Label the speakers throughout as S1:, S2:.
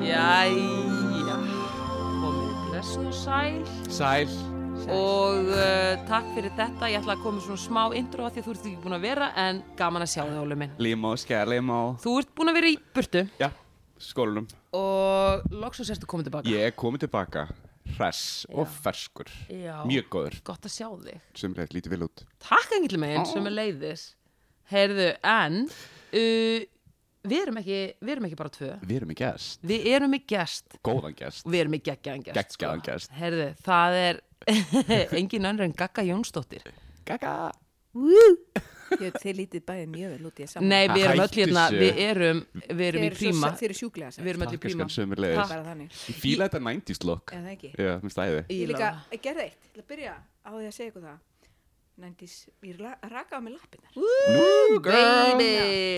S1: Jæja, komið blessuð og sæl
S2: Sæl
S1: og uh, takk fyrir þetta, ég ætla að koma með svona smá intro að því að þú ert ekki búin að vera en gaman að sjá þig Óli minn.
S2: Límó, skær límó
S1: Þú ert búin að vera í burtu
S2: Já, skólanum
S1: og loksins ertu komið tilbaka.
S2: Ég er komið tilbaka Hress og ferskur
S1: Já.
S2: Mjög góður
S1: Gott að sjá þig.
S2: Sumlega lítið vil út
S1: Takk engill meginn sem er leiðis. Heyrðu, en uh, við, erum ekki, við erum ekki bara tvö.
S2: Við erum í gest
S1: Við erum í gest
S2: Góðan gest
S1: og við erum í geggjaðan gest. sko.
S2: Geggjaðan gest.
S1: Heyrðu, það er engin önnur en Gagga Jónsdóttir.
S2: Gaga
S3: Ég, þeir lítið bæði mjög vel út í að saman.
S1: Nei, við erum öll
S2: Hættu
S1: hérna,
S2: þessu.
S1: við erum, við erum í
S3: Þeir eru svo-
S1: príma
S3: Þeir eru sjúklega sætt.
S1: Við erum öll í
S2: Takk
S1: príma
S2: skan sumlega
S3: Bara þannig.
S2: Ég fíla þetta 90s look
S3: Eða það ekki.
S2: Já, mér stæði
S3: Ég
S1: Ég
S3: líka,
S1: love
S3: ég gerði eitt, ég ætla að byrja á því að segja ykkur það. Nændis, ég la- rakaði á mig lappinnar.
S2: Nú, girl
S1: Baby,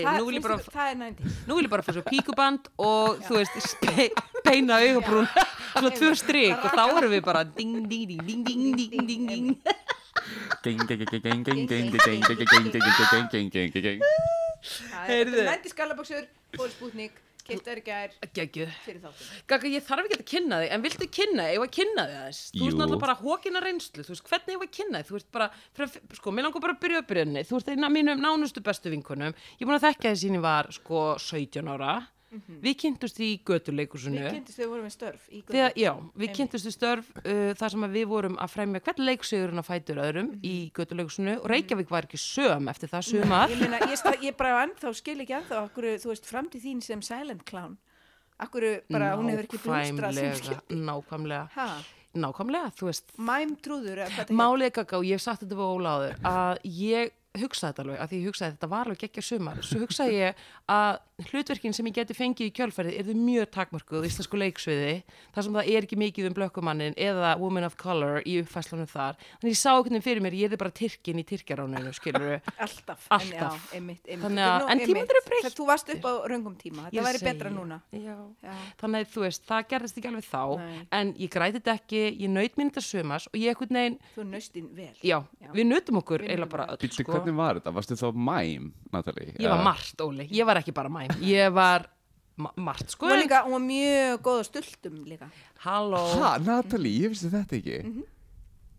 S3: Það-
S1: nú vil ég bara
S3: finnst þér- Það er nændis.
S1: Nú vil ég bara fá svo píkuband og þú veist, spe, beina augabrún svona tvö strik og þá erum við bara ding, ding, ding, ding, ding, ding, ding, ding Heyrðu.
S3: Nændis gallabuxur, fólksbútning, kiptaður í gær,
S1: Gægju
S3: fyrir þáttum.
S1: Gagga, ég þarf ekki að kynna þig, en viltu kynna þig, ég var að kynna þig aðeins Þú
S2: Jú.
S1: veist náttúrulega bara hókina reynslu, þú veist hvernig ég var að kynna þig Þú veist bara, frá, sko, mér langar bara að byrja upp reyni Þú ert eina af mínum nánustu bestu vinkunum Ég er búin að þekka þess að ég var, sko, 17 ára Við kynntust í götuleikursunu
S3: Mhm. Við kynntist þegar við vorum með störf í götu.
S1: Þegar, já, við kynntustu störf uh, þar sem að við vorum að fremja hvern leiksegurinn að fætur öðrum
S3: Mhm.
S1: í göttuleikusinu og Reykjavík var ekki söm eftir það sömar
S3: Ég meina, ég, stað, ég bara ennþá skil ekki ennþá akkur, þú veist, framtíð þín sem silent clown. Akkur bara, hún hefur ekki blústrað sem
S1: nákvæmlega,
S3: skildi.
S1: nákvæmlega,
S3: Ha,
S1: nákvæmlega, þú veist
S3: mæm trúður, eða hvað þetta
S1: málið er kaka og ég hef sagt þetta við óláður að ég hugsaði þetta alveg að því ég hugsaði að þetta var alveg geggja sumar svo hugsaði ég að hlutverkin sem ég geti fengið í kjölferði er þau mjög takmörkuð á íslensku leiksviði þar sem það er ekki mikið um blökkumannin eða woman of color í uppfæslunum þar þannig ég sá einhvern veginn fyrir mér, ég er bara tyrkin í tyrkjaráninu skilur
S3: Alltaf, En, já,
S1: Alltaf.
S3: einmitt, einmitt.
S1: Þannig að-
S3: Nú,
S1: en tímarnir eru
S3: einmitt.
S1: breyttir.
S3: Það- Þú varst upp á röngum tíma,
S1: Ég
S3: þetta væri
S1: segi-
S3: betra núna
S1: Já.
S3: Já.
S1: þannig að þú veist, það gerðist ekki alveg þá
S3: Nei.
S1: en ég græti þetta ekki, ég naut mín þetta sumars og ég einhvern veginn,
S3: Þú naust þín vel
S1: já,
S3: Já.
S1: við nutum okkur eiginlega bara öll
S2: Býttu, hvernig var þetta? Varstu þá mæm, Natalie?
S1: sko. Ég var margt, Óli. Ég var ekki bara mæm. Ég var ma margt, sko.
S3: Hún var líka, hún var mjög góð á stultum líka
S1: Halló.
S2: Ha, Natalie, ég vissi þetta ekki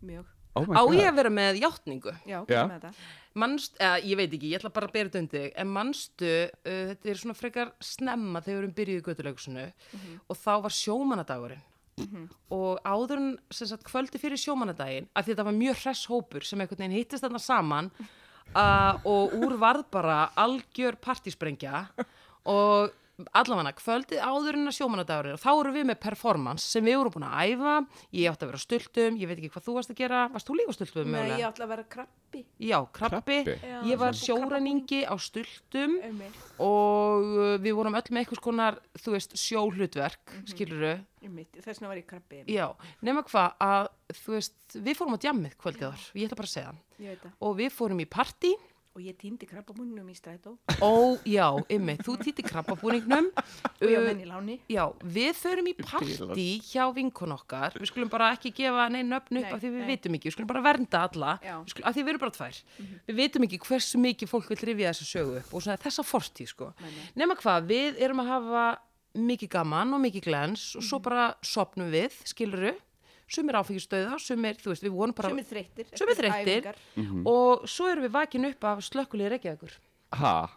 S3: Mjög,
S2: Oh my
S1: Á
S2: god
S1: ég að vera með játningu?
S3: já,
S2: Já.
S3: hvað með þetta
S1: Manst, eða, ég veit ekki, ég ætla bara að bera þetta undir þig, en manstu, uh, þetta er svona frekar snemma þegar við erum byrjuð í göttuleikusinu og þá var sjómanadagurinn. og áður en sem sagt kvöldi fyrir sjómanadaginn af því þetta var mjög hress hópur sem einhvern veginn hittist þarna saman uh, og úr varð bara algjör partísprengja og allavega kvöldið áður en að sjómanadagurinn og þá erum við með performance sem við erum búin að æfa, ég átti að vera á stultum ég veit ekki hvað þú varst að gera, varst þú líka á stultum
S3: Nei,
S1: mögulega?
S3: ég ætla að vera krabbi
S1: Já, krabbi.
S2: Krabbi?
S3: Já,
S1: Ég var
S3: svona
S1: sjóræningi á stultum
S3: Einmitt,
S1: og uh, við vorum öll með einhvers konar, þú veist, sjóhlutverk,
S3: Mhm.
S1: mm skiluru.
S3: einmitt, þess vegna var ég krabbi einmitt.
S1: Já, nema hvað að, þú veist, við fórum á djammið kvöldið þar, ég ætla bara að segja hann.
S3: Ég veit það
S1: Og við fórum í partí
S3: Og ég týndi krabbamúninum í strætó
S1: og já, ymmi, þú týtti krabbabúningnum.
S3: Og
S1: Uh,
S3: ég var menn í láni
S1: Já, við förum í partí hjá vinkun okkar, við skulum bara ekki gefa neinn nöfn upp
S3: Nei,
S1: af því við
S3: nei.
S1: vitum ekki, við skulum bara vernda alla,
S3: Já. Mhm.
S1: Við skulum, af því við erum bara tvær. Við vitum ekki hversu mikið fólk vil rifja þessa sögu upp og svona þessa fortíð sko. Nefna hvað, við erum að hafa mikið gaman og mikið glens og
S3: Mhm.
S1: svo bara sopnum við, skiluru, sumir áfengistöða, sumir, þú veist, við vonum bara...
S3: Sumir þreyttir eftir
S1: Sumir þreyttir.
S3: æfingar.
S1: og svo erum við vakin upp af slökkulegi reykjaðugur.
S2: Ha,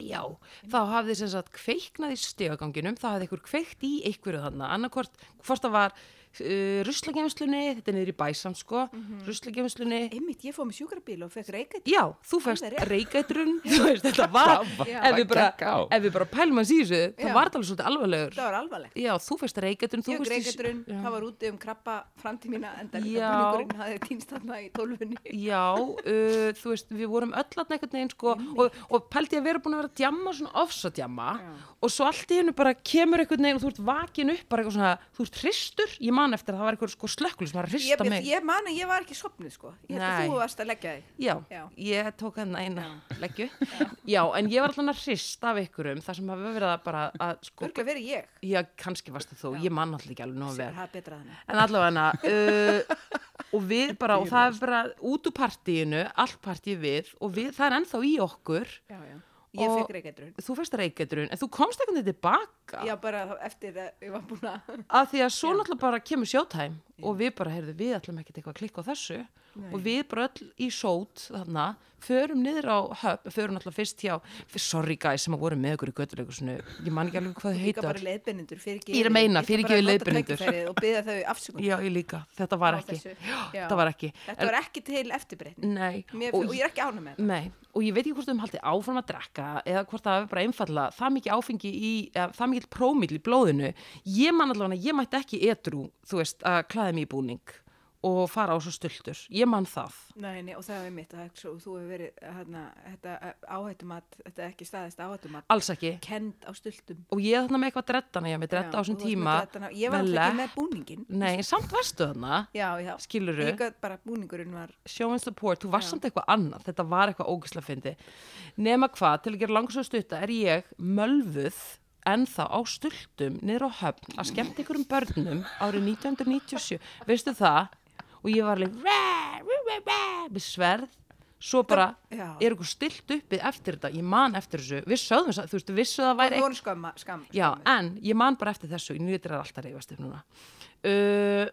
S1: Já, þá hafði sem sagt kveiknað í stegaganginum, þá hafði einhver kveikt í einhverju þarna, annarkvort, hvort það var uh, ruslagemslunni, þetta er niður í bæsam sko, mm
S3: Einmitt, ég fóð með sjúkrabíl og fekk reykað
S1: já, þú fæst
S3: rétt.
S1: reykætrun, þú veist, þetta var,
S2: var-
S1: ef, við
S2: það
S1: bara,
S2: gekk á.
S1: ef við bara pælum hans í þessu,
S3: Já.
S1: það var það alveg svolítið alvarlegur.
S3: Það var alvarlegt
S1: Já, þú fæst reykætrun, þú
S3: Ég
S1: fórst í-
S3: reykadrun, það var úti um krabba framtíð mína en það
S1: Já.
S3: líka búningurinn hafði týnst þarna í tólfunni
S1: Já, uh, þú veist, við vorum öll að einhvern veginn sko og, og pældi ég að vera búin að vera að djamma svona ofsadjamma og svo allt í hennu bara kemur einhvern veginn og þú ert vakin upp bara eitthvað svona, þú ert hristur, ég man man eftir að það var einhver sko slökkul sem var að
S3: Ég,
S1: hrista mig.
S3: ég man að ég var ekki sopnið sko Ég held
S1: Nei.
S3: að þú varst að leggja þig
S1: Já,
S3: Já.
S1: ég tók hann eina leggju. Já, en ég var allan að hrist af ykkurum þar sem hafa verið að bara að sko,
S3: Örglega verið ég
S1: já, kannski varstu þú, ég man alltaf ekki alveg nóg vel.
S3: Það er betra þannig
S1: En allavega uh, og við bara, og það er bara út úr partíinu, allt partíið við og við, það er ennþá í okkur.
S3: já, já. Ég
S1: Og-
S3: fekk reykjadrun
S1: Þú fyrst reykjadrun, en þú komst ekkert tilbaka
S3: Já, bara þá- eftir að ég var búin að
S1: af því að svo náttúrulega bara kemur sjótæm og við bara, heyrðu, við ætlum ekkert eitthvað að klikka á þessu og við bara öll í sót þarna, förum niður á höfn, förum náttúrulega fyrst hjá sorry guys sem að voru með okkur í göttuleikusinu ég man ekki alveg hvað þau
S3: Líka
S1: heita
S3: bara leiðbennendur
S1: Ég er að meina, fyrirgefið leiðbeinendur.
S3: Og byggja þau afsökun
S1: já, ég líka, þetta var
S3: Á
S1: ekki
S3: þessu.
S1: Já,
S3: Já.
S1: þetta var ekki
S3: Þetta var ekki til eftirbreytni
S1: Nei,
S3: Mér- Og ég er ekki ánum með það
S1: Nei, og ég veit ekki hvort þau um haldið áfram að drekka eða hvort það hefur bara einfalla það mikið áfengi í, eða, það mikið prómill í blóðinu. Ég man allavega, ég mætti ekki edru, þú veist, að klæða mig í búning og fara á svo stöldur. Ég man það.
S3: Nei, nei, og það er mitt að svo, þú hefur verið hana, þetta eh, áhættumat, þetta er ekki staðist áhættumat,
S1: Alls ekki.
S3: kend á stultum.
S1: Og ég er þarna með eitthvað dreddana, ég er með dredd á
S3: Já,
S1: þessum
S3: þú varst með
S1: tíma.
S3: dreddana- Ég var alltaf ekki með búningin.
S1: Nei, en samt varstu þarna,
S3: Já, já.
S1: skilurðu.
S3: Ég gæti bara búningurinn var,
S1: show and support, þú varst samt eitthvað annað þetta var eitthvað ógislega fyndi nema hvað, til að gera langsóð stutta er ég mölvuð ennþá á stultum niður á höfn að skemmt einhverjum börnum árið 1997 veistu það? og ég var alveg "Ræ, rú, rú, rú," með sverð svo bara
S3: já.
S1: er eitthvað stilt uppið eftir þetta ég man eftir þessu, við sögðum þess að þú veist, vissu það væri
S3: það voru skamma, skamma.
S1: Já, en ég man bara eftir þessu, ég nýttir að alltaf reyfast upp núna. Uh,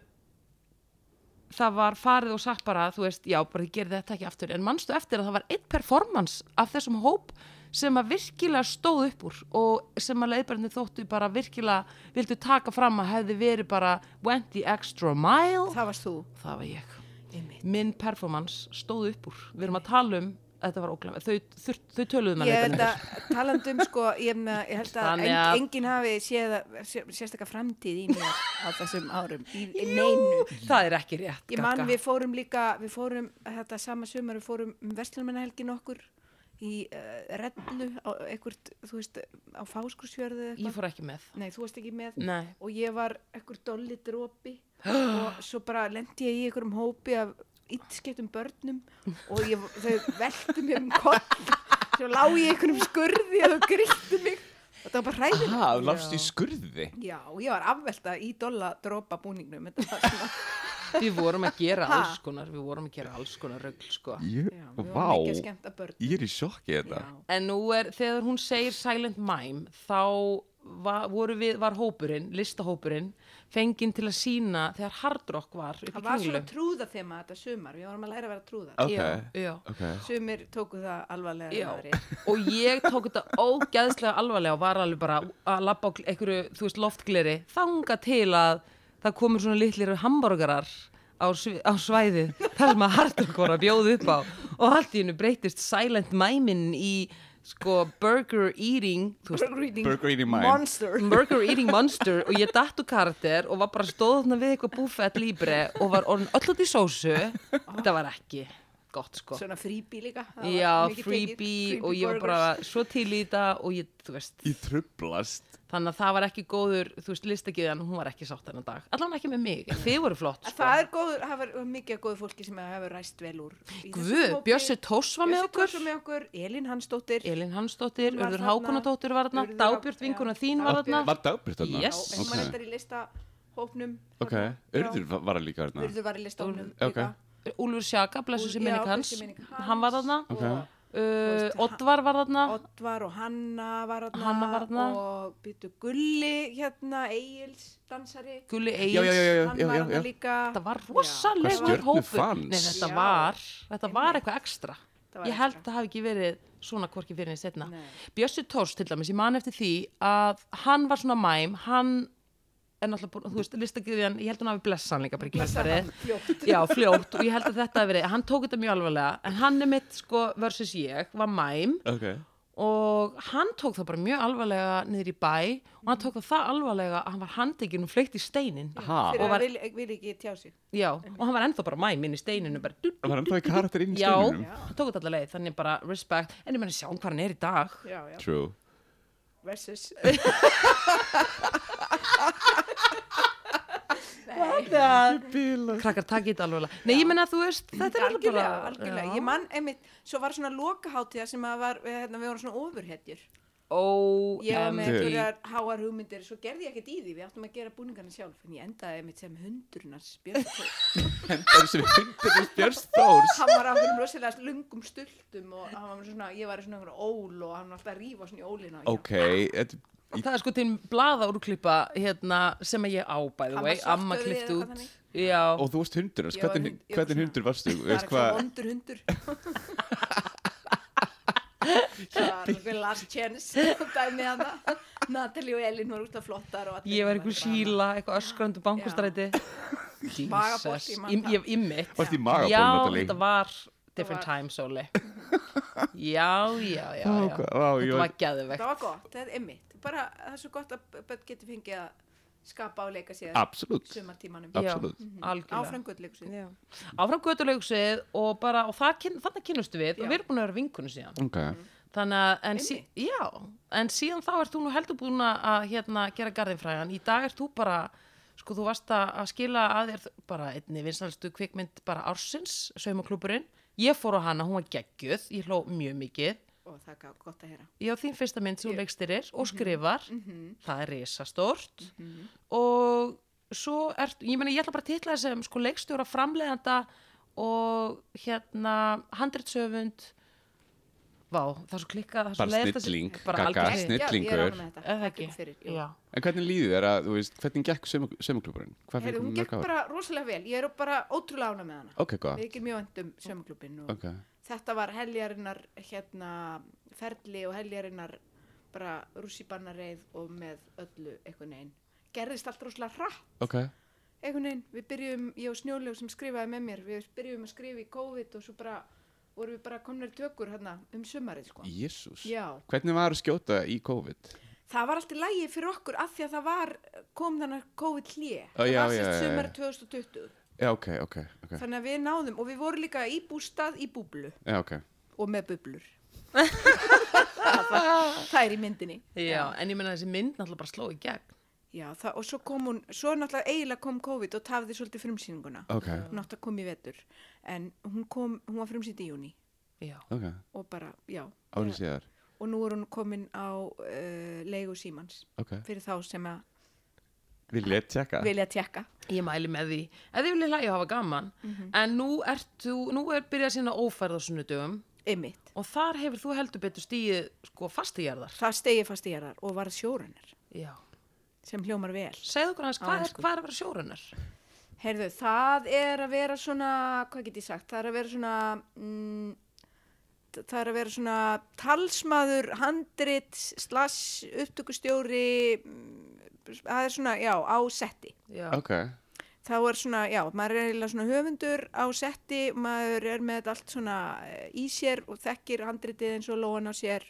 S1: það var farið og sagt bara, þú veist, já, bara ég gerði þetta ekki aftur, en manstu eftir að það var eitt performance af þessum hóp sem að virkilega stóð upp úr og sem að leiðbærni þóttu bara virkilega, vildu taka fram að hefði verið bara went the extra mile.
S3: Það varst þú.
S1: það var ég
S3: Einmitt.
S1: minn performance stóð upp úr við erum að tala um, þetta var óglæm þau, þau, þau töluðu um með
S3: Ég held
S1: leiðbærni
S3: að, talandum sko, ég, með, ég held að,
S1: Þannig
S3: en,
S1: að-
S3: enginn hafi séð að, sé, sérstakka framtíð í mér á þessum árum. Í, í neinu.
S1: það er ekki rétt
S3: Ég man
S1: Gagga.
S3: við fórum líka, við fórum þetta sama sumar, við fórum um verslumennahelgin okkur í uh, rellu á einhvert, þú veist, á fáskursfjörðu eða
S1: Ég
S3: eitthvað.
S1: fór ekki með.
S3: Nei, þú varst ekki með
S1: Nei.
S3: og ég var einhver dolli dropi og svo bara lendi ég í einhverjum hópi af ytskiptum börnum og ég, þau veltu mér um koll svo lá ég í einhverjum skurði og þau grýttu mig og það var bara hræðilegt.
S2: Ha, þú lafst í skurði.
S3: Já, ég var afvelta í dolla dropa búningnum, þetta var svona
S1: Við vorum að gera
S3: Ha?
S1: alls konar, við vorum að gera alls konar rögl, sko.
S2: Ég,
S3: Já,
S2: vá,
S3: við vorum ekki að skemmta börn
S2: ég er í sjokki þetta.
S3: Já.
S1: En nú er, þegar hún segir Silent Mime, þá var, voru við, var hópurinn, listahópurinn, fenginn til að sína þegar hardrock var upp í
S3: Það var
S1: kringlu.
S3: svona trúða þema þetta sumar, við vorum að læra að vera trúðar.
S2: Ok,
S1: Já, já.
S2: ok.
S3: Sumir tóku það alvarlega
S1: Já,
S3: en aðrir.
S1: og ég tók þetta ógeðslega alvarlega og var alveg bara að labba á gl- einhverju, þú veist, loftgleri þanga til að það komur svona litlir hamburgarar á, svi- á svæðið, þar sem að hardrock voru að bjóða upp á og allt í hennu breytist silent mæmin í sko burger eating þú veist,
S3: Burger eating,
S2: Burger eating mime.
S3: monster.
S1: burger eating monster og ég datt úr karakter og var bara stóðna við eitthvað buffet líbre og var orðin öll út í sósu þetta var ekki gott sko
S3: Svona freebie líka. það var
S1: Já,
S3: mikið tekið.
S1: freebie og ég var
S3: burgers.
S1: bara svo til í þetta og ég, þú veist,
S2: Ég trublast.
S1: þannig að það var ekki góður, þú veist, listagiðan, hún var ekki sátt hennan dag. Allan ekki með mig, en þið voru flott,
S3: En
S1: sko.
S3: Það er góður, það var mikið góður fólki sem hefur ræst vel úr. í þessum
S1: Guð,
S3: hópi.
S1: Bjössi Tós var með
S3: Bjössi
S1: okkur,
S3: Thors var með okkur, Elin Hansdóttir.
S1: Elin Hansdóttir,
S3: Hún var
S1: Urður
S3: þarna.
S1: Hákonadóttir var þarna,
S3: Urður Há-
S1: Dábjörn
S3: já.
S1: vinkona þín var
S3: Var-
S1: þarna.
S2: Var dagbjörn þarna?
S1: Yes.
S3: Já, en hún var
S2: Ok.
S3: reyndar í lista hópnum.
S2: Ok, Urður var- var hann líka hérna.
S3: Urður var í lista hópnum.
S2: Ok.
S1: Úlfur Sjaka, blessu sér minning hans, hann var þarna.
S2: Ok.
S1: Uh,
S3: veist,
S1: Oddvar var þarna,
S3: Oddvar og Hanna var þarna.
S1: Hanna var þarna.
S3: Og byttu Gulli hérna, Egils, dansari.
S1: Gulli
S2: Já, já, já,
S1: Eils.
S2: já,
S3: Hann
S2: já,
S3: var
S2: já,
S3: þarna
S2: já.
S3: líka.
S1: Þetta var
S2: Hvað
S1: rosalega
S2: stjörnu
S1: hópur.
S2: fannst?
S1: Nei, þetta
S3: Já.
S1: var, þetta var eitthvað ekstra.
S3: Þetta var
S1: Ég held
S3: extra.
S1: að það hafi ekki verið svona hvorki fyrir henni setna.
S3: Nei.
S1: Bjössi Tórs til dæmis, ég man eftir því að hann var svona mæm, hann er náttúrulega búin, þú veist, listagiðjan, ég held að hann hafi blessan líka bara í kjálfarið.
S3: fljótt.
S1: Já, fljótt og ég held að þetta hafi verið, hann tók þetta mjög alvarlega, en hann er mitt, sko, versus ég, var mæm
S2: Ok.
S1: og hann tók það bara mjög alvarlega niður í bæ og
S3: Mhm.
S1: hann tók það það alvarlega að hann var handekinn og fleikt í steinin.
S2: Ha,
S3: Fyrir
S1: og
S3: að
S1: var-
S3: vil, vil ekki tjá sig.
S1: Já, og hann var ennþá bara mæm inn í steininu, bara dup,
S2: var hann þá í karakter inn í
S1: Já,
S2: steininum?
S1: hann tók þetta alla leið, þannig bara respect, en ég meina sjáum hvað hann er í dag.
S3: Já, já.
S2: True.
S3: Versus.
S1: Nei.
S3: að
S2: Bíla.
S1: krakkar takk í þetta alveg nei ég menna þú veist þetta er alveg
S3: algjörlega,
S1: bara
S3: algjörlega.
S1: Já.
S3: ég mann einmitt, svo var svona lokaháttíða sem að var, við, hérna, við vorum svona ofurhetjur ég var
S1: OMG
S3: með einhverjar háar hugmyndir svo gerði ég ekkert í því, við áttum að gera búningarna sjálf en ég endaði einmitt sem hundrunars björnstól
S2: Hendur sem hendur þess Björns Þórs.
S3: hann var á hverjum rosalega lungum stultum og hann var með svona, ég var í svona einhverju ól og hann var alltaf að rífa svona í ólina
S2: Ok, þetta
S1: það er sko til blaða úrklippa hérna, sem ég á by the
S3: Hann
S1: way
S3: var svartur
S1: amma
S3: eða
S1: klift
S3: eitthvað
S1: út
S3: þannig.
S1: já,
S2: Og þú varst hundur, hans.
S3: Ég var
S2: hvernig,
S3: hund- ég var
S2: hvernig
S3: svona-
S2: hundur varstu?
S3: það
S2: Veist
S3: er eitthvað
S2: hvað,
S3: vondur hundur það var svona last chance dæmi hann Natalie og Elin voru út að flottar og allir
S1: ég var
S3: voru
S1: einhver
S3: bara-
S1: síla eitthvað öskrandi bankustræti
S3: Magabolt,
S1: Jesus
S3: ég man
S1: Í-
S3: það.
S1: ég- í mitt
S2: varst í
S1: já,
S2: magabólum
S1: þetta var different
S3: var-
S1: times Óli já, já, já,
S2: Vá,
S1: já.
S2: hvað- vá, ég
S1: þetta
S2: var-
S1: var gæðuvegt
S3: það var gott, það er mitt bara það er svo gott að börn getur fengið að skapa og leika sér
S2: Absolutt.
S3: sumartímanum Mhm.
S2: Absolutt.
S1: algjörlega
S3: áfram gullleikusinn
S1: Já. áfram götulegsið og bara og það kyn, þannig kynnustu við og
S3: Já.
S1: við erum búin að vera vinkunum síðan
S2: Ok.
S1: þannig að en, sí, já, en síðan þá ert þú nú heldur búin að hérna, gera garðinfræðan í dag ert þú bara sko þú varst að að skila að þér bara einni vinsalstu kvikmynd bara ársins saumaklúburinn, ég fór á hana hún var geggjöð, ég hló mjög mikið
S3: og það er gott að heyra
S1: ég Mhm. á þín fyrsta mynd sem hún leikstyrir og skrifar það er risastórt og svo ert, ég meina ég ætla bara að titla það sem sko leikstjóra framleiðanda og hérna handritsöfund Vá, það er svo klikkað, það er svo
S2: Bara
S1: leiðilegt að-
S2: snilling,
S1: bara
S2: gaga,
S1: algjör
S2: snill.
S1: snill
S3: ég er
S2: Snillingur.
S3: ánægð með
S1: eða
S3: þetta
S1: það
S3: Takk
S1: ekki
S3: ykkur fyrir, jú.
S1: Já.
S2: En hvernig líður þér að, þú veist, hvernig gekk sömuklúburinn? Hvað fyrir
S3: Heyrðu,
S2: mörg
S3: hún gekk
S2: ára?
S3: bara rosalega vel ég er bara ótrúlega ána með hana
S2: Ok,
S3: við
S2: góð.
S3: ekki mjög öndum sömglúbin og
S2: Ok.
S3: þetta var heljarinnar hérna ferli og heljarinnar bara rússibannareið og með öllu einhvern veginn gerðist allt rosalega hratt
S2: Ok.
S3: einhvern veginn, við byrjum, ég og Snjólaug sem skrifaði með mér, við byrjum að skrifa í COVID og svo bara, vorum við bara komnir í tökur hérna um sumarið sko.
S2: Jésús.
S3: Já,
S2: Hvernig var að skjóta í COVID?
S3: það var allt í lægi fyrir okkur af því að það var, kom þannig COVID hlje,
S2: já,
S3: það var
S2: já, já, já.
S3: sérst sumarið 2020,
S2: Já, ok, ok, ok.
S3: þannig að við náðum og við vorum líka í bústað í búblu
S2: Já, ok.
S3: og með bublur. það, var, það er í myndinni.
S1: Já, en ég meina þessi mynd náttúrulega bara sló í gegn
S3: Já, það, og svo kom hún, svo náttúrulega eiginlega kom COVID og tafði svolítið frumsýninguna.
S2: Ok,
S3: Hún átti að koma í vetur, en hún kom, hún var frumsýnd í júni.
S1: Já,
S2: ok.
S3: og bara, já
S2: Árið síðar.
S3: og nú er hún komin á uh, leigu símans
S2: Ok.
S3: fyrir þá sem að
S2: Vil ég tjekka?
S3: vilja tjekka
S1: ég mæli með því ef þið viljið hlæja og hafa gaman
S3: Mhm.
S1: en nú ert þú, nú er byrjað sína ófærð á sunnudöfum
S3: ymmit,
S1: og þar hefur þú heldur betur stíð sko fastiðjarðar
S3: það stegi fast í hérðar og varð sjórunar
S1: Já
S3: sem hljómar vel
S1: Segðu okkur hans, hvað, er,
S3: ensku.
S1: hvað er að vera sjórunar?
S3: heyrðu, það er að vera svona hvað get ég sagt, það er að vera svona mm, það er að vera svona talsmaður handrit, slass, upptökustjóri mm, það er svona, já, á setti
S1: Já,
S2: Ok,
S3: þá er svona, já, maður er eiginlega svona höfundur á setti, maður er með þetta allt svona eh, í sér og þekkir handritið eins og lóan á sér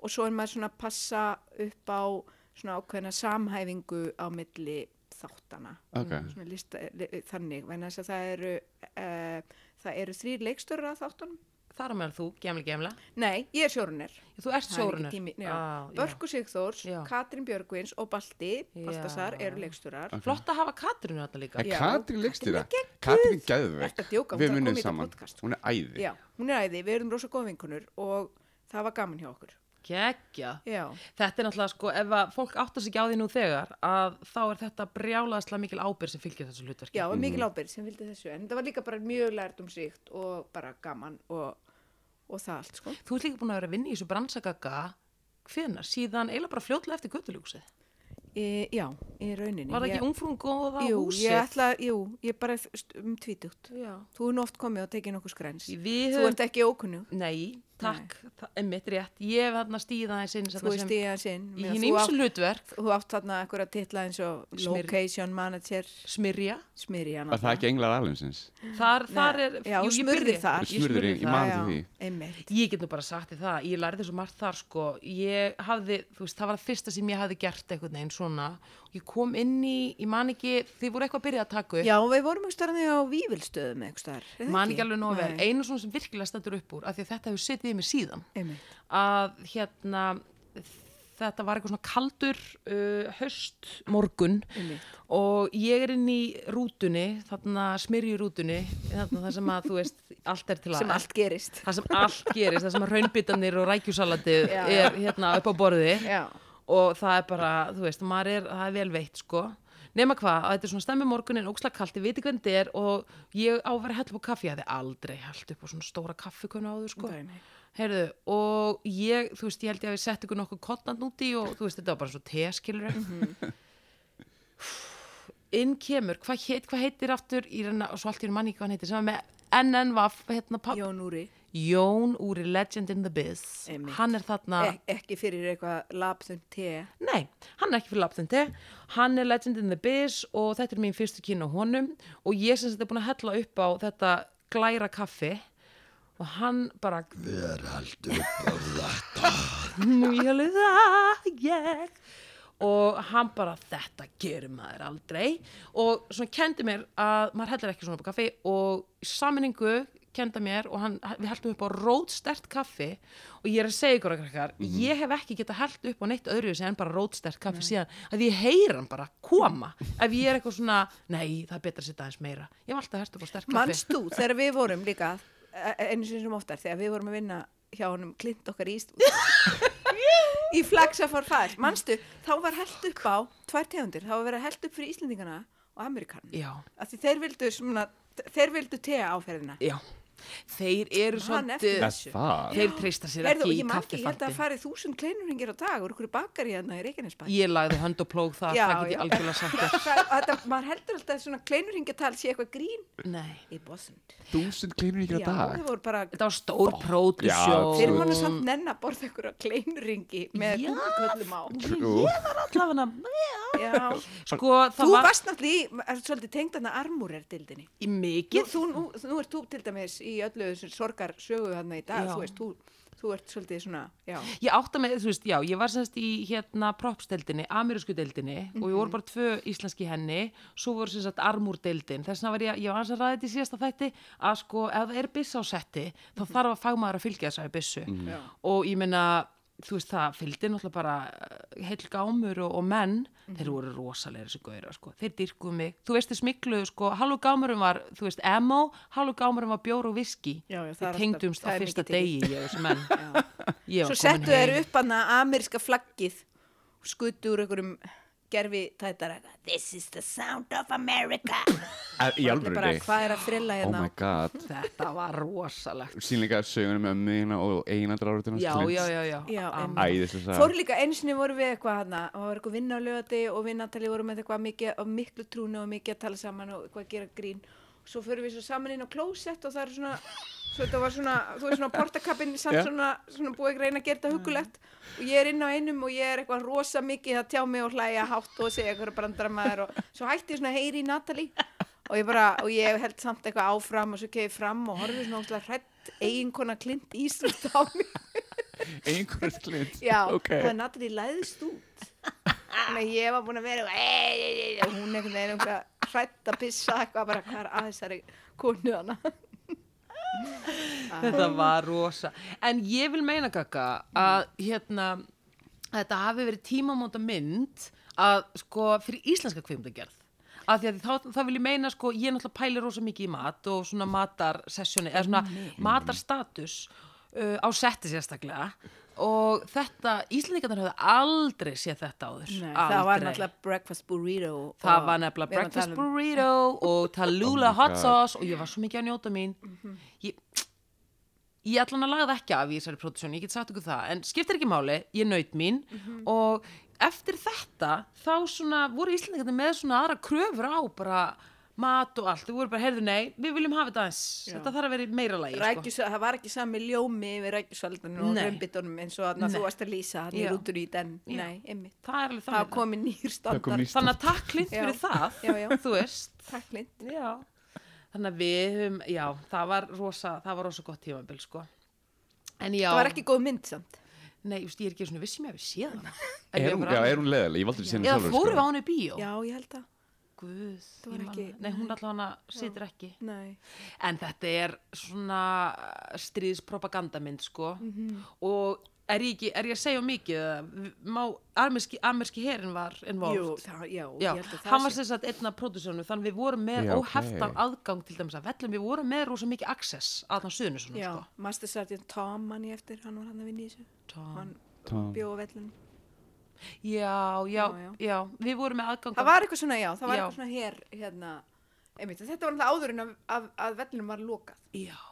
S3: og svo er maður svona að passa upp á svona ákveðna samhæfingu á milli þáttana
S2: ok.
S3: svona lista, li, þannig, vegna þess að það eru uh, það eru þrýr leikstörar á þáttunum
S1: þar á meðan þú, gemli gemla
S3: Nei, ég er sjórunir
S1: Þú ert sjórunar
S3: ah, Börku Sigþórs,
S1: Já.
S3: Katrín Björgvins og Balti, Baltasar,
S1: Já.
S3: eru leikstörar
S1: Flott að hafa Katrinu þetta líka
S2: En
S3: Já,
S2: Katrín
S3: Katrín
S2: leikstýra?
S3: er geggjuð.
S2: Katrín geðveik.
S3: Ertu að djóka? Hún
S2: Við
S3: þarf að
S2: munum
S3: koma í þetta
S2: saman.
S3: podcast.
S2: Hún er æði.
S3: Já, hún er æði, við erum rosa góð vinkunur og það var gaman hjá okkur.
S1: Kekja
S3: Já,
S1: Þetta er náttúrulega sko, ef að fólk áttar sig ekki á því nú þegar að þá er þetta brjálaðslega mikil ábyrg sem fylgir þessu hlutverki
S3: já, og
S1: Mm.
S3: mikil ábyrgð sem vildi þessu, en það var líka bara mjög lært um síkt og bara gaman og, og það allt, sko.
S1: Þú ert líka búin að vera að vinna í þessu brannsakaka hvenar, síðan eiginlega bara fljótlega eftir göttuljósið
S3: E, já, í rauninni.
S1: Var það
S3: Ég-
S1: ekki ungfrún góða
S3: Jú,
S1: húsið?
S3: ég ætla, jú, ég bara st- um tvítugt.
S1: Já.
S3: Þú er nú oft komið og tekið nokkuð skræns.
S1: Við
S3: Þú
S1: höfum
S3: ert ekki ókunnug.
S1: Nei, takk, það er mitt rétt Ég hef þarna stíða þessi
S3: Þú veist ég að sinn.
S1: Í hinn ymsu hlutverk,
S3: Þú átt þarna ekkur að titla eins og
S1: Smyrl.
S3: location manager,
S1: smyrja
S3: smyrja hann.
S2: Var það ekki englar alheimsins?
S1: Þar, þar
S3: Nei,
S1: er,
S3: já,
S1: jú,
S3: þú
S1: ég
S3: smurðir
S1: byrja-
S3: þar.
S1: ég
S2: Þú smurðir
S1: smurði
S2: í- í man-
S1: þar.
S2: man-
S3: Já,
S2: því.
S3: einmitt.
S1: Ég get nú bara sagt í það, ég lærði svo margt þar sko, ég hafði, þú veist, það var það fyrsta sem ég hafði gert einhvern veginn svona, ég kom inn í, ég man ekki, þið voru eitthvað að byrja að taka upp,
S3: Já, við vorum einhvers starfni á Vívilstöðum einhvers starf.
S1: man ekki alveg nóg vel, einu svona sem virkilega stendur upp úr, af því að þetta hefur setið í mig síðan,
S3: Einmitt.
S1: að hérna, þetta var eitthvað svona kaldur uh, höst morgun
S3: Einmitt.
S1: og ég er inn í rútunni, þarna smirju rútunni, þarna það sem að þú veist, allt er til að
S3: sem allt gerist
S1: það sem allt gerist, það sem að raunbitanir og rækjusalatið
S3: Já.
S1: er hérna upp á borði
S3: já,
S1: og það er bara, þú veist, maður er, það er vel veitt sko, nema hvað, að þetta er svona stemmi morgunin, ógslag kallt, ég veit ekki hvernig þetta er og ég á að vera að hella upp á kaffi, ég hefði aldrei hellt upp á svona stóra kaffikonu áður sko,
S3: Nei, nei.
S1: heyrðu, og ég, þú veist, ég held ég að við sett ykkur nokkuð kottand úti og þú veist, þetta var bara svo teskilur mm
S3: Mhm.
S1: inn kemur, hvað heit, hva heitir aftur í reyna, og svo allt í einu manni hvað hann heitir, sem var með NNVAF, hérna, papp,
S3: Jón Úri
S1: Jón úr í Legend in the Biz
S3: Einmitt. Eh.
S1: hann er þarna,
S3: Ek, e- ekki fyrir eitthvað labþun te
S1: nei, hann er ekki fyrir laptindi hann er Legend in the Biz og þetta er mín fyrstu kynna honum og ég sem þetta er búin að hella upp á þetta glæra kaffi og hann bara Ver allt upp á þetta Nú ég alveg það, ég og hann bara þetta gerir maður aldrei og svona kendi mér að maður heldur ekki svona upp á kaffi og í sammenningu kenda mér og hann, við heldum upp á rótstert kaffi og ég er að segja ykkur að krakkar ég hef ekki getað held upp á neitt öðru sem bara rótstert kaffi síðan að ég heyra hann bara koma ef ég er eitthvað svona, nei það er betra að setja aðeins meira ég hef alltaf held upp á stert kaffi
S3: Manst þú, þegar við vorum líka e- einu sinni sem oftar, þegar við vorum að vinna hjá honum klint okkar í Ísland í flagsa for far manstu, þá var held upp á tvær tegundir, þá var verið held upp fyrir Íslendingana og Amerikanina,
S1: Já,
S3: af því þeir vildu svona, þeir vildu tea áferðina
S1: já Þeir eru
S3: Man eftir
S1: svolítið
S3: þessu.
S2: það?
S1: Þeir treysta sér
S3: Heyrðu,
S1: ekki
S3: ég
S1: í
S3: man ekki, ég held að það
S1: kaffifandi
S3: farið þúsund kleinurhingir á dag úr ykkur bakar í hérna í Reykjanesbæ
S1: Ég lagði hönd og plóg það,
S3: Já,
S1: það get
S3: já.
S1: ég algjörlega sagt þér.
S3: Það- og þetta, maður heldur alltaf að svona kleinurhingjatal sé eitthvað grín
S1: Nei
S3: í bóðsund
S2: Þúsund kleinur ykkur
S3: já,
S2: á dag?
S3: það voru bara
S1: Þetta var stór pródusjón
S2: Já,
S3: Þeir mánu samt nenn að borða ykkur á kleinringi með
S1: Já.
S3: kúkuköllum á.
S2: Jú.
S1: allavega
S3: Já.
S1: Sko,
S3: Þú
S1: það var
S3: varst náttúrulega í, er svolítið tengd hann að armúr er dildinni.
S1: í
S3: Nú,
S1: mikið
S3: þú, nú, nú ert þú til dæmis í öllu þessum sorgar sögu hann í dag,
S1: Já.
S3: þú veist, þú, þú ert svolítið svona, já,
S1: Ég átta með, þú veist, já, ég var semst í hérna propsdeldinni, amerískudeldinni og ég voru bara tvö íslenski henni svo voru semst armúrdeldin þess vegna var ég, ég var hans að ræða þetta í síðasta þætti að sko, ef það er byssa á setti þá þarf að fagmaður að fylgja þessari byssu
S3: já.
S1: og ég meina þú veist það fylgdi náttúrulega bara heil gámur og, og menn þeir voru rosalega þessi gauðra sko þeir dyrkuðu mig, þú veist þeir smikluðu sko halvu gámurum var, þú veist, emo halvu gámurum var bjór og viski
S3: Já, já, það er
S1: við
S3: alltaf-
S1: tengdumst á
S3: það er
S1: fyrsta
S3: mikið til.
S1: degi ég og þessi menn Ég var
S3: Svo
S1: komin
S3: settu þeir
S1: heim.
S3: upp hann að ameríska flaggið og skutu úr einhverjum gerfi tættara. This is the sound of America.
S2: Er- Í
S3: Og allir bara,
S2: alvöru?
S3: Hvað er að frilla
S2: Oh
S3: hérna?
S2: my god.
S1: þetta var rosalegt
S2: Sýnleika sögunum með ömmuðina og einandrarútina.
S1: já, já, já, já,
S3: Já,
S1: Am-
S3: einmitt.
S2: Æðislega saga.
S3: Fór líka einu sinni vorum við eitthvað hana, og það var eitthvað vinna á lögati og við Natali vorum með eitthvað mikið, og miklu trúni og mikið að tala saman og eitthvað að gera grín. Svo förum við svo saman inn á klósett og það er svona, svo þetta var svona, þú veist svona portakappin samt
S2: Já.
S3: svona, svona búið að reyna að gera þetta hugulegt og ég er inn á einum og ég er eitthvað rosa mikið að tjá mig og hlæja hátt og segja eitthvað brandramæður og svo hætti ég svona að heyri í Natali og ég bara, og ég held samt eitthvað áfram og svo kegði fram og horfði svona óslega hrætt eiginkona klint íslut á mig
S2: Einhverjum klint.
S3: Já,
S2: Ok.
S3: það er náttúrulega læðist út Þannig að ég var búin að vera eitthvað, "Ey, ey, ey, ey," og hún einhvern veginn einhver hrætt að pissa eitthvað bara hvað er að þessari konu hana
S1: þetta var rosa en ég vil meina kaka að hérna þetta hafi verið tímamóta mynd að sko fyrir íslenska kvimdagerð af því að þá, þá vil ég meina sko ég náttúrulega pæli rosa mikið í mat og svona matarsessjóni eða svona matarstatus uh, á setti sérstaklega og þetta, Íslendingarnir höfðu aldrei séð þetta áður aldrei.
S3: Það var náttúrulega breakfast burrito
S1: Það var nefnilega breakfast
S3: um
S1: burrito og Tallulah
S2: Oh my
S1: hot
S2: God.
S1: sauce og ég var svo mikið að njóta mín.
S3: Mhm.
S1: Ég, ég allan að laga það ekki af í þessari pródusjónu, ég get sagt ykkur það, en skiptir ekki máli, ég naut mín
S3: Mhm.
S1: og eftir þetta þá svona voru Íslandingarnir með svona aðra kröfur á bara mat og allt, þau voru bara, heyrðu nei, við viljum hafa þetta aðeins,
S3: Já.
S1: þetta þarf að vera í meira lagi.
S3: Rækjus, það var ekki sami ljómi við rækjusaldunum og
S1: sko. Nei.
S3: römbitunum eins og þarna
S1: Nei.
S3: þú varst að lýsa hann í
S1: Já.
S3: rútur í den
S1: Já.
S3: Nei, einmitt,
S1: Sko. Það er alveg
S3: það
S1: þannig. Það
S3: komi nýr
S2: kom
S3: standard
S2: nýr-
S1: þannig að takk klint
S3: Já.
S1: fyrir það,
S3: Já, já.
S1: þú veist.
S3: Takk Lind
S1: Já, þannig að við höfum, já, það var rosa, það var rosa gott tímabil, sko. En já,
S3: Það var ekki góð mynd samt
S1: nei, just, ég er ekki svona vissum ég um að við séð hana. En
S2: Er
S1: ég
S2: hún,
S1: bara-
S2: já, er hún leðileg? Ég valdi ekki sinni
S1: Eða
S2: sjálfur. sko.
S1: fórum við á henni í bíó?
S3: Já, ég held að,
S1: Guð,
S3: Það var
S1: ég man
S3: ekki-
S1: það. Nei, hún allavega hana situr ekki.
S3: nei
S1: En þetta er svona stríðspropagandamynd, sko. Og Er ég, ekki, er ég að segja of mikið? eða Má, amerski, amerski herin var involved.
S3: Jú, það, já,
S1: Já,
S3: ég held að
S1: hann
S3: það
S1: var sem sagt einn af pródúsörunum þannig við vorum með
S2: Já, ok.
S1: óheftan aðgang til dæmis að vellum, við vorum með rosa mikið access að þann suðinu svona
S3: Já,
S1: sko.
S3: Master Sergeant Tom mann ég eftir, hann var hann að vinna í þessu.
S1: Tom.
S3: Hann
S2: Tom.
S3: bjóð á vellunum.
S1: Já, já,
S3: Já,
S1: já,
S3: já.
S1: við vorum með aðgang
S3: Það
S1: að-
S3: var eitthvað svona, já, það var
S1: Já.
S3: eitthvað svona hér, hérna, einmitt, en þetta var alltaf áður en að, að, að vellunum var lokað.
S1: Já,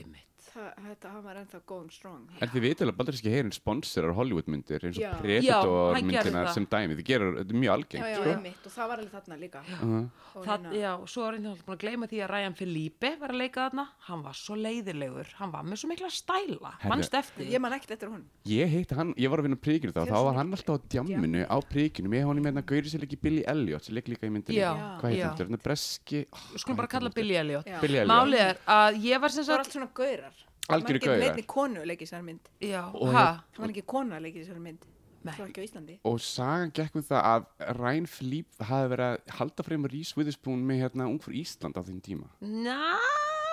S1: ymmit
S3: Það, þetta, hann var ennþá going strong.
S2: En þið vitið að bandaríski herin sponsorar Hollywoodmyndir eins
S3: Já.
S2: og
S1: Já,
S2: Predator
S1: hann gerði
S2: myndinar
S1: það.
S2: sem dæmi, þið gerur, þetta er mjög
S3: Já,
S2: algengt
S3: já,
S2: sko.
S3: einmitt, og það var alveg þarna líka.
S2: Mhm.
S3: Og
S1: Það,
S3: hérna-
S1: já, svo var einhvern veginn búin að gleyma því að Ryan Felipe var að leika þarna, hann var svo leiðilegur, hann var með svo mikla stæla,
S2: Herðu.
S1: mannst eftir því.
S3: Ég man ekkert eftir honum.
S2: Ég heitti hann, ég var að vinna á príkinu þá, þá
S3: Þér svo
S2: var hann alltaf á djamminu á príkinu, með honum hérna Gauri sem leikir Billy Elliot, sem leik líka í myndinni,
S1: Já,
S2: hvað heitir
S1: já.
S2: hann, þetta er breski, ó,
S1: Við skulum bara
S2: hvað heitir
S1: kalla
S2: hann?
S1: Billy Elliot.
S3: Já.
S2: Billy Elliot,
S1: Málið er að ég var sem
S3: Það var
S1: sagt,
S3: allt svona gaurar.
S2: Algjörir
S3: Það var
S2: gaurar.
S3: ekki neitt konu að leika í þessari mynd.
S1: já,
S2: Og-
S1: hæ,
S3: Það var ekki konu að leika í þessari mynd.
S1: Nei.
S3: Það var ekki á Íslandi.
S2: og sagan gekk við það að Ryan Philippe hafi verið að halda fremur Reese Witherspoon með hérna ung fyrir Ísland á þeim tíma.
S1: næ,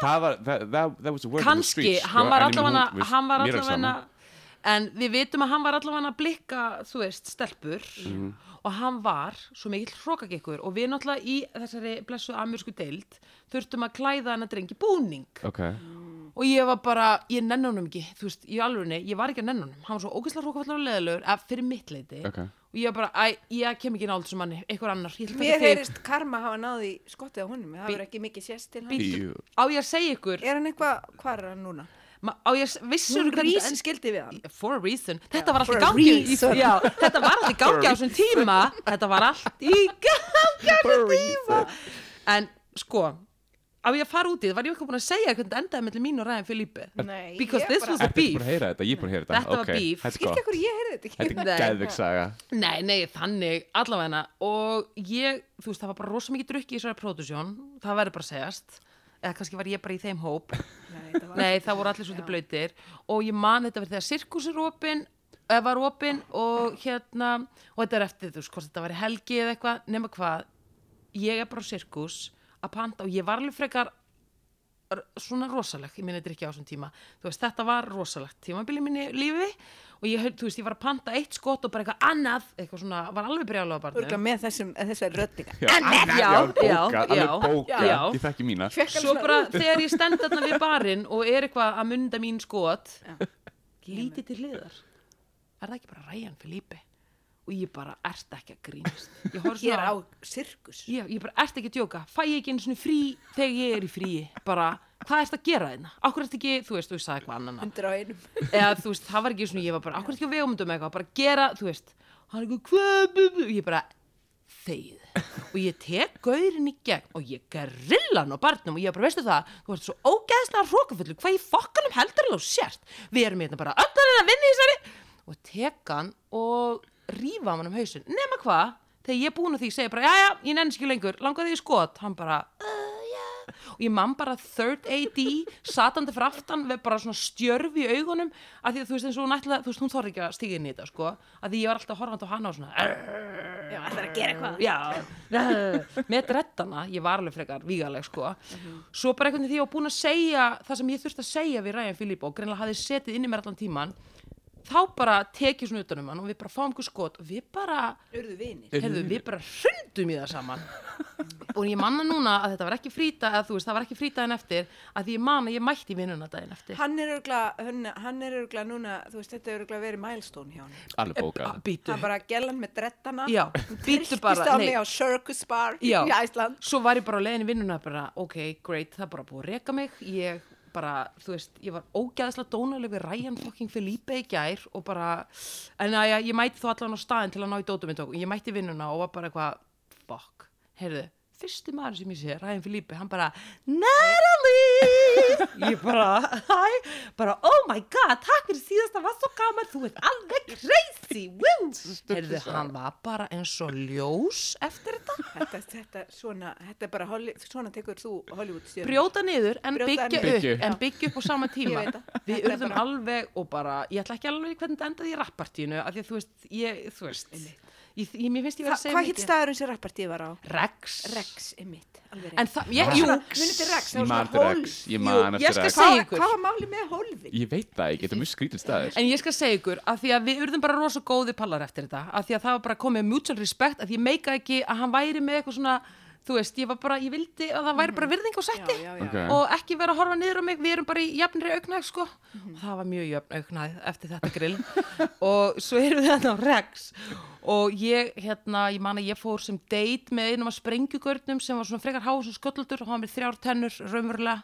S2: Það var, that, that, that was a word on the
S1: kannski,
S2: street, sko.
S1: hann var
S2: en ég meina,
S1: allavega,
S2: hún- veist,
S1: hann var
S2: mér er
S1: allavega,
S2: sama.
S1: en við vitum að hann var allavega að blikka, þú veist, stelpur
S2: Mhm.
S1: og hann var svo mikill hrókagekkur og við náttúrulega í þessari blessu amersku deild þurftum að klæða hann að drengi búning
S2: Ok,
S1: og ég var bara, ég nenni honum ekki, þú veist, í alvegni, ég var ekki að nenni honum, hann var svo ógeðslega hrókafallar og leðilegur, að fyrir mitt leiti
S2: ok.
S1: og ég var bara, æ, ég kem ekki nált sem manni, einhver annar, ég ætla að
S3: Mér
S1: taka þig,
S3: heyrist karma hafa náði skottið á honum. Það verður ekki mikið sérst til hann.
S1: Bíddu.
S2: Jú.
S1: á ég að segja ykkur,
S3: Er hann eitthvað, hvað er hann núna?
S1: ma- á ég að, vissur
S3: Hún rísi skildi við hann.
S1: for a reason þetta var
S3: for
S1: allt í
S3: a
S1: gangi í,
S3: reason.
S1: já, þetta var allt í gangi á þessum tíma þetta var allt í gangi á þessum tíma en sko á ég að fara út í það var ég ekki búin að segja hvernig þetta endaði mellum mín og Ræðan Filipe
S3: Nei,
S1: because
S3: ég
S1: this
S3: bara-
S1: was a
S2: Ertu ekki búin að
S1: beef
S2: heyra þetta? Ég er búin að heyra þetta.
S1: Þetta var
S2: Ok,
S1: beef.
S2: Þetta er
S3: Skildi
S2: gott.
S3: ekki hverju ég heyrði þetta ekki.
S2: Þetta
S1: Nei.
S2: er gæðvig saga.
S1: nei, nei, þannig, allavegna og ég, þú veist, það var bara rosa mikið drukki í þessari pródusjón, það verður bara að segjast eða kannski var ég bara í þeim hóp
S3: Nei, þetta var-
S1: Nei, það voru allir svolítið blöytir og ég man þetta verið þegar sirkus er opinn eh, var opinn og hérna og þetta er eftir þú veist hvort þetta var í helgi eða eitthvað, nema hvað ég er bara á sirkus að panta og ég var alveg frekar r- svona rosaleg í minni drikki á þessum tíma þú veist, þetta var rosalegt tímabili í minni lífi og ég, hef- þú veist, ég var að panta eitt skot og bara eitthvað annað eitthvað svona, var alveg brjálega á barnum
S3: Örgulega með þessum, eh, þessari röddingar.
S2: Já,
S1: Annað,
S2: annað,
S1: já, já,
S2: bókað,
S1: já,
S2: alveg bókað.
S1: já.
S2: Ég þekki mína.
S1: svo bara þegar ég stend þarna við barinn og er eitthvað að mynda mín skot
S3: Já.
S1: lítið til hliðar er það ekki bara Ryan Felipe og ég bara ert ekki að grínast ég, horf
S3: Ég er
S1: svona,
S3: á sirkus.
S1: ég, ég bara ert ekki að djóka fæ ég ekki einu svona frí þegar ég er í fríi bara hvað ert að gera hérna? þeirna okkur ert ekki, þú veist, þú veist, sagði eitthvað annan
S3: Undir á einum.
S1: eða þú veist, það var ekki svona, ég var bara okkur ert ekki að vegumundum eitthvað, bara gera, þú veist hann er eitthvað, hvað, bu- bu- ég bara þegið og ég tek gaurin í gegn og ég grilla hann á barnum og ég bara, veistu það, þú ert svo ógeðslega hrókafullu, hvað ég fokkanum heldur alveg sért, við erum hérna bara öllan að vinna í þessari og tek hann og rífa hann um hausinn nema hvað, þegar ég er búin að því ég segja bara, já, já, ég nenni ekki lengur, langaði í skot hann bara, uh, já og ég man bara third AD satandi fyrir aftan við bara svona stjörf í augunum af því að þú veist eins og hún ætla þú veist hún þorði ekki að stíga inn í þetta sko af því ég var alltaf horfand á hana og svona "Arr,
S3: Já, það er að gera eitthvað.
S1: já, með drettana ég var alveg frekar vígaleg sko svo bara einhvern veginn því ég var búin að segja það sem ég þurfti að segja við Ryan Filipe og greinlega hafði setið inn í mér allan tíman þá bara tekið svona utanum hann og við bara fáum einhver skot og við bara
S3: Urðu vinir.
S1: heyrðu, við bara hrundum í það saman og ég manna núna að þetta var ekki frýta að þú veist, það var ekki frýtaðin eftir að því ég man að ég mætti vinnuna daginn eftir
S3: Hann er örgulega, hann, hann er örgulega núna, þú veist, þetta er örgulega verið milestone hjá hann.
S2: Alveg bókað.
S1: býtu,
S3: Hann bara gellan með drettana.
S1: já, býtu bara
S3: á
S1: nei.
S3: mig á Circus Bar
S1: Já.
S3: í Æsland.
S1: svo var ég bara á leiðin í vinnuna bara, ok, great, það er bara búið að reka mig ég bara, þú veist, ég var ógæðslega dónaleg við Ryan fucking Felipe í gær og bara, en að ég, ég mætti þó allan á staðin til að ná í dótum mitt og ég mætti í vinnuna og var bara eitthvað, fuck heyrðu, fyrsti maður sem ég sé Ryan Felipe, hann bara, Natalie ég bara, hæ bara, oh my god, takk fyrir síðast það var svo gaman, þú ert alveg crazy woo, heyrðu, hann var bara eins og ljós eftir þetta
S3: Þetta, þetta, svona, þetta er bara, Holly, svona tekur þú Hollywood stjórn.
S1: brjóta niður en
S3: Brjóta
S1: byggja
S3: niður.
S1: upp
S2: Byggja upp.
S1: en byggja upp á sama tíma
S3: Ég veit það.
S1: við
S3: Þetta er
S1: urðum
S3: bara-
S1: alveg og bara ég ætla ekki alveg hvernig þetta endaði í rappartínu af því að þú veist ég, þú veist, Ég, ég, mér finnst ég verið að segja
S3: Hvað hitt staðurinn sem rappartíð var á?
S1: Rex.
S3: Rex, einmitt, alveg
S1: En
S3: reynd.
S1: það, ég, jú,
S3: Svona, munið til Rex, það
S2: Ég
S3: var
S2: man
S3: svona
S2: eftir
S3: hólf.
S2: Rex, ég man
S1: Jú, ég
S2: eftir
S1: skal
S2: Rex
S1: segja-
S3: Hvað
S1: ykkur.
S3: hvað var málið með hólfin?
S2: Ég veit það ekki, þetta er mjög skrítið staðir
S1: En ég skal segja ykkur að því að við urðum bara rosa góði pallar eftir þetta að því að það var bara komið mutual respect að því ég meika ekki að hann væri með eitthvað svona þú veist, ég var bara, ég vildi að það væri bara virðing og
S3: Mhm. Já,
S1: sætti
S3: já, já.
S2: Ok.
S1: og ekki vera að horfa niður á mig, við erum bara í jafnri augnæg sko,
S3: Mhm.
S1: og það var mjög jafn augnæg eftir þetta grill og svo erum við þetta á Rex og ég, hérna, ég man að ég fór sem date með einum af sprengjugörnum sem var svona frekar hás og skölluldur og hann var með þrjár tennur raunverulega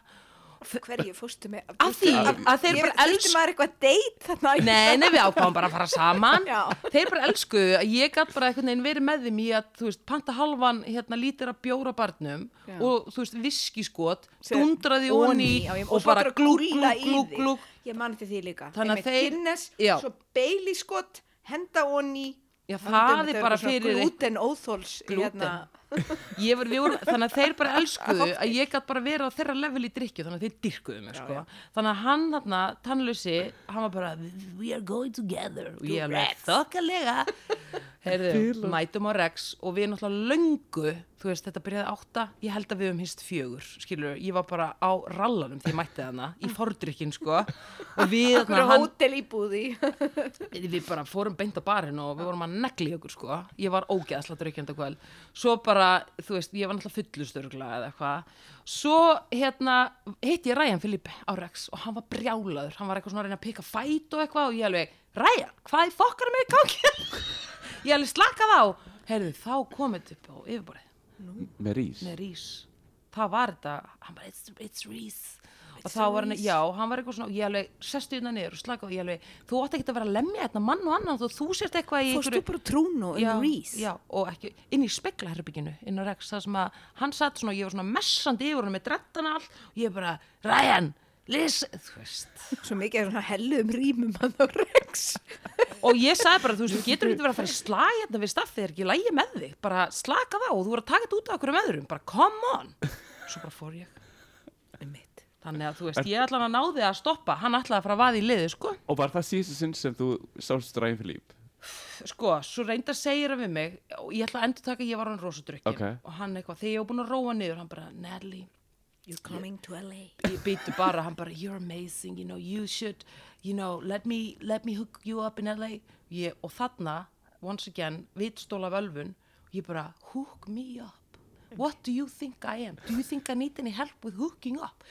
S3: Af Hverju fórstu með?
S1: Af því að þeir bara
S3: elsku.
S1: elsku-
S3: maður eitthvað date þarna?
S1: Nei, nei, við ákváðum bara að fara saman
S3: Já.
S1: Þeir bara elskuðu að ég gætt bara einhvern veginn verið með þeim í að, þú veist, panta halvan hérna lítir að bjóra barnum
S3: Já.
S1: og, þú veist, viskiskot
S3: Sem-
S1: dundraði onni
S3: já, já,
S1: og
S3: svo
S1: bara
S3: bara
S1: glúk,
S3: gúlla
S1: glúk,
S3: í
S1: glúk,
S3: þig.
S1: glúk
S3: Ég man eftir því líka.
S1: Þannig að
S3: Einmitt,
S1: þeir-
S3: Guinness,
S1: já.
S3: svo Bailey skott, henda onni.
S1: Já, það er bara fyrir
S3: Glúten óþóls.
S1: Glúten.
S3: hérna.
S1: ég var, við vorum, þannig að þeir bara elskuðu að ég gætt bara verið á þeirra level í drikju þannig að þeir dyrkuðu mig sko. þannig að hann þarna, tannlösi, hann var bara we are going together og ég alveg
S3: Rex.
S1: þokkalega Heyrðu, mætum á Rex og við náttúrulega löngu, þú veist þetta byrjaði átta ég held að við um hist fjögur skilur, ég var bara á rallanum því ég mætti þarna í fordrykkin sko og við
S3: Akkur
S1: þarna, hann,
S3: hótel íbúði.
S1: við bara fórum beint á barinn og við vorum að negli okkur sko ég var ógeðsla draukjönda kvöld svo bara, þú veist, ég var náttúrulega fullustörgla eða eitthvað svo hérna, hitti ég Ryan Filipe á Rex og hann var brjálaður, hann var eitthvað svona að reyna að pika fæt og eitthvað og ég alveg Ryan, hvað í fokkanum er í gangi? ég alveg slakað á heyrðu, þá komið upp á yfirborðið
S2: Með rís
S1: með Rís það var þetta, hann bara it's, it's Rís og þá var hann, já, hann var eitthvað svona og ég alveg, sestu hérna niður og slaka og ég alveg þú átt ekki að vera að lemja hérna mann og annan þú, þú sért eitthvað í
S3: Fórstu bara trúnu
S1: já,
S3: um Reese.
S1: já, og ekki, inn í speklaherbygginu inn á Rex, það sem að hann satt svona og ég var svona messandi yfir hann með drettana all og ég bara, Ryan, Liz þú veist,
S3: Svo mikið er svona helluðum rýmum að það reks.
S1: og ég sagði bara, þú veist, við getum ekki verið að fara í slag hérna við staffið er ekki lægi með þig bara slaka þá og þú voru að taka þetta út af okkur um öðrum bara come on, svo bara fór ég
S3: Einmitt.
S1: Þannig að þú veist, ég ætla hann að náði að stoppa, hann ætlaði að fara að vaða í liði, sko.
S2: Og var það síðustu sinn sem þú sást Ryan Philippe?
S1: Sko, svo reyndar segir hann við mig, og ég ætla að endur taka, ég var hann rosa drukkin.
S2: Ok.
S1: Og hann eitthvað, þegar ég var búin að róa niður, hann bara, Natalie,
S3: You're coming to LA.
S1: ég býtu bara, hann bara, you're amazing, you know, you should, you know, let me, let me hook you up in LA. Ég, og þarna, once again, vitstóla völvun, ég bara, hook me up. What do you think I am? Do you think I need any help with hooking up?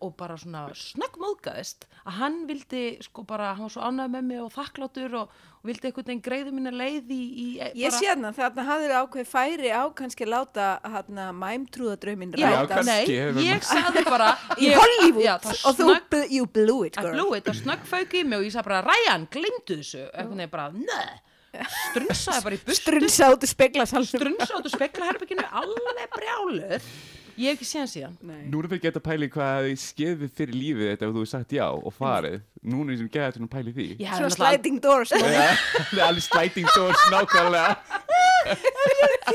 S1: Og bara svona snöggmóðgæðist að hann vildi sko bara, hann var svo ánægð með mig og þakklátur og, og vildi einhvern veginn greiðu minna leið í, í e,
S3: Ég sé hérna, þarna hafður ákveð færi á kannski að láta hérna mæmtrúðadraumin
S1: Já,
S2: Já,
S3: rætast.
S1: nei,
S2: kannski, hefur-
S1: ég sagði bara
S3: Í
S1: ég-
S3: Hollywood
S1: já, það
S3: og þú
S1: snögg-
S3: bl- you blew it
S1: I
S3: girl.
S1: blew it, það snöggfauk í mig og ég sagði bara Ryan, glimdu þessu, eitthvað nefnir bara neð, strunsaði bara í bustu
S3: Strunsa út í speglasalnum.
S1: strunsaði út úr speklaherbygginu alveg brjálur ég hef ekki séð hann síðan
S3: Nei.
S2: Nú erum við gett að pæli hvað hefði skeði fyrir lífið þetta ef þú hefði sagt já og farið. Núna er sem gæði þetta að pæli því.
S1: ég
S3: Svona
S1: hef náttúrulega
S3: sliding doors. moment.
S2: Það er alveg sliding doors nákvæmlega.
S1: og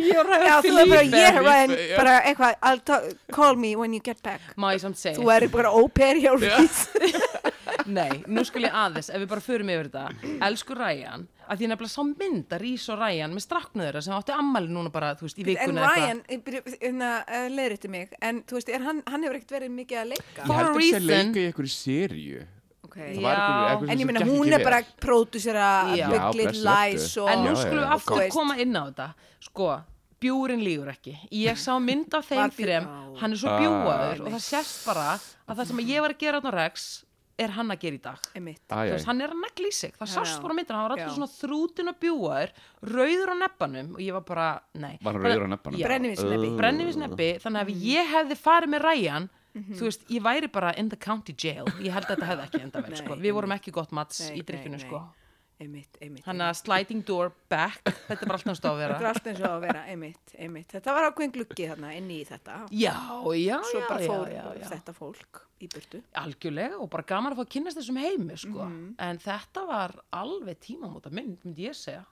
S1: ég var
S3: Já, þú er bara,
S2: Felipe.
S3: ég er Ryan,
S2: Felipe, já.
S3: bara eitthvað, I'll ta- call me when you get back.
S1: má ég samt segja,
S3: Þú er bara óper hjá Reese.
S1: nei, nú skil ég aðeins ef við bara förum yfir þetta, elsku Ryan að því ég nefnilega sá mynd að Rís og Ryan með strakknu þeirra sem áttu ammæli núna bara þú veist, í
S3: En
S1: vikunni
S3: Ryan, leður þetta eh, mig, en þú veist, er hann, hann hefur ekkert verið mikið að leika.
S2: Ég
S1: For
S2: held
S1: a
S2: að sé að
S1: reason.
S2: leika í einhverju seríu.
S3: Okay.
S2: Það var einhver-
S1: Já.
S2: einhver sem
S3: En ég
S2: sem
S3: meina
S2: gekk
S3: hún
S2: ekki
S3: er
S2: vel.
S3: bara pródúsera
S1: Já.
S2: Já,
S3: Big Little
S2: blessuð
S3: Lies
S2: vertu.
S3: og
S1: en nú
S2: Já, já,
S1: skulum við
S2: já.
S1: aftur
S3: Veist.
S1: koma inn á þetta sko, bjúrin lígur ekki ég sá mynd af þeim
S3: Var bjú-
S1: þrem
S3: Á.
S1: hann er svo
S2: Ah.
S1: bjúaður og það sést bara að það sem ég var að gera á Rex er hann að gera í dag
S3: Einmitt.
S2: Æ,
S1: Þú
S2: æ.
S1: veist, hann er að negli í sig, það
S3: Já,
S1: sást
S3: já.
S1: bara á myndina hann var alltaf
S3: Já.
S1: svona þrútin og bjúaður rauður á nebbanum og ég var bara, nei
S2: Var hann rauður á nebbanum?
S1: Já.
S3: Brennivínsnebbi.
S1: brennivísnebbi, þannig að ef ég hefði farið með Ryan
S3: Mhm.
S1: þú veist, ég væri bara in the county jail ég held að þetta hefði ekki enda vel,
S3: Nei,
S1: sko við vorum ekki gott mats í
S3: Nei, nei,
S1: drikkinu,
S3: nei.
S1: sko
S3: Einmitt, einmitt.
S1: þannig að sliding door back þetta er bara alltaf stóð að
S3: Þetta er
S1: vera
S3: allt eins og að vera, einmitt, einmitt. Þetta var ákveðin gluggi þarna inn í þetta.
S1: já, já,
S3: Svo
S1: já,
S3: bara
S1: já,
S3: fór
S1: já, já.
S3: þetta fólk í burtu.
S1: algjörlega og bara gaman að fá að kynast þessum heimi sko.
S3: Mhm.
S1: en þetta var alveg tímamóta mynd, myndi ég segja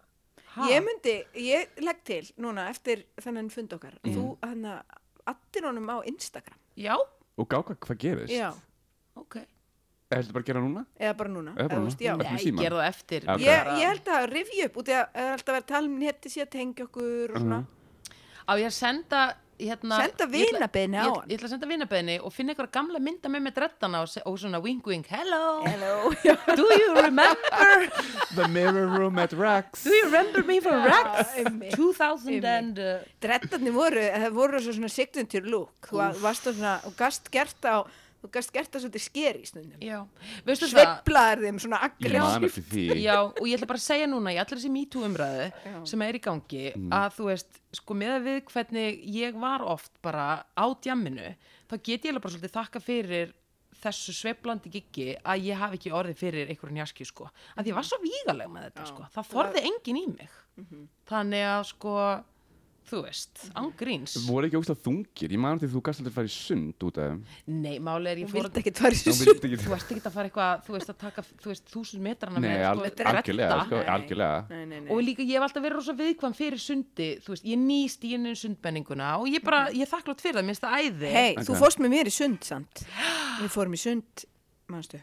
S1: ha,
S3: Ég myndi, ég legg til núna eftir þennan fund okkar.
S1: Mhm.
S3: Þú, hann að, addir honum á Instagram.
S1: já,
S2: Og gáka hvað gerist.
S3: Já.
S1: ok
S2: Heldur bara að gera núna?
S3: eða bara núna,
S2: Eða bara
S3: eða,
S2: núna.
S3: veist, já.
S2: Ertu með
S1: Nei,
S2: símann?
S1: gerðu það eftir
S2: Já, ok.
S3: Ég, ég held að rifja upp út í að það er alltaf að vera að tala um neti sé að tengja okkur og svona,
S1: Á ég að senda hérna,
S3: Senda
S1: Mhm. ég ætla-
S3: vinabeiðni á
S1: ég-
S3: hann.
S1: Ég ætla að senda vinabeðni og finna einhverja gamla mynda með með dreddana og, se- og svona wink wink, hello,
S3: hello, já,
S1: do you remember
S2: The mirror room at Rex
S1: do you remember me from Rex
S3: einmitt.
S1: 2000 and uh,
S3: dreddarnir voru, það voru svo svona signature look, þú
S1: Úff.
S3: varst á svona, þú gast gert á, þú gast gert á svolítið skeri í stundum,
S1: já, veistu það
S3: sveiflaðar þeim svona
S2: Ég
S3: aggressíft.
S2: man eftir því
S1: Já, og ég ætla bara að segja núna í allir þessi MeToo umræðu
S3: Já.
S1: sem er í gangi
S2: Mm.
S1: að þú veist, sko með að við hvernig ég var oft bara á djamminu þá get ég alveg bara svolítið þakka fyrir þessu sveiflandi giggi að ég hafi ekki orðið fyrir einhverju njaskju sko að ég var svo vígaleg með þetta
S3: Mhm. Já. Mhm.
S1: sko það þorði enginn í mig þannig að sko, þú veist ángríns,
S2: Voru ekki ógst þungir Ég man eftir því þú gast aldrei að fara í sund út af þeim
S1: nei máli er ég
S3: Hún
S1: fór
S3: vildi ekki fara í
S2: Þú
S3: þessu sund.
S2: vildi
S1: þú
S2: ekki-
S1: ert ekki að fara eitthvað, þú veist að taka þú veist, þúsund metrana
S2: Nei, al-
S1: með sko,
S2: algjörlega,
S1: redda.
S2: sko,
S3: Nei.
S2: algjörlega
S3: Nei, nei, nei.
S1: og líka ég hef alltaf verið rosa viðkvæm fyrir sundi þú veist, ég nýst í henni sundmenninguna og ég
S3: Mhm.
S1: bara, ég er þakklátt fyrir það, mér finnst það æði
S3: Hei, þú
S2: Ok.
S3: fórst með mér í sund samt. Við fórum í sund, mannstu,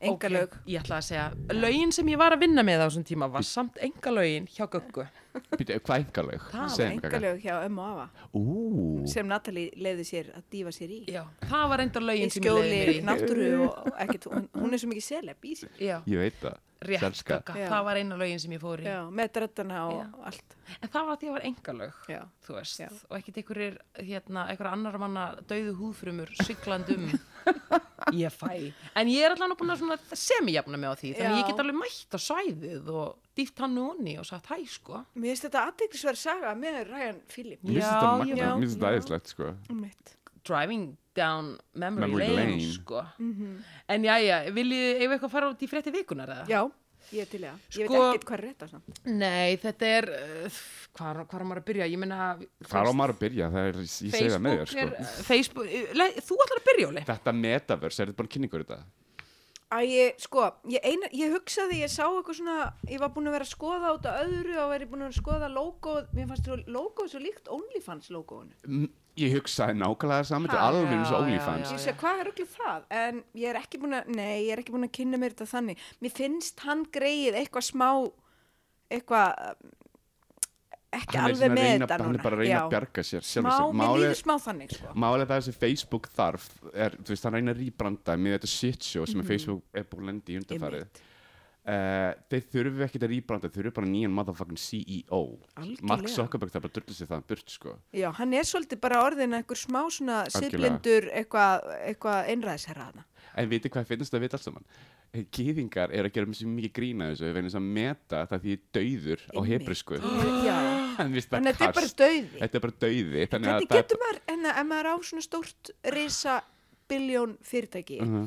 S3: enga lög.
S1: ég ætla að segja, lögin sem ég var að vinna með á þessum tíma var samt enga lögin hjá Göggu
S2: Býtu, hvað engalög?
S1: Það var
S3: Enga lög hjá ömmu og afa,
S2: Ú,
S3: sem Natalie leiði sér að dífa sér í.
S1: já, það var enda
S3: Í
S1: lögin sem ég leiði
S3: skjóli,
S1: mér í
S3: náttúru og og ekkert, hún, hún er svo mikið seleb í sig.
S1: já,
S2: ég veit það
S1: rétt
S2: Selska.
S1: Gögga,
S3: Já.
S1: það var eina lögin sem ég fór í
S3: Já, með dröttana og allt.
S1: en það var að því að var enga lög
S3: Já.
S1: þú veist,
S3: Já.
S1: og ekkert einhverjir hérna, einhverja annar manna dauðu húðfrumur siglandum ég fæ, en ég er allan búin að svona semijafna með á því, þannig
S3: Já.
S1: ég get alveg mætt á svæðið og dýft hann núni og sagt hæ sko
S3: Mér finnst þetta aðdeglisverð saga með Ryan Phillip.
S2: Mér finnst
S1: Já,
S2: þetta
S1: já,
S2: magna, mér finnst þetta
S1: já.
S2: æðislegt sko
S3: Mitt.
S1: driving down memory,
S2: Memory
S1: lane,
S2: lane.
S1: sko en jæja, viljið, eigum við eitthvað að fara út í frétti vikunar eða?
S3: Mhm. Já, ég er til í það. Ég veit
S1: Sko-
S3: ekkert hvað er rétt á samt.
S1: Nei, þetta er uh, hvað er maður að byrja? Ég meina
S2: Hvað á maður að byrja? Það er, ég segi það með þér
S1: er, uh,
S2: sko
S1: Facebook, le, þú ætlar að byrja, Óli?
S2: Þetta metaverse, er þetta bara kynningur í þetta?
S3: Æ, ég, sko, ég, eina, ég hugsaði, ég sá eitthvað svona, ég var búin að vera að skoða út af öðru og verið búin að vera að skoða logoð, mér fannst þú logoð svo líkt OnlyFans logoðinu.
S2: Mm, Ég hugsaði nákvæmlega það saman, þetta
S1: Ha,
S2: er alveg eins
S1: já,
S2: og
S1: já,
S2: OnlyFans
S3: Ég sé, hvað er okkur það? En ég er ekki búin að, nei, ég er ekki búin að kynna mér þetta þannig. Mér finnst hann greið eitthvað smá, eitthvað, um,
S2: Hann
S3: ekki
S2: er
S3: alveg
S2: svona að
S3: með
S2: reyna-
S3: þetta
S2: Hann
S3: núna.
S2: er bara að reyna
S3: Já.
S2: að bjarga sér
S3: Smá,
S2: sjálfur sér.
S3: mér
S2: Málið-
S3: líður smá þannig, sko.
S2: Málið það sem Facebook þarf er, þú veist, hann reyna að rýbranda með þetta shit show sem Facebook er búin að lenda í undanfarið
S3: Mhm. Einmitt.
S2: uh, þeir þurfu ekkert að rýbranda, þeir eru bara nýjan motherfucking CEO
S3: Algjörlega.
S2: Mark Zuckerberg þarf bara að dörla sér það burt sko.
S3: Já, hann er svolítið bara orðin einhver smá svona
S2: Algjörlega.
S3: siblindur eitthvað eitthva einræðisherraðna.
S2: en veitir hvað finnst það við allt saman gýðingar eru að gera mjög mikið grína þessu vegna þess að meta það því döður á
S3: Einmitt.
S2: hebrisku
S3: Já,
S2: en veist það
S3: þannig að þetta er bara
S2: kast
S3: döði.
S2: þetta er bara döði þannig að
S3: Hvernig
S2: það er
S3: getur maður, en ef maður á svona stórt risa biljón fyrirtæki,
S2: Mhm.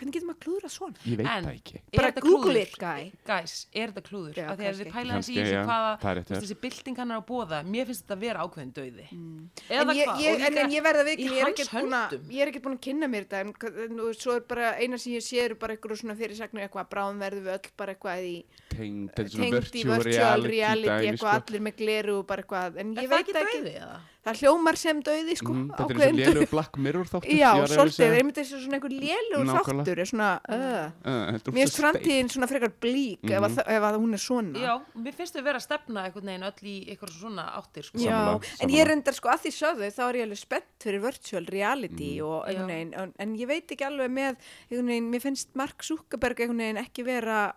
S3: hvernig getur maður klúðra svona?
S2: bara- ég veit
S1: En-
S2: það ekki
S1: Er
S3: Bara
S1: þetta
S3: Google
S1: klúður?
S3: it, guy.
S1: Guys, er þetta klúður?
S3: Já,
S1: Af því að þið
S3: kannski.
S1: pæla þessi í
S2: Kannski,
S1: þessu
S2: já.
S1: hvaða,
S2: Það er rétt,
S1: þú veist,
S2: já.
S1: þessi bylting hann er að bóða, mér finnst þetta að vera ákveðin dauði.
S3: Mm. En
S1: Eða
S3: ég,
S1: hvað?
S3: ég,
S1: Og
S3: en,
S1: líka
S3: en ég verða vikið,
S1: í
S3: ég er
S1: hans
S3: ekkert búin að
S1: höndum.
S3: ég er ekkert búin að kynna mér þetta en hvað- en nú, svo er bara eina sem ég sé eru bara eitthvað svona fyrirsagnir eitthvað bráðum verðum við öll bara eitthvað í
S2: tengd þetta er svona
S3: tengd í virtual reality
S2: dæmi,
S3: eitthvað
S2: sko.
S3: allir með gleru og bara eitthvað en
S1: Er
S3: ég
S1: það
S3: veit
S1: ekki
S3: það ekki,
S1: dauði eða?
S3: það hljómar sem dauði sko
S2: Mhm, þetta er eins og
S3: ákveðin dauði.
S2: lélugur Black Mirror þáttur
S3: Já, svolítið, einmitt þessi svona einhver lélugur
S2: Nákvæmlega.
S3: þáttur er svona, uh,
S2: Ah,
S3: mér
S2: mjög
S3: finnst framtíðin svona frekar blík ef,
S2: Mhm.
S3: að, þa- ef að hún er svona
S1: Já, mér finnst þau vera að stefna einhvern veginn öll í eitthvað svona áttir, sko.
S3: Já,
S2: Sammála,
S3: en
S2: sammála.
S3: ég reyndar sko að því sögðu þá er ég alveg spennt fyrir virtual reality
S2: Mhm.
S3: og
S1: Já.
S3: einhvern veginn, en, en ég veit ekki alveg með, einhvern veginn, mér finnst Mark Zuckerberg einhvern veginn ekki vera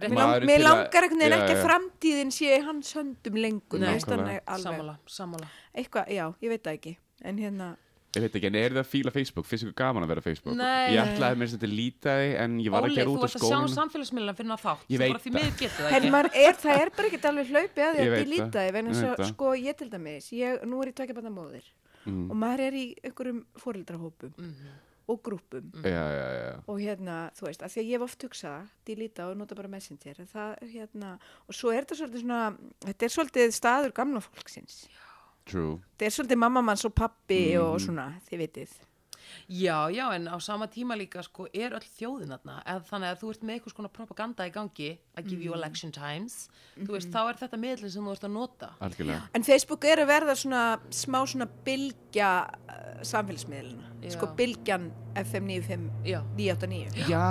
S3: Mér, lang,
S2: Maðurinn
S3: mér
S2: til að-
S3: langar einhvern veginn
S2: Já,
S3: ekki að
S2: já.
S3: framtíðin sé í hans höndum lengur,
S1: Nei.
S3: mér finnst hann
S2: Nákvæmlega.
S3: alveg,
S1: Sammála, sammála.
S3: eitthvað, já, ég veit það ekki, en hérna,
S2: Ég veit ekki, en er það að fíla Facebook? Finnst ykkur gaman að vera á Facebook?
S1: Nei.
S2: Ég ætlaði mér sem þetta lítaði en ég var að
S1: Óli,
S2: gera
S1: þú
S2: út af
S1: ert að sjá um
S2: skólan
S1: samfélagsmiðlan fyrir að þátt.
S2: Ég
S1: Þú
S2: veit
S1: bara því
S2: það.
S1: miður getur það
S3: Herri,
S1: ekki.
S3: maður er, það er bara ekkert alveg hlaupið að því
S2: Ég
S3: að
S2: veit
S3: delita
S2: það,
S3: því, en
S2: ég veit
S3: svo,
S2: það. Mm.
S3: sko, ég til dæmis, ég, nú er ég tvekja banna móðir og maður er í einhverjum fóreldrahópum
S1: Mhm.
S3: og grúpum
S2: Já, já, já
S3: og hérna, þú veist, að því að ég hef oft hugsað, delita og nota bara messenger, en það, er hérna, og svo er þetta svolítið svona, þetta er svolítið staður gamla fólksins,
S2: True
S3: þetta er svolítið mammamanns og pappi og
S2: Mhm.
S3: svona, þið vitið.
S1: Já, já, en á sama tíma líka sko er öll þjóðin þarna, eða þannig að þú ert með eitthvað skona propaganda í gangi að give
S3: Mm.
S1: you election times,
S3: Mm-hmm.
S1: þú veist, þá er þetta miðlinn sem þú ert að nota.
S2: Algjörlega
S3: En Facebook er að verða svona smá svona bylgja uh, samfélagsmiðluna.
S1: Já.
S3: sko bylgjan FM 95
S1: Já,
S3: 989
S2: Já,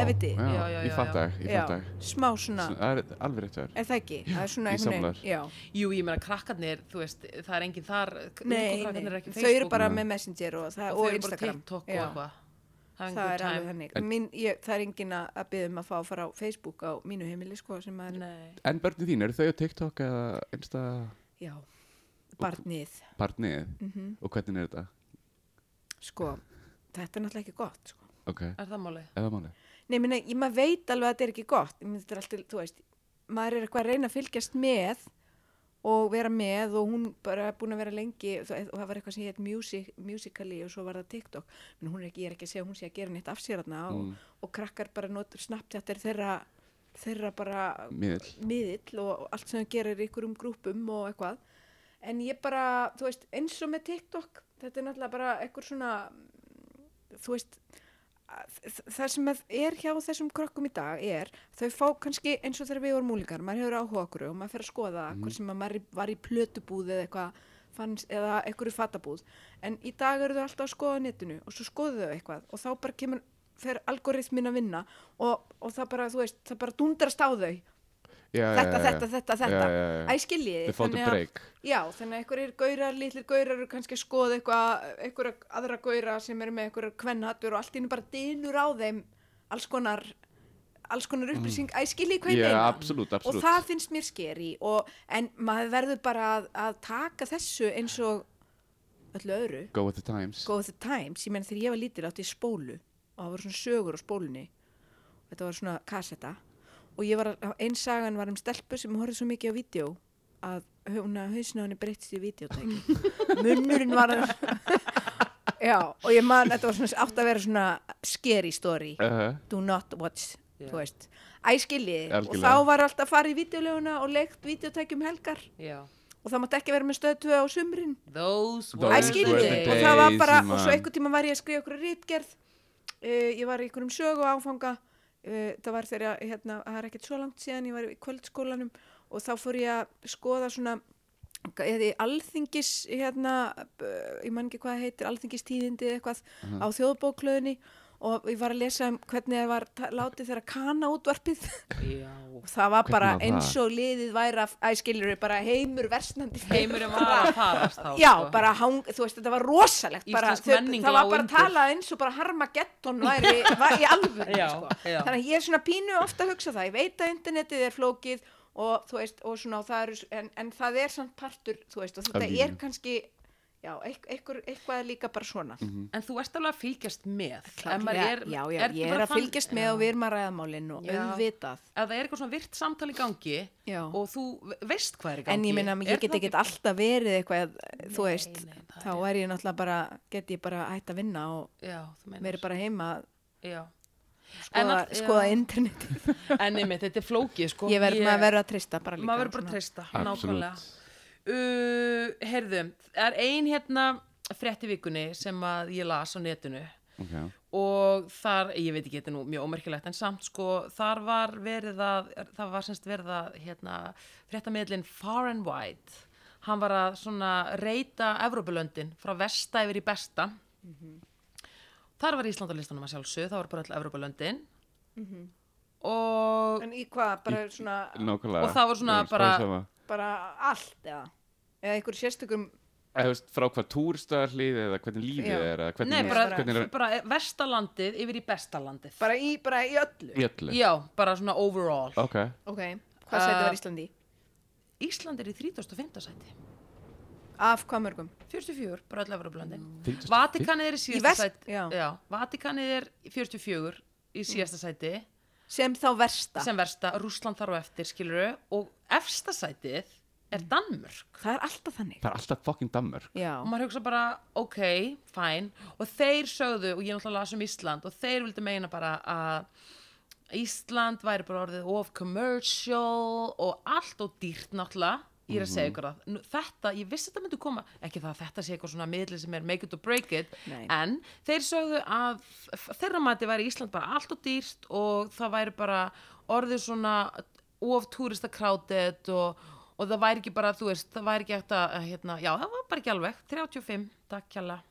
S3: Ef viti.
S2: já,
S1: Já, já,
S2: ég
S1: já,
S2: fatt
S1: já.
S2: að, ég fatt að
S3: smá svona,
S2: Það er alveg rétt að
S3: er það ekki? það er svona
S2: ég
S3: einhvern
S2: sammála þér.
S3: já.
S1: jú, ég meina krakkarnir, þú veist, það er enginn þar, k-
S3: Nei,
S1: ungu krakkarnir
S3: nei.
S1: eru ekki á
S3: þau eru
S1: Facebook
S3: bara
S2: Nei.
S3: með Messenger
S1: og,
S3: og, það, og,
S1: þau eru bara
S3: Instagram
S1: TikTok og
S3: Já.
S1: eitthvað. Having
S3: það
S1: good
S3: er
S1: time.
S3: alveg þannig Mín, ég, það er engin að- að byggja um að fá að fara á Facebook á mínu heimili sko sem að
S1: Nei,
S2: það En börnin þín, eru þau á TikTok eða einsta
S3: já, barnið
S2: barnið?
S3: Mhm.
S2: Og hvernig er þetta?
S3: sko, þetta er náttúrulega ekki gott sko.
S2: Ok,
S1: er það málið?
S2: eða máli
S3: Nei, minna, ég, maður veit alveg að þetta er ekki gott Ég meina, þetta er alltaf, þú veist, maður er eitthvað að reyna að fylgjast með og vera með og hún bara búin að vera lengi og það og það var eitthvað sem hétt music, musically og svo var það TikTok en hún er ekki, ég er ekki að segja að hún sé að gera neitt af sér þarna og, og krakkar bara notur Snapchat er þeirra, þeirra bara
S2: Miðl
S3: miðill og, og allt sem það gerir í ykkurum grúpum og eitthvað en ég bara, þú veist, eins og með TikTok þetta er náttúrulega bara eitthvað svona mm, þú veist að- þ- það sem að er hjá þessum krökkum í dag er, þau fá kannski eins og þegar við vorum múlingar, maður hefur áhuga á okkur og maður fer að skoða mm. hvort sem að maður var í plötubúð eða eitthvað fanns, eða einhverju fatabúð, en í dag eru þau alltaf að skoða á netinu og svo skoðu þau eitthvað og þá bara kemur, fer algoritmin að vinna og, og það bara, þú veist, það bara dundrast á þau þetta, þetta, þetta, þetta Æ, skiljiði
S2: Þau fóttu
S3: að-
S2: breyk
S3: Já, þannig að einhverjir gaurar, litlir gaurar eru kannski að skoða eitthvað, einhverja aðra gaura sem eru með einhverja kvennhatur og allt í einu bara dynur á þeim alls konar, alls konar upplýsing, mm. æ, skiljiði hvað ég
S2: Já,
S3: meina?
S2: absolutt,
S3: og
S2: absolutt
S3: það finnst mér skeri og, en maður verður bara að, að taka þessu eins og öllu öðru
S2: Go with the times
S3: Go with the Times, ég menn þegar ég var lítil átti ég spólu og það voru svona sögur á spólunni þetta var svona kassetta og ég var, að- ein sagan var um stelpu sem horfði svo mikið á vídeo að hún að hausna henni breytist í videotæki munnurinn var já, og ég man þetta var svona átt að vera svona scary story
S2: Uh-huh.
S3: do not watch
S1: Já.
S3: þú veist, æskiljiði og
S2: Algjörlega.
S3: þá var alltaf farið í videoleguna og leikt videotækjum helgar
S1: Já.
S3: og það mátt ekki vera með stöð 2 á sumrin
S1: Those
S2: Those
S1: were
S3: Æ,
S2: Those
S3: skilur
S2: were
S1: the
S2: the
S3: og
S1: days.
S3: það var
S2: days,
S3: bara, og svo
S2: man.
S3: einhver tíma var ég að skrifa ykkur rítgerð, uh, ég var í einhverjum sögu áfanga, uh, það var þegar, ég, hérna, það er ekkert svo langt síðan, ég var í kvöldskólanum og þá fór ég að skoða svona, eh, eða í alþingis, hérna, uh, ég man ekki hvað það heitir, alþingistíðindi eða eitthvað
S2: Mhm.
S3: á þjóðbóklöðinni og ég var að lesa um hvernig það var ta- látið þegar kana útvarpið
S1: Já.
S3: og það var bara
S2: var það?
S3: eins og liðið væri að, æ, skilur bara heimur versnandi
S1: Heimurinn var að farast þá.
S3: Já,
S1: sko.
S3: bara hang, þú veist, þetta var rosalegt bara,
S1: Íslensk
S3: þau-
S1: menning
S3: Það var
S1: lá
S3: bara að
S1: undir.
S3: tala eins og bara Harmageddon væri, var í alvöru
S1: Já,
S3: sko.
S1: já.
S3: Þannig að ég er svona pínu ofta að hugsa það Ég veit að internetið er flókið og þú veist, og svona, og það eru, en, en það er samt partur, þú veist, og þetta
S2: Af lífinu.
S3: er kannski Já, eitth- einhver, eitthvað er líka bara svona
S2: Mhm.
S1: En þú ert alveg að fylgjast með. En maður
S3: Klárlega, Já, já,
S1: ertu
S3: ég er
S1: bara
S3: að
S1: þann-
S3: fylgjast með og við erum að ræða málinn og
S1: Já.
S3: auðvitað
S1: Ef það er eitthvað svona virt samtal í gangi
S3: Já.
S1: og þú ve- veist hvað er í gangi.
S3: En ég minna,
S1: er
S3: ég get
S1: það
S3: ekki alltaf verið eitthvað, þú veist,
S1: nei, það
S3: þá er ég náttúrulega bara, get ég bara hætt að vinna og
S1: Já, þú meinar.
S3: verið bara heima að
S1: Já. En
S3: skoða,
S1: all- já.
S3: skoða internetið
S1: En einmitt, þetta er flókið, sko.
S3: ég verð, maður verður að treysta bara líka
S1: maður verður bara að
S3: svona.
S1: treysta,
S2: Absolutt.
S1: nákvæmlega. Uh, Herðu, það er ein hérna frétti vikunni sem að ég las á netinu
S2: okay.
S1: og þar, ég veit ekki, þetta er nú mjög ómerkilegt en samt sko, þar var verið að, það var semst verið að hérna, fréttamiðlinn Far and Wide hann var að svona reyta Evrópulöndin frá vesta yfir í besta
S3: Mhm.
S1: þar var Ísland á listanum að sjálfsög, það var bara öll Evrópulöndin
S3: Mhm.
S1: og
S3: en í hvað, bara svona
S2: Nákvæmlega
S1: Og það var svona
S2: Ég veist,
S1: bara-
S2: sama.
S3: bara allt eða eða einhver sérstakum
S2: Eða, þú veist, frá hvað túrstöðarlið eða hvernig lífið
S3: Já.
S2: er eða hvernig,
S1: Nei, bara,
S2: hvernig er
S1: bara vestalandið yfir í bestalandið
S3: bara í, bara í öllu
S2: í öllu
S1: Já, bara svona overall
S2: Ok,
S3: ok, hvað sæti
S1: Uh,
S3: var Íslandi?
S1: Ísland er í 35. sæti
S3: af hvað mörgum?
S1: 44, bara öll Evrópulöndin mm.
S2: 35.
S1: Vatikanið er í síðasta
S3: vest-
S1: sæti
S3: já. Mm.
S1: Vatikanið er í 44 í síðasta sæti
S3: sem þá versta
S1: sem versta, Rússland þar á eftir skiluru og efsta sætið er Danmörk
S3: það er alltaf þannig
S2: það er alltaf fucking dammur
S3: Mm. já,
S1: og maður hugsa bara, ok, fæn og þeir sögðu, og ég náttúrulega las um Ísland og þeir vildi meina bara að Ísland væri bara orðið of commercial og allt og dýrt náttúrulega ég er að
S3: Mhm.
S1: segja ykkur það, Nú, þetta, ég vissi þetta myndi koma, ekki það að þetta sé eitthvað svona miðli sem er make it or break it,
S3: Nei.
S1: en þeir sögðu að f- þeirra mati væri Ísland bara allt og dýrt og það væri bara orðið svona of turista crowded og, og það væri ekki bara, þú veist, það væri ekki eftir að, hérna, já, það var bara ekki alveg 35, takk kjalla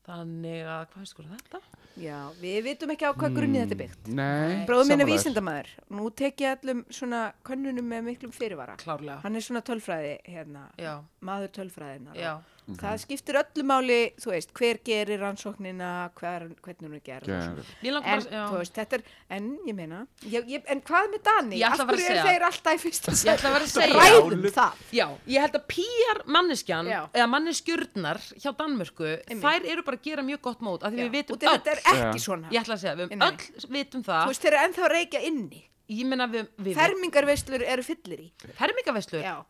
S1: Þannig að, hvað veist hvað þetta?
S3: Já, við vitum ekki á hvað
S1: Hmm.
S3: grunni þetta er byggt.
S2: Mm, Nei,
S3: Bróðum minn er
S2: sammála þér.
S3: vísindamæður. Nú tek ég allum svona könnunum með miklum fyrirvara.
S1: Klárlega.
S3: Hann er svona tölfræði, hérna,
S1: Já,
S3: maður tölfræðina.
S1: já,
S3: Það skiptir öllu máli, þú veist, hver gerir rannsóknina, hver, hvernig hún er gerð. og svona.
S2: Gerð.
S1: mér langar
S3: En,
S1: bara, já.
S3: þú veist, þetta er, en ég meina, ég, ég, en hvað með Dani?
S1: Ég ætla bara að
S3: Af hverju
S1: segja.
S3: eru þeir alltaf í fyrsta
S1: Ég ætla að vera að segja.
S3: Ræðum það.
S1: Já, ég held að PR manneskjan
S3: Já.
S1: eða manneskjurnar hjá Danmörku
S3: Einmitt.
S1: þær eru bara að gera mjög gott mót af því
S3: Já,
S1: við
S3: og
S1: vitum
S3: þetta-
S1: öll,
S3: Þetta er
S2: Já.
S3: ekki svona.
S1: ég ætla að segja við
S3: Nei, nei.
S1: öll vitum
S3: Þú
S1: það
S3: veist, þeir eru ennþá að reykja inni.
S1: ég meina við, við
S3: Fermingarveislur eru fyllir í.
S1: fermingaveslur,
S3: Já.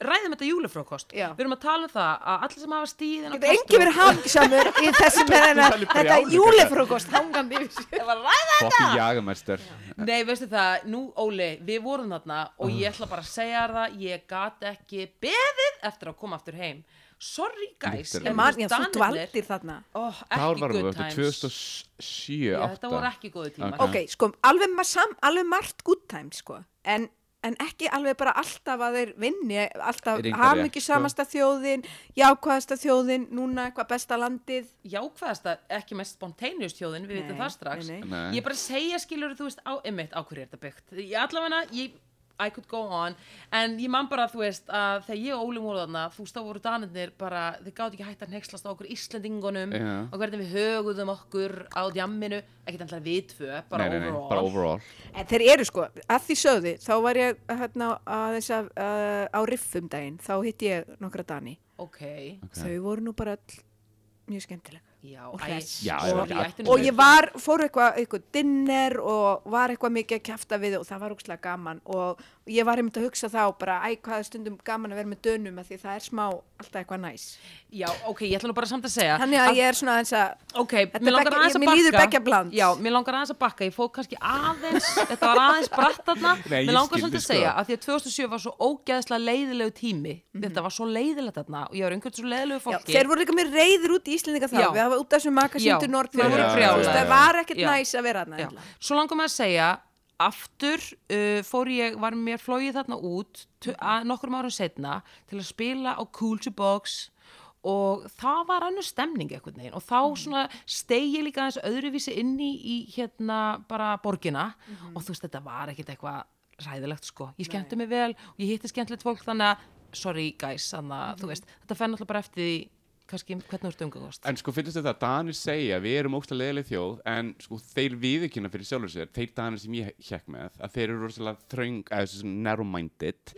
S1: ræðum þetta júlefrókost
S3: Já.
S1: við erum að tala um það að allir sem hafa stíðin
S3: Getur enginn verið hafingsamur í þessum með hennar
S2: Þú talar
S3: þetta
S2: brjálæði.
S3: júlefrúkost hangandi yfir sér.
S1: hafa ræða
S2: Fokkin jagamæstur.
S1: Nei, veistu það, nú Óli, við vorum þarna og ég ætla bara að segja þér það, ég gat ekki beðið eftir að koma aftur heim. Sorry guys,
S2: Literally.
S1: en
S2: Ég
S3: Man, já, þú
S1: Danirnir-
S3: dvaldir þarna.
S1: oh,
S2: Þar
S1: ekki
S2: varum við
S1: good
S2: eftir
S1: times.
S2: 2007,
S1: Já,
S2: 2008.
S1: þetta voru ekki góðu tímar.
S2: Ok.
S3: Ok, sko, alveg, ma- sam, alveg margt good times, sko. En, en ekki alveg bara alltaf að þeir vinni, alltaf
S2: Reyndar rétt, sko.
S3: hamingi samasta þjóðin, jákvæðasta þjóðin, núna eitthvað besta landið.
S1: Jákvæðast að ekki mest spontaneous þjóðin, við
S3: Nei,
S1: veitum það strax.
S3: nei,
S2: nei. Nei.
S1: Ég er bara að segja skilur, þú veist, á einmitt, á hverju er þetta byggt. Ég allavega, ég, I could go on, en ég man bara, þú veist, að þegar ég og Óli voru þarna, þú veist, þá voru danirnir bara, þeir gátt ekki hægt að nexlast á okkur Íslendingunum
S2: Já.
S1: og hvernig við höguðum okkur á djamminu, ekkert alltaf við tvö, bara
S2: Nei, nei, nei,
S1: overall.
S2: bara overall.
S3: En þeir eru, sko, að því sögðu, þá var ég hérna aðeins að, að, á riffum daginn, þá hitti ég nokkra Dani.
S1: Ok,
S3: Þau voru nú bara all mjög skemmtilega.
S1: já,
S3: Og
S1: æ,
S3: hress.
S2: Já,
S1: sorry,
S2: já.
S1: ætti nú
S3: og
S1: við-
S3: ég var, fór eitthvað, eitthvað dinner og var eitthvað mikið að kæfta við og það var úkslega gaman og ég var einmitt að hugsa þá bara, æ, hvað er stundum gaman að vera með dönum að því það er smá alltaf eitthvað næs.
S1: Já, ok, ég ætla nú bara samt að segja
S3: Þannig að ég er svona eins að,
S1: Ok,
S3: Þetta
S1: mér
S3: er
S1: langar
S3: beggja-
S1: aðeins að
S3: mér
S1: bakka
S3: líður beggja bland.
S1: Já, mér langar aðeins að bakka, ég fóð kannski aðeins Þetta var aðeins bratt þarna
S2: Nei, ég
S1: Mér langar
S2: skil
S1: svolítið
S2: þig,
S1: að segja
S2: sko.
S1: að því að 2007 var svo ógeðslega leiðilegu tími Þetta var svo leiðilegt þarna og ég var einhvern svo leiðilegu
S3: Mhm. já,
S1: fólki
S3: þeir voru líka mér reyður út í Íslendinga þá,
S1: Já.
S3: við hafa út af þessum makasýndu
S1: Já,
S2: þeir
S3: nortmann,
S2: voru brjálaðir.
S3: það var ekkert
S1: Já.
S3: næs að vera
S1: Já.
S3: þarna. Já.
S1: Svo langar maður að segja aftur uh, fór ég, var mér flóið þarna út tu- að nokkrum árum setna til að spila á Culture Box og það var annars stemning einhvern veginn og þá svona stegi ég líka aðeins öðruvísi inni í hérna bara borgina og þú veist þetta var ekkit eitthvað ræðilegt sko, ég skemmti mig vel og ég hitti skemmtilegt fólk þannig að sorry guys, þannig að þú veist þetta fenni alltaf bara eftir því kannski hvernig þú ert umgangast
S2: En sko finnst þetta að Danir segja við erum ógst að leiðileg þjóð en sko þeir viðurkynna fyrir sjálfur sér þeir Danir sem ég hjekk með að þeir eru rosalega þröng, eða þessi svona narrow-minded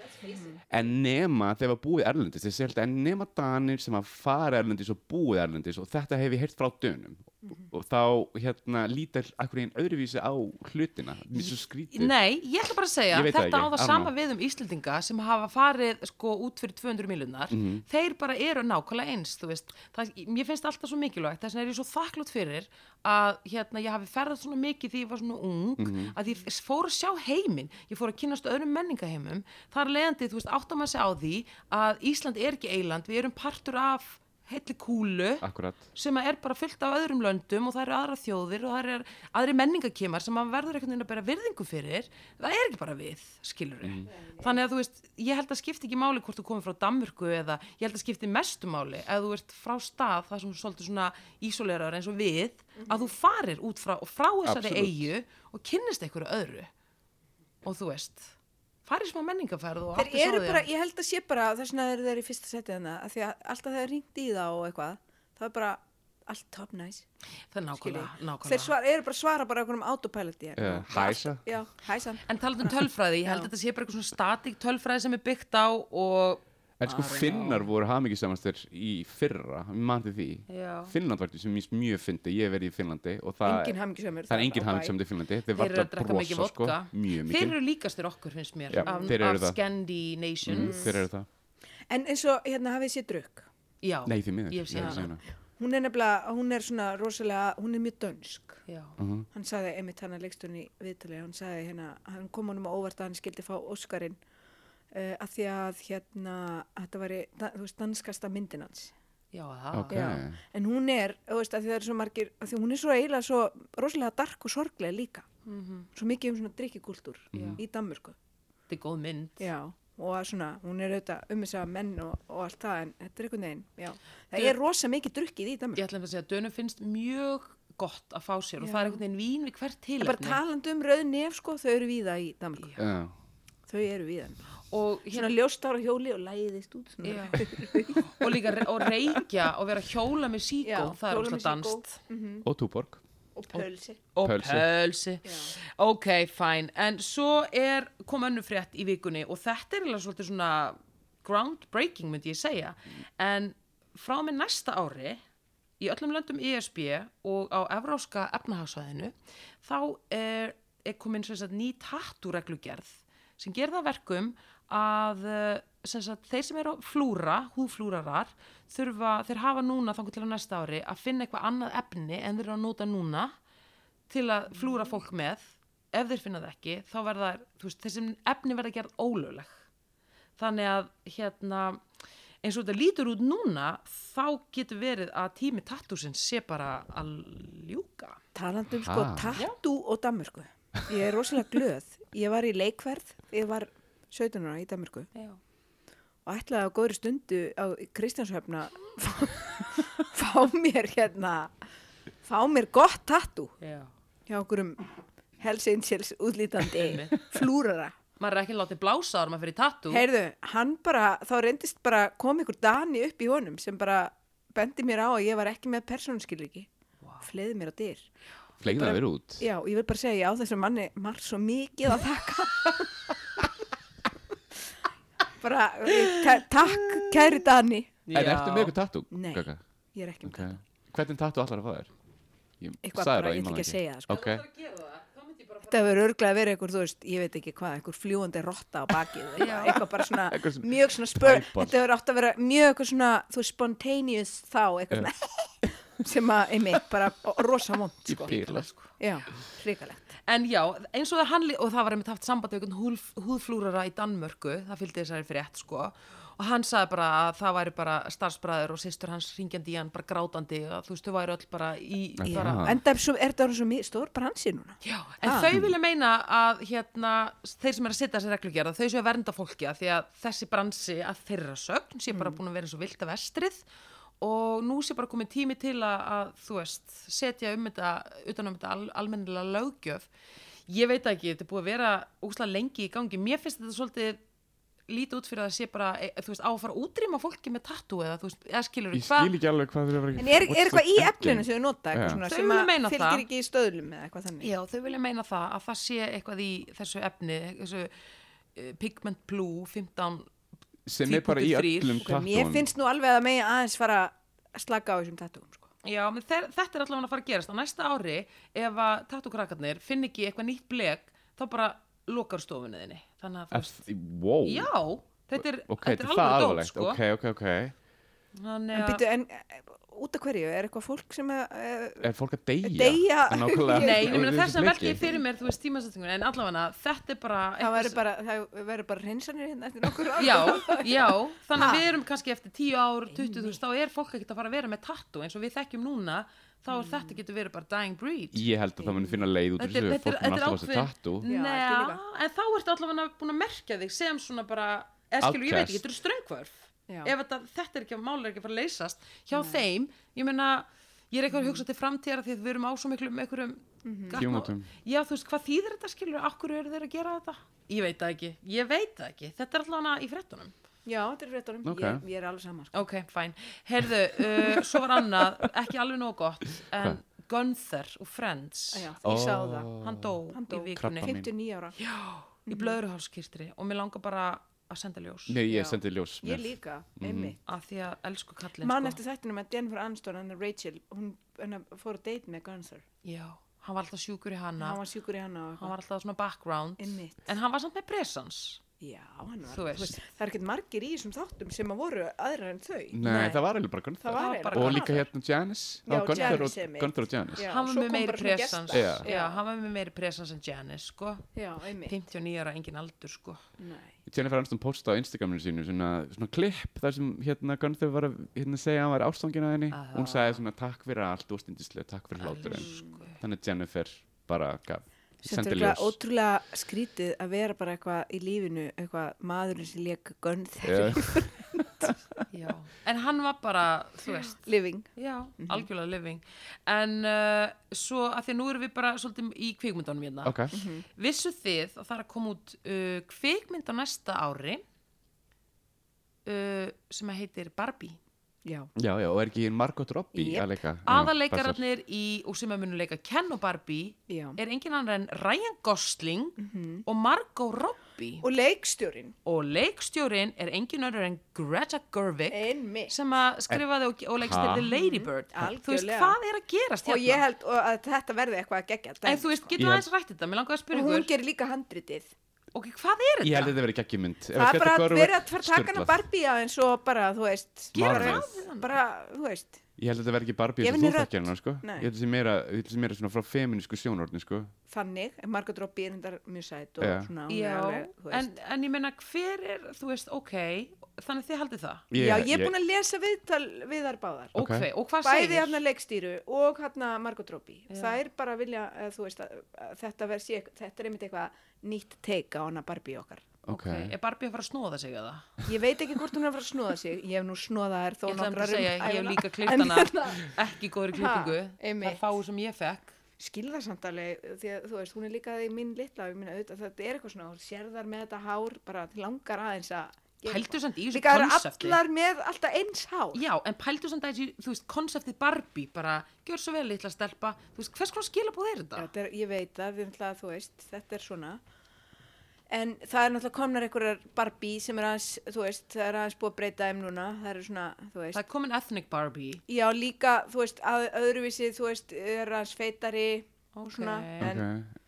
S2: en nema þeir var búið erlendis þeir segja alltaf en nema Danir sem að fara erlendis og búið erlendis og þetta hef ég heyrt frá dönum
S1: Mhm.
S2: og þá hérna lítar akkur einn öðruvísi á hlutina mér svo skrítið
S1: Nei, ég ætla bara að segja,
S2: Ég veit það
S1: þetta
S2: ekki,
S1: á það
S2: I don't
S1: sama
S2: know.
S1: við um Íslendinga sem hafa farið sko út fyrir 200 miljonar
S2: Mhm.
S1: þeir bara eru nákvæmlega eins, þú veist það, mér finnst alltaf svo mikilvægt, þess vegna er ég svo þakklátt fyrir að hérna, ég hafi ferðað svona mikið því ég var svona ung
S2: Mhm.
S1: að ég fór að sjá heiminn, ég fór að kynast öðrum menningaheimum, þar leiðandi þú veist, áttar maður sig á því að Ísland er ekki eiland, við erum partur af heilli kúlu
S2: akkurat
S1: sem að er bara fullt af öðrum löndum og það eru aðra þjóðir og það eru aðri menningakemar sem að verður einhvern veginn að bera virðingu fyrir það er ekki bara við, skilur við þannig að þú veist, ég held að skipti ekki máli hvort þú komir frá Danmörku eða ég held að skipti mestu máli að þú ert frá stað það sem þú svolítið svona ísóleraður eins og við að
S3: Mhm.
S1: þú farir út frá og frá þessari
S2: Absolutt.
S1: eigu og kynnist einhverju öðru og þú veist farið smá menningaferð og
S3: Þeir
S1: áttið
S3: eru
S1: svo
S3: bara,
S1: því
S3: ég held að sé bara þess vegna eru þeir í fyrsta setið hana, að því að alltaf þegar ringt í þá og eitthvað, það er bara allt top nice.
S1: það er
S3: skilji.
S1: nákvæmlega,
S3: Þeir
S1: nákvæmlega.
S3: svar, eru bara að svara bara einhverjum autopiloti
S2: Já, hæsa.
S3: Já, hæsan
S1: En talað um tölfræði, ég held að þetta sé bara eitthvað svona statík tölfræði sem er byggt á og...
S2: en sko
S1: I don't
S2: finnar voru hamingisamastir í fyrra, mann til því
S1: Já.
S2: Finnland var sem ég mjög fyndi, ég hef verið í Finnlandi og það
S3: Engin hamingjusömmur
S2: það er engin hamingjum í Finnlandi þeir
S1: Þeir eru
S2: varla
S1: að drekka mikið
S2: brosa sko,
S1: vodka.
S2: mjög
S1: Þeir
S2: mikið
S1: eru líkastir okkur, finnst mér,
S2: Já,
S1: af,
S2: þeir eru
S1: af
S2: það.
S1: Scandi
S2: Mm,
S1: Nations.
S2: þeir eru það,
S3: En eins og hérna hafið sér drukk
S1: Já,
S2: nei því miður
S1: Ég hef séð hana.
S3: Hún er nefnilega, hún er svona rosalega, hún er mjög dönsk
S1: Já.
S2: Mhm. Mm.
S3: Hann sagði, einmitt hann að leikstunni viðtalið, hann sagði hérna, hann kom honum á óvart að hann skildi fá Óskarinn uh, að því að hérna, þetta var, þú veist, danskasta myndin hans.
S1: Já, það.
S2: Ok.
S3: Já. En hún er, þú veist, að því það er svo margir, að því hún er svo eiginlega svo rosalega dark og
S2: Mhm.
S3: sorglega líka. Svo mikið um svona drikkikúltúr í Danmörku.
S1: Mhm. Þetta er góð mynd.
S3: Já. og að svona, hún er auðvitað um þess að menn og, og allt það en þetta er einhvern veginn, já það er rosa mikið drukkið í Danmark
S1: Ég ætla að segja að dönum finnst mjög gott að fá sér og
S3: Já.
S1: það er einhvern veginn vín við hvert
S3: Það er bara
S1: tilefni
S3: talandi um rauð nef sko, þau eru víða í Danmark
S2: Já.
S3: þau eru víða,
S1: og,
S3: svona
S1: hérna,
S3: ljóstar á hjóli og læðist út svona.
S1: Já. og líka re og reykja og vera að hjóla með síkó,
S3: Já,
S1: það er
S3: hjóla
S1: ósla
S3: með síkó.
S1: danst
S3: Mm.
S2: Og túborg.
S3: og pölsi
S1: og
S2: Pölsu.
S1: pölsi
S3: Já.
S1: ok, fæn, en svo er kom önnu frétt í vikunni og þetta er eiginlega svolítið svona groundbreaking myndi ég segja, en frá með næsta ári í öllum löndum ESB og á evróska efnahagsvæðinu þá er, er komin sem sagt ný tattúreglugerð sem ger það verkum að eh, sem sagt, þeir sem eru á flúra, húflúrarar þurfa, þeir hafa núna þangur til á næsta ári að finna eitthvað annað efni en þeir eru að nota núna til að flúra fólk með ef þeir finna það ekki, þá verða þær, þú veist, þessi efni verða gerð ólögleg þannig að hérna eins og þetta lítur út núna þá getur verið að tími tattúsins sé bara að ljúka
S3: talandi um sko
S2: Ha.
S3: tattú og Danmarku ég er rosalega glöð ég var í leikverð, ég var 17 ára í Danmarku
S1: Já.
S3: og ætlaði á góðri stundu á Kristjánshöfna fá, fá mér hérna fá mér gott tattú
S1: Já.
S3: hjá okkurum Hells Angels útlítandi flúrara
S1: maður er ekki látið blása ára maður fyrir tattú
S3: heyrðu, hann bara, þá reyndist bara kom ykkur Dani upp í honum sem bara bendi mér á að ég var ekki með persónuskilriki wow. fleiði mér á dyr
S2: Fleigða þeir út.
S3: Já, og ég vil bara segja, ég á þessum manni marg svo mikið að þakka. bara, ég- ta- takk, kæri Dani.
S2: En ertu með eitthvað tattoo?
S3: Nei,
S2: Gaga?
S3: ég er ekki með
S2: Ok.
S3: þetta.
S2: Hvernig tattoo allar að fá þér? Ég sagði
S3: Eitthvað bara,
S2: það,
S3: ég ætla
S2: man
S3: ekki að segja það, sko.
S2: Ok.
S3: Þetta verður örglega að vera eitthvað, þú veist, ég veit ekki hvað, eitthvað fljúandi rotta á bakið, eða eitthvað, eitthvað bara svona,
S2: Eitthvað sem-
S3: mjög svona spör,
S2: Tæpar.
S3: þetta verður átt að vera mjög eitthvað svona, þú veist, spontaneous þá, eitthvað svona, sem að, einmitt, bara rosamont,
S2: Ég
S3: sko.
S2: bila, sko.
S3: Já, hrikalegt.
S1: En já, eins og það hann, lí- og það var einmitt haft samband við einhvern húlf- húðflúrara í Danmörku, það fylgdi þessari frétt sko, og hann sagði bara að það væri bara starfsbræður og systur hans ringjandi í hann, bara grátandi, að, þú veist, þau væri öll bara í,
S2: Já.
S1: bara,
S2: Ah.
S3: Enda er, svo, er þetta orðin svo mi- stór bransi núna?
S1: já, en þau vilja meina að hérna, þeir sem er að setja þessi reglugjara, þau séu að vernda fólki að því að þessi bransi að þeirra sögn sé
S2: Mm.
S1: bara búin að vera eins og vilda vestrið og nú sé bara komið tími til að, að þú veist, setja um þetta utan um þetta al, almennilega löggjöf ég veit ekki, þetta er búið að vera úslega lengi í gangi, mér finnst þetta svolítið lítið út fyrir að það sé bara e, þú veist, á að fara að útrýma fólki með tattoo eða þú veist, eða skilur
S2: Ég skil ekki alveg hvað þeir eru að vera
S3: En er,
S2: What's
S3: er eitthvað
S2: the
S3: í
S2: thinking?
S3: eflinu sem þau nota eitthvað
S2: sko, Já.
S1: Þau
S3: svona sem
S1: vilja
S3: að
S1: meina
S3: fylgir
S1: það.
S3: ekki í stöðlum eða eitthvað þannig?
S1: Já, þau vilja meina það að það sé eitthvað í þessu efni, þessu eh, Pigment Blue 15
S2: Sem er bara í
S1: 10.3.
S2: öllum
S1: Ok,
S3: Ok, sko. Mér
S2: tattúum.
S3: finnst nú alveg að megi aðeins fara að slaka á þessum tattúum sko.
S1: Já, menn þeir, þetta er allavega að fara að gerast á næsta ári ef að tattúkrakkarnir finn ekki eitthvað nýtt blek þá bara lokar stofunni þinni þannig að þú veist,
S2: Wow.
S1: já, þetta er,
S2: Ok,
S1: þetta er alveg
S2: það
S1: dót
S2: alvarlegt.
S1: sko
S2: Ok, ok, ok.
S1: þannig
S3: En
S1: að
S3: býtu, en eh, út af hverju, er eitthvað fólk sem að, uh,
S2: Er fólk að deyja?
S3: Deyja.
S2: Það er nákvæmlega-
S1: Nei, ég meina
S2: Við
S1: þess að
S2: vissum
S1: velki
S2: ekki.
S1: fyrir mér, þú veist, tímasettingun en allavega þetta er bara
S3: það
S1: eitthvað
S3: verður bara, það verður bara hreinsanir hérna eftir nokkur ára?
S1: Já, já, þannig
S3: Ha.
S1: að við erum kannski eftir 10 ár, 20, þú veist, þá er fólk ekkert að fara að vera með tattoo eins og við þekkjum núna, þá er
S3: Mm.
S1: þetta getur verið bara dying breed.
S2: Ég held að það muni finna leið út úr
S1: Þetta er- þetta er-
S2: þessu. Fólk mun
S1: þetta er
S2: alltaf að þessu
S1: ákveðin-
S2: tattoo.
S3: Já, ekki
S1: Nei,
S3: líka.
S1: en þá ertu allavega búin að merkja þig sem svona bara, eða skilur, ég veit ekki,
S2: Outcast.
S1: þetta eru ströngvörf.
S3: Já.
S1: Ef þetta, þetta er ekki, mál er ekki að fara að leysast hjá þeim, ég meina, ég er eitthvað
S3: Mm.
S1: að hugsa til framtíðar af því að við erum á svo miklu með einhverjum
S3: Mhm.
S1: gatnamó-
S2: Tímamótum.
S1: Já, þú veist, hvað þýðir þetta skilur, akkur eru þeir að gera þetta? Ég veit það ekki, ég veit það ekki, þetta er allavega í frettunum.
S3: Já, þetta er réttunum,
S2: Ok.
S3: ég, ég er alveg saman sko.
S1: Ok, fæn. Herðu, uh, svo var annað, ekki alveg nóg gott, en Gunther og Friends,
S3: Já, ég sá það,
S1: hann dó,
S3: Hann dó. Mhm.
S1: í vikunni
S2: Krabbamein.
S3: 59 ára.
S1: í blöðruhálskirtri og mér langar bara að senda ljós
S2: Nei,
S3: Já.
S2: ég sendi ljós.
S3: Ég
S2: með-
S3: líka,
S2: Mhm.
S3: einmitt.
S1: að því að elsku kallinn
S3: Mann
S1: sko.
S3: eftir þættinum að Jennifer Aniston, hann er Rachel, hún hana, fór að date með Gunther.
S1: Já, hann var alltaf sjúkur í hana,
S3: Hann var sjúkur í hana og
S1: hann
S3: eitthvað.
S1: var alltaf svona background
S3: Einmitt.
S1: en hann var samt með presens
S3: Já, hann var,
S1: Þú veist.
S3: það er ekkert margir í þessum þáttum sem að voru aðra en þau.
S2: Nei, það var alveg bara Gunther.
S3: Það var
S1: var bara
S2: Og
S1: Gunther.
S2: líka hérna Janice.
S3: Já,
S2: Já, Gunther
S3: Janice
S2: og-
S3: einmitt.
S2: Gunther og Janice.
S3: Já,
S1: hann var
S3: svo
S1: með
S3: kom
S1: meiri
S3: bara svona
S1: presens
S3: gestar.
S1: já.
S2: Já.
S1: hann var með meiri presens en Janice sko.
S3: Já, einmitt.
S1: 59 ára, engin aldur sko.
S3: Nei.
S2: Jennifer Aniston posta á Instagraminu sínu svona, svona klipp þar sem hérna Gunther var að hérna, segja að hann var ástfangin að henni
S1: Ah.
S2: hún
S3: Ah.
S2: sagði svona takk fyrir allt og stundislega takk fyrir hláturinn
S1: Elsku.
S2: þannig að Jennifer bara gaf
S3: Sem
S2: sendi
S3: þurfa
S2: ljós.
S3: ótrúlega skrítið að vera bara eitthvað í lífinu, eitthvað maðurinn sem leik gönn þegar
S2: Já.
S1: já. En hann var bara, þú veist,
S3: living.
S1: Já,
S3: Mhm.
S1: algjörlega living En uh, svo að því að nú erum við bara svolítið í kvikmyndunum hérna
S2: Ok,
S3: Mhm.
S1: Vissu þið að það er að koma út uh, kvikmynd á næsta ári uh, sem að heitir Barbie
S3: Já.
S2: já, já, og er ekki Margot Robbie
S3: Jep.
S2: að leika? Já,
S1: Aðaleikararnir í og sem að munu leika Ken og Barbie
S3: Já.
S1: er engin annar en Ryan Gosling og Margot Robbie og,
S3: Mhm. Og leikstjórin,
S1: leikstjórin er engin annar en Greta Gerwig
S3: einmitt.
S1: sem að skrifaði og, og leikstjóri
S2: Ha?
S1: The Lady Bird
S3: Eh. Mhm.
S1: Þú veist,
S3: Algjörlega.
S1: hvað er að gerast hérna?
S3: Og ég held og að þetta verði eitthvað að gegja.
S1: En þú veist, getur
S2: sko- Ég
S1: aðeins rætt þetta, mér langaði að
S3: og
S1: spyrja
S3: hún
S1: ykkur,
S3: gerir líka handritið.
S1: ok, hvað er
S2: Ég held að
S1: þetta?
S2: þetta verið geggjumynd
S3: Það er bara að vera að fara að taka hana Barbie aðeins og bara, þú veist,
S2: Gera
S3: bara,
S2: hvað
S1: við hana?
S3: bara, þú veist,
S2: Ég held að þetta verið ekki Barbie
S3: Gef
S2: sem þú
S3: henni rödd.
S2: þekkir hana, sko Ég
S3: Nei.
S2: held að þetta sé meira, ég held að þetta sé meira svona frá feminísku sjónorni, sko
S3: þannig, en Margot Robbie er hendar mjög sætt og
S2: Já.
S3: svona, hún er
S1: Já,
S3: alveg, þú
S1: en,
S3: veist.
S1: en ég meina, hver er, þú veist, ok, þannig að þið haldið það?
S2: Ég-
S3: Já, ég er búin að lesa viðtal við þar báðar.
S1: Ok,
S2: Ok.
S1: og hvað
S3: Bæði
S1: segir?
S3: hann leikstýru og hann Margot Robbie.
S1: Já.
S3: Það er bara að vilja, að, þú veist, að, að þetta, verð sé, þetta er einmitt eitthvað nýtt teika á hana Barbie okkar.
S2: Ok,
S1: Er Barbie að fara að snóða sig eða?
S3: Ég veit ekki hvort hún er að fara að snúða sig. Ég hef nú snúðað þær þó
S1: Ég ætla að
S3: nokkrar um
S1: segja, ég hef
S3: ævina.
S1: líka klipt
S3: En
S1: hana,
S3: hérna-
S1: ekki í góðri klippingu,
S3: Ha,
S1: það
S3: einmitt.
S1: er fáið sem ég fekk.
S3: skilða samt alveg því að þú veist, hún er líka í minn litla minna, auðvitað, þetta er eitthvað svona, hún sérðar með þetta hár bara þig langar aðeins að gera
S1: Pældu
S3: eitthvað.
S1: samt í þessu
S3: líka eru
S1: konsepti.
S3: allar með alltaf eins hár
S1: Já, en pældu samt að þessu, þú veist, konseptið Barbie, bara, gjör svo vel, litla stelpa, þú veist, hvers konar skilabóð er þetta?
S3: þetta er, ég veit það, við ætla að þú veist þetta er svona en það er náttúrulega komnar einhverjar Barbie sem er aðeins, þú veist, það er aðeins búið að breyta þeim núna, það eru svona, þú veist
S1: Það er komin ethnic Barbie,
S3: já, líka, þú veist, að, öðruvísi þú veist, er aðeins feitari og svona,
S1: Ok.
S3: en,
S2: ok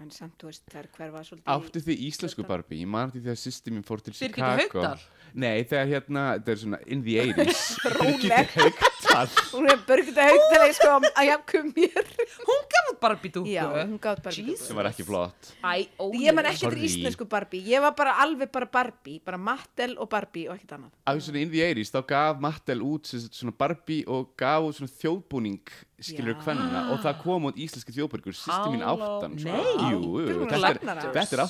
S3: en samt, þú veist, það er hverfa svolítið í-
S2: Áttu þið íslensku Barbie? Ég man því þegar sýsti mín fór til
S1: Birgittu
S2: Chicago.
S1: Haukdal?
S2: Nei, þegar hérna, þetta er svona in the 80s.
S3: Róleg.
S2: Haugdal.
S3: hún er börgita haugtaleg sko að jafnkum mér
S1: hún gaf út Barbie dúku.
S3: Já, hún gátt Barbie
S1: Jesus.
S2: Sem var ekki flott.
S1: Æ, ó,
S3: Ég man ekki
S2: Sorry.
S3: til íslensku Barbie, ég var bara alveg bara Barbie, bara Mattel og Barbie og ekkert annað.
S2: Af svona in the 80s, þá gaf Mattel út sem sagt svona Barbie og gaf út svona þjóðbúning, skilur
S3: Já.
S2: kvenna, og það kom út íslenski þjóðbúningur, sýsti mín
S1: Halló,
S2: áttan. sko.
S1: nei.
S2: Jú, jú,
S3: Byrjum að
S2: þetta er,
S3: lagna það.
S2: þetta er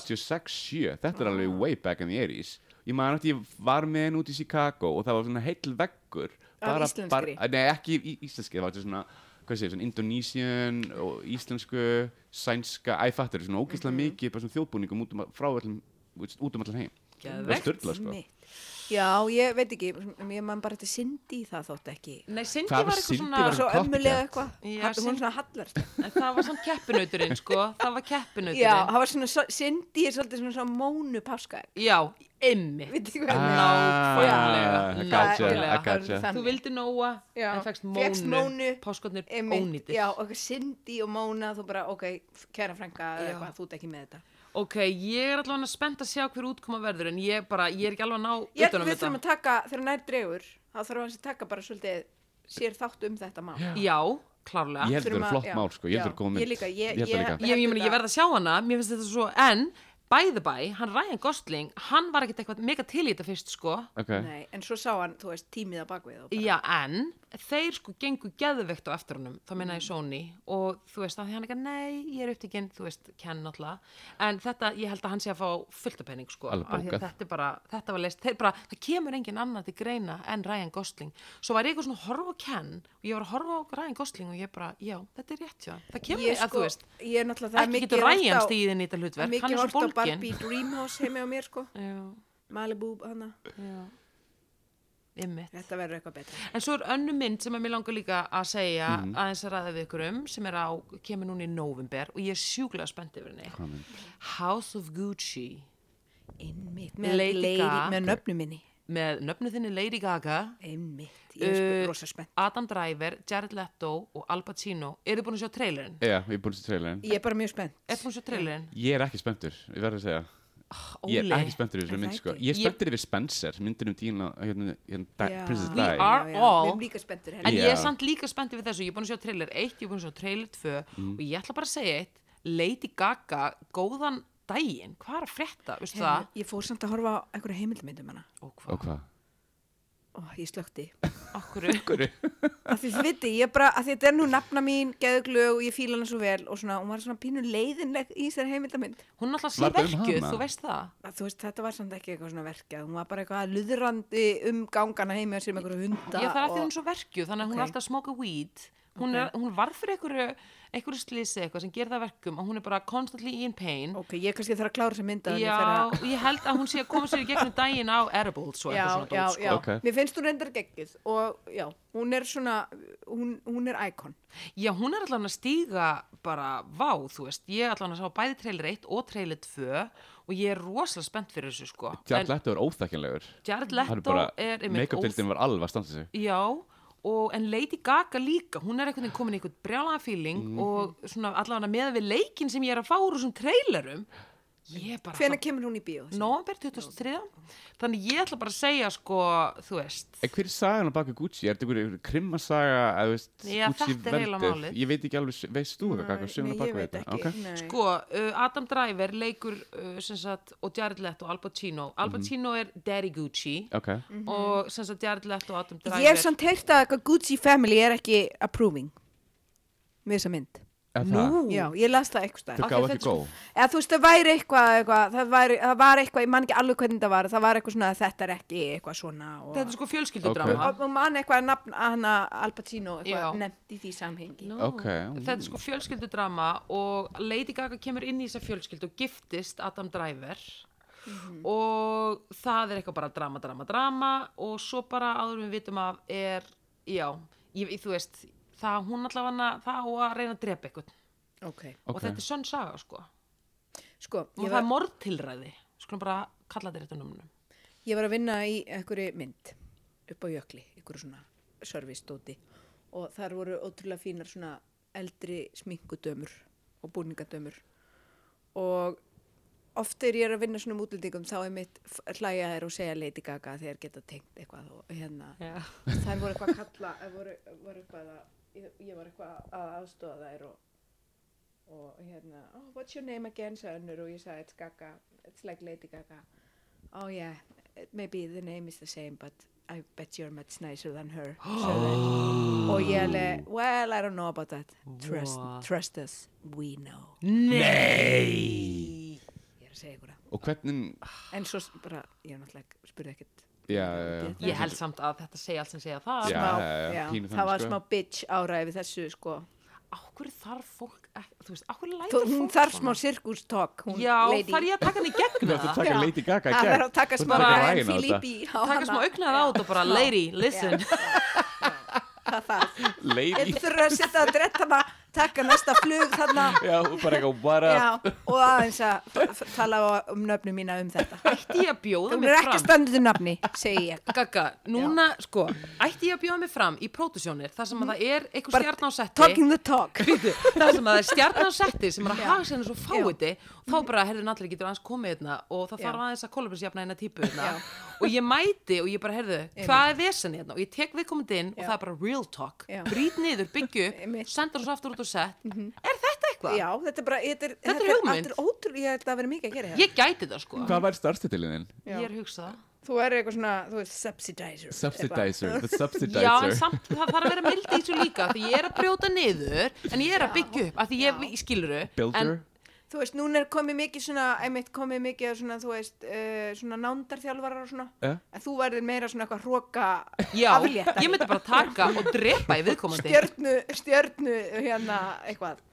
S2: 86-7, þetta er alveg way back in the 80s. Ég man að ég var með henn út í Chicago og það var svona heill veggur.
S3: Af
S2: bara
S3: íslenskri?
S2: Bar- Nei, ekki í- íslenski, það var þetta svona hvað séu, svona indonesian og íslensku, sænska, æ, fattur, svona ógeðslega mikið, bara svona þjóðbúningum út um, að- frá öllum, þú veist, út um allan heim.
S1: Geðveikt.
S2: Það er styrla, sko.
S3: Mitt. Já, ég veit ekki, ég man bara þetta Cindy það þótt ekki.
S1: Nei, Cindy
S2: Hvað
S1: var
S2: var
S1: eitthvað
S2: Cindy
S1: svona
S2: var
S3: Svo
S2: Copycat.
S3: ömmulega eitthvað,
S1: Já,
S3: Hatt- hún
S1: Cindy.
S3: er svona hallar.
S1: En það var samt keppinauturinn, sko. Það var keppinauturinn.
S3: Já, það var svona, so- Cindy er svolítið svona, svona mónu páska.
S1: Já, ymmið.
S3: Veit ekki hvað
S1: Ah, Nákvæmlega,
S2: gotcha,
S1: nákvæmlega.
S2: I gotcha.
S3: Þannig.
S1: Þú vildi Nóa,
S3: Já.
S1: en fegst Mónu.
S3: Fékkst Mónu.
S1: Páskornir
S3: Einmitt,
S1: ónýtir.
S3: já, og eitthvað Cindy og Móna, þú bara, ok, kæra frænka, eða
S1: Já.
S3: eitthvað, þú ert ekki með þetta.
S1: Ok, ég er allavega spennt að sjá hver útkoma verður, en ég bara, ég er ekki alveg að ná
S3: Ég held
S1: utan á
S3: að við þurfum
S1: þetta.
S3: að taka, þegar nær dregur, þá þurfum við að taka bara svolítið sér þátt um þetta mál.
S1: Já, klárlega.
S2: Ég held að þetta er
S3: Þurfum að-
S2: flott
S3: já.
S2: mál, sko, ég held að þetta
S3: Já.
S2: er góð mynd.
S3: Ég líka,
S2: held
S3: ég-
S2: það
S3: ég-
S2: líka.
S1: ég, ég, meni, ég verð að sjá hana, mér finnst þetta svo, en by the by, hann Ryan Gosling, hann var ekkert eitthvað mega til í þetta fyrst, sko.
S2: Ok,
S3: Nei, en svo sá hann, þú veist, tímið að bakvið og bara,
S1: Já, en þeir sko gengu geðveikt á eftir honum, þá
S3: Mm.
S1: meina ég Sony og þú veist, að því hann ekki, nei, ég er upptíkinn, þú veist, Ken alltaf, en þetta, ég held að hann sé að fá fullt af penning, sko,
S2: Alveg
S1: af því að
S2: bókað.
S1: þetta er bara, þetta var leist, þeir bara, það kemur engin annar til greina en Ryan Gosling, svo var ég eitthvað svona að horfa á Ken og ég var að horfa á Ryan Gosling og ég bara, já, þetta er rétt, já, það kemur,
S3: ég sko-
S1: að þú veist,
S3: ég er náttúrulega, það er
S1: ekki
S3: mikið
S1: getur
S3: horft
S1: Ryan
S3: á-
S1: stíðin í þetta
S3: það er
S1: hlutverk, hann
S3: mikið
S1: er
S3: hort
S1: svo
S3: á
S1: bólgin.
S3: Barbie Dreamhouse heimi á mér, sko,
S1: Já,
S3: Malibu, hana,
S1: já, ymmit.
S3: þetta verður eitthvað betra.
S1: En svo er önnu mynd sem að mér langar líka að segja
S2: Mhm.
S1: aðeins að ræða við ykkur um sem er á, kemur núna í november og ég er sjúklega spennt yfir henni.
S2: mynd?
S1: House of Gucci
S3: Einmitt, með
S1: með
S3: lady,
S1: Lady Gaga.
S3: með nöfnu minni,
S1: með nöfnu þinni Lady Gaga,
S3: einmitt, ég er
S1: Uh,
S3: sp- rosa spennt.
S1: Adam Driver, Jared Leto og Al Pacino. Eru búin að sjá trailerinn?
S2: Já, ég er búin að sé trailerinn.
S3: Ég er bara mjög spennt.
S1: Er búin að sjá trailerinn?
S2: Ég er ekki spenntur, ég verður að segja.
S1: Óli.
S2: Ég er ekki spenntur í
S3: Er
S2: þessu
S3: það
S2: mynd, sko.
S3: ekki?
S2: Ég er spenntur yfir Spencer, myndin um dína, hérna, hérna, Di-
S3: Já.
S2: Princess
S1: We
S2: Di.
S1: are-
S3: Já, já,
S1: all-
S3: Við erum líka spenntur,
S1: En
S3: Helgi.
S1: ég
S2: Já.
S1: er samt líka spennt yfir þessu. Ég er búin að sjá trailer 1, ég er búin að sjá trailer 2
S2: Mhm.
S1: og ég ætla bara að segja eitt. Lady Gaga, góðan daginn. Hvað er að frétta? Veistu það?
S3: Ég fór samt að horfa á einhverja heimildmyndum hana
S1: Ó, hvað?
S2: Og hvað?
S3: um Ó, ég slökti.
S1: Okkur
S2: Hverju?
S3: Af því þið viti, ég bara, af því þetta er nú nafna mín, geðuglög og ég fíla hana svo vel og svona, hún var svona pínu leiðinleg í þessari heimildamind.
S1: Hún er alltaf
S2: Var það um
S1: síðverkjuð,
S2: hana?
S1: þú veist það
S3: Að, þú veist, þetta var samt ekki eitthvað svona verkjað, hún var bara eitthvað luðrandi um gangana heimi og sér með einhverju hunda.
S1: Já, það er að því
S3: og-
S1: hún er svo verkjuð, þannig að hún
S3: Ok.
S1: er alltaf að smoka weed Hún, er, hún varð fyrir einhverju, einhverju slísi eitthvað sem gerir það að verkum og hún er bara constantly in pain
S3: Ok, ég kannski þarf að klára þessa mynd að
S1: Já, ég held að hún sé að koma sér í gegnum daginn á edibles og
S3: já,
S1: eitthvað svona
S3: já,
S1: dót, sko.
S3: já.
S2: Ok.
S3: Mér finnst hún reyndar geggið og já, hún er svona, hún, hún er íkon.
S1: Já, hún er allan að stíga bara, vá, þú veist, ég er allan að sá bæði trailer 1 og trailer 2 og ég er rosalega spennt fyrir þessu, sko.
S2: Jared Leto er óþekkinlegur
S1: En Jared
S2: Hann er
S1: Leto
S2: bara,
S1: er einmitt
S2: make-up
S1: óþ-
S2: dildin var alveg að standa sig
S1: Já, og, en Lady Gaga líka, hún er einhvern veginn komin í einhvern brjálaðan feeling og svona allan að meða við leikin sem ég er að fá úr þessum trailerum, ég er bara...
S3: Hvenær kemur hún í bíó? þessi?
S1: Nóvember 2003, þannig ég ætla bara að segja, sko, þú veist,
S2: En hver er sagan á baki Gucci? Er þetta einhver- einhver krimmasaga að veist,
S1: Já,
S2: Gucci
S1: þetta er heila málið.
S2: Ég veit ekki alveg, veist þú eitthvað hvað sögum
S3: Nei,
S2: á
S3: ég
S2: baki
S3: veit
S2: þetta?
S3: ekki.
S2: Ok.
S3: Nei.
S1: Sko, uh, Adam Driver leikur uh, sem sagt, og Jared Leto, Al Pacino Al Pacino er Daddy Gucci
S2: Ok,
S1: og sem sagt Jared Leto og Adam Driver
S3: Ég hef samt heyrt að eitthvað Gucci family er ekki approving með þessa mynd.
S2: Er það?
S1: Nú,
S3: Já, ég las það eitthvað
S2: Þau
S3: stær.
S1: Af því
S2: gáðu
S1: að
S2: ekki
S1: þetta er
S2: góð
S3: Eða þú veist, það væri eitthvað, eitthvað það, væri, það var eitthvað, ég man ekki alveg hvernig það var, það var eitthvað svona að þetta er ekki eitthvað svona og...
S1: þetta er sko fjölskyldudrama
S3: Og og man eitthvað að nafn að hana Al Pacino
S1: Já.
S3: eitthvað nefnt í því samhengi.
S1: Nú,
S2: Ok,
S1: Þetta er sko fjölskyldudrama og Lady Gaga kemur inn í þessa fjölskyldu og giftist Adam Driver
S3: Mhm.
S1: og það er eitthvað bara drama, drama, drama og svo bara áður við vitum af er, já, ég, þú veist það hún allavega, það á að reyna að drepa eitthvað
S3: Ok.
S1: og
S2: Ok.
S1: þetta er sönn saga, sko
S3: Sko,
S1: og
S3: ég
S1: það er
S3: var,
S1: morðtilræði skulum bara kalla þetta réttu numnum
S3: ég var að vinna í einhverju mynd upp á jökli, einhverju svona service-dóti og þar voru ótrúlega fínar svona eldri sminkudömur og búningadömur og oft þegar ég er að vinna svona um útlendingum þá er mitt hlæja þær og segja Lady Gaga þegar geta tengt eitthvað og hérna
S1: Já.
S3: þær voru eitthvað að kalla þær voru, voru eitthvað að, ég, ég var eitthvað að aðstofa þær og, og hérna oh, what's your name again sagði önnur og ég sagði it's Gaga, it's like Lady Gaga oh yeah, maybe the name is the same but I bet you're much nicer than her sagði þær. og ég alveg well I don't know about that trust,
S1: What?
S3: trust us, we know
S1: Nei
S3: ég er að segja ykkur það
S2: Og hvernig,
S3: En svo s- bara, ég er náttúrulega ekki- spurði ekkert.
S2: já, já, já.
S1: Ég held samt að þetta segja allt sem segja það
S2: Já.
S3: Smá,
S2: já,
S3: já,
S2: pínu
S3: það
S2: þannig,
S3: var
S2: sko.
S3: smá bitch ára yfir þessu, sko.
S1: Áhverju þarf fólk ekki, Þú veist, áhverju lætur
S3: Þó,
S1: fólk
S3: hún þarf smá
S1: svona?
S3: sirkustokk, hún
S1: Já,
S3: lady.
S1: þarf ég að taka henni í gegn
S2: Þú ert að
S1: það
S2: taka
S3: Já.
S2: Lady Gaga í
S3: Það
S2: gegn.
S3: þarf að taka
S2: Þú ert
S3: smá
S2: að taka
S3: Ryan
S2: lagin á þetta.
S3: Philippi á
S1: Taka smá
S3: hana.
S1: augnað á þetta og bara Lady, listen
S3: Það þarf.
S2: Lady,
S3: Þeir þurfa að setja að dretta hana, taka næsta flug þarna.
S2: já, bara eitthvað bara
S3: Já, og aðeins að f- f- tala á- um nöfnum mína um þetta.
S1: Ætti ég að bjóða
S3: Hún
S1: mig
S3: er
S1: fram
S3: ekki spennandi nafni, segi ég.
S1: Gagga, núna, sko Ætti ég að bjóða mig fram í pródusjónir þar sem að það er einhver
S3: Mhm. Bara
S1: stjarn á setti
S3: Talking the talk.
S1: Bíddu, það sem að það er stjarnan á setti sem er að hafa sérna svo fáiði og þá bara, herðu, náttúrulega getur aðeins komið hérna og það
S3: Mhm. Já.
S1: þarf aðeins að kólubrinsjafna hérna típu hérna og ég mæti og ég bara, herðu, hvað er vesen hérna og ég tek viðkomandi inn og það er bara real talk
S3: Já.
S1: brýt niður, byggju,
S3: Einmitt. Mhm.
S1: senda hans aftur út og sett er þetta eitthvað?
S3: Já, þetta er bara, þetta er,
S1: Þetta er hugmynd.
S3: Þetta er ótrúlega, ég held að vera mikið að gera hérna. þetta.
S1: Ég gæti það sko
S2: Hvað væri starfstillininn?
S1: Ég er að hugsa það
S3: Þú er eitthvað svona, þú veist, subsidizer.
S2: Subsidizer, the subsidizer
S1: Já, en samt, það þarf að vera mildi í þessu líka því ég er að brjóta niður, en ég er að byggja upp af því ég, ég skilur
S2: Builder,
S3: Þú veist, núna er komið mikið svona, einmitt komið mikið svona, þú veist, uh, svona nándarþjálfarar og svona.
S2: Ja.
S3: En þú verður meira svona eitthvað hróka
S1: Já,
S3: afléttari.
S1: ég myndi bara taka og drepa í viðkomandi
S3: Stjörnu, stjörnu, hérna, eitthvað.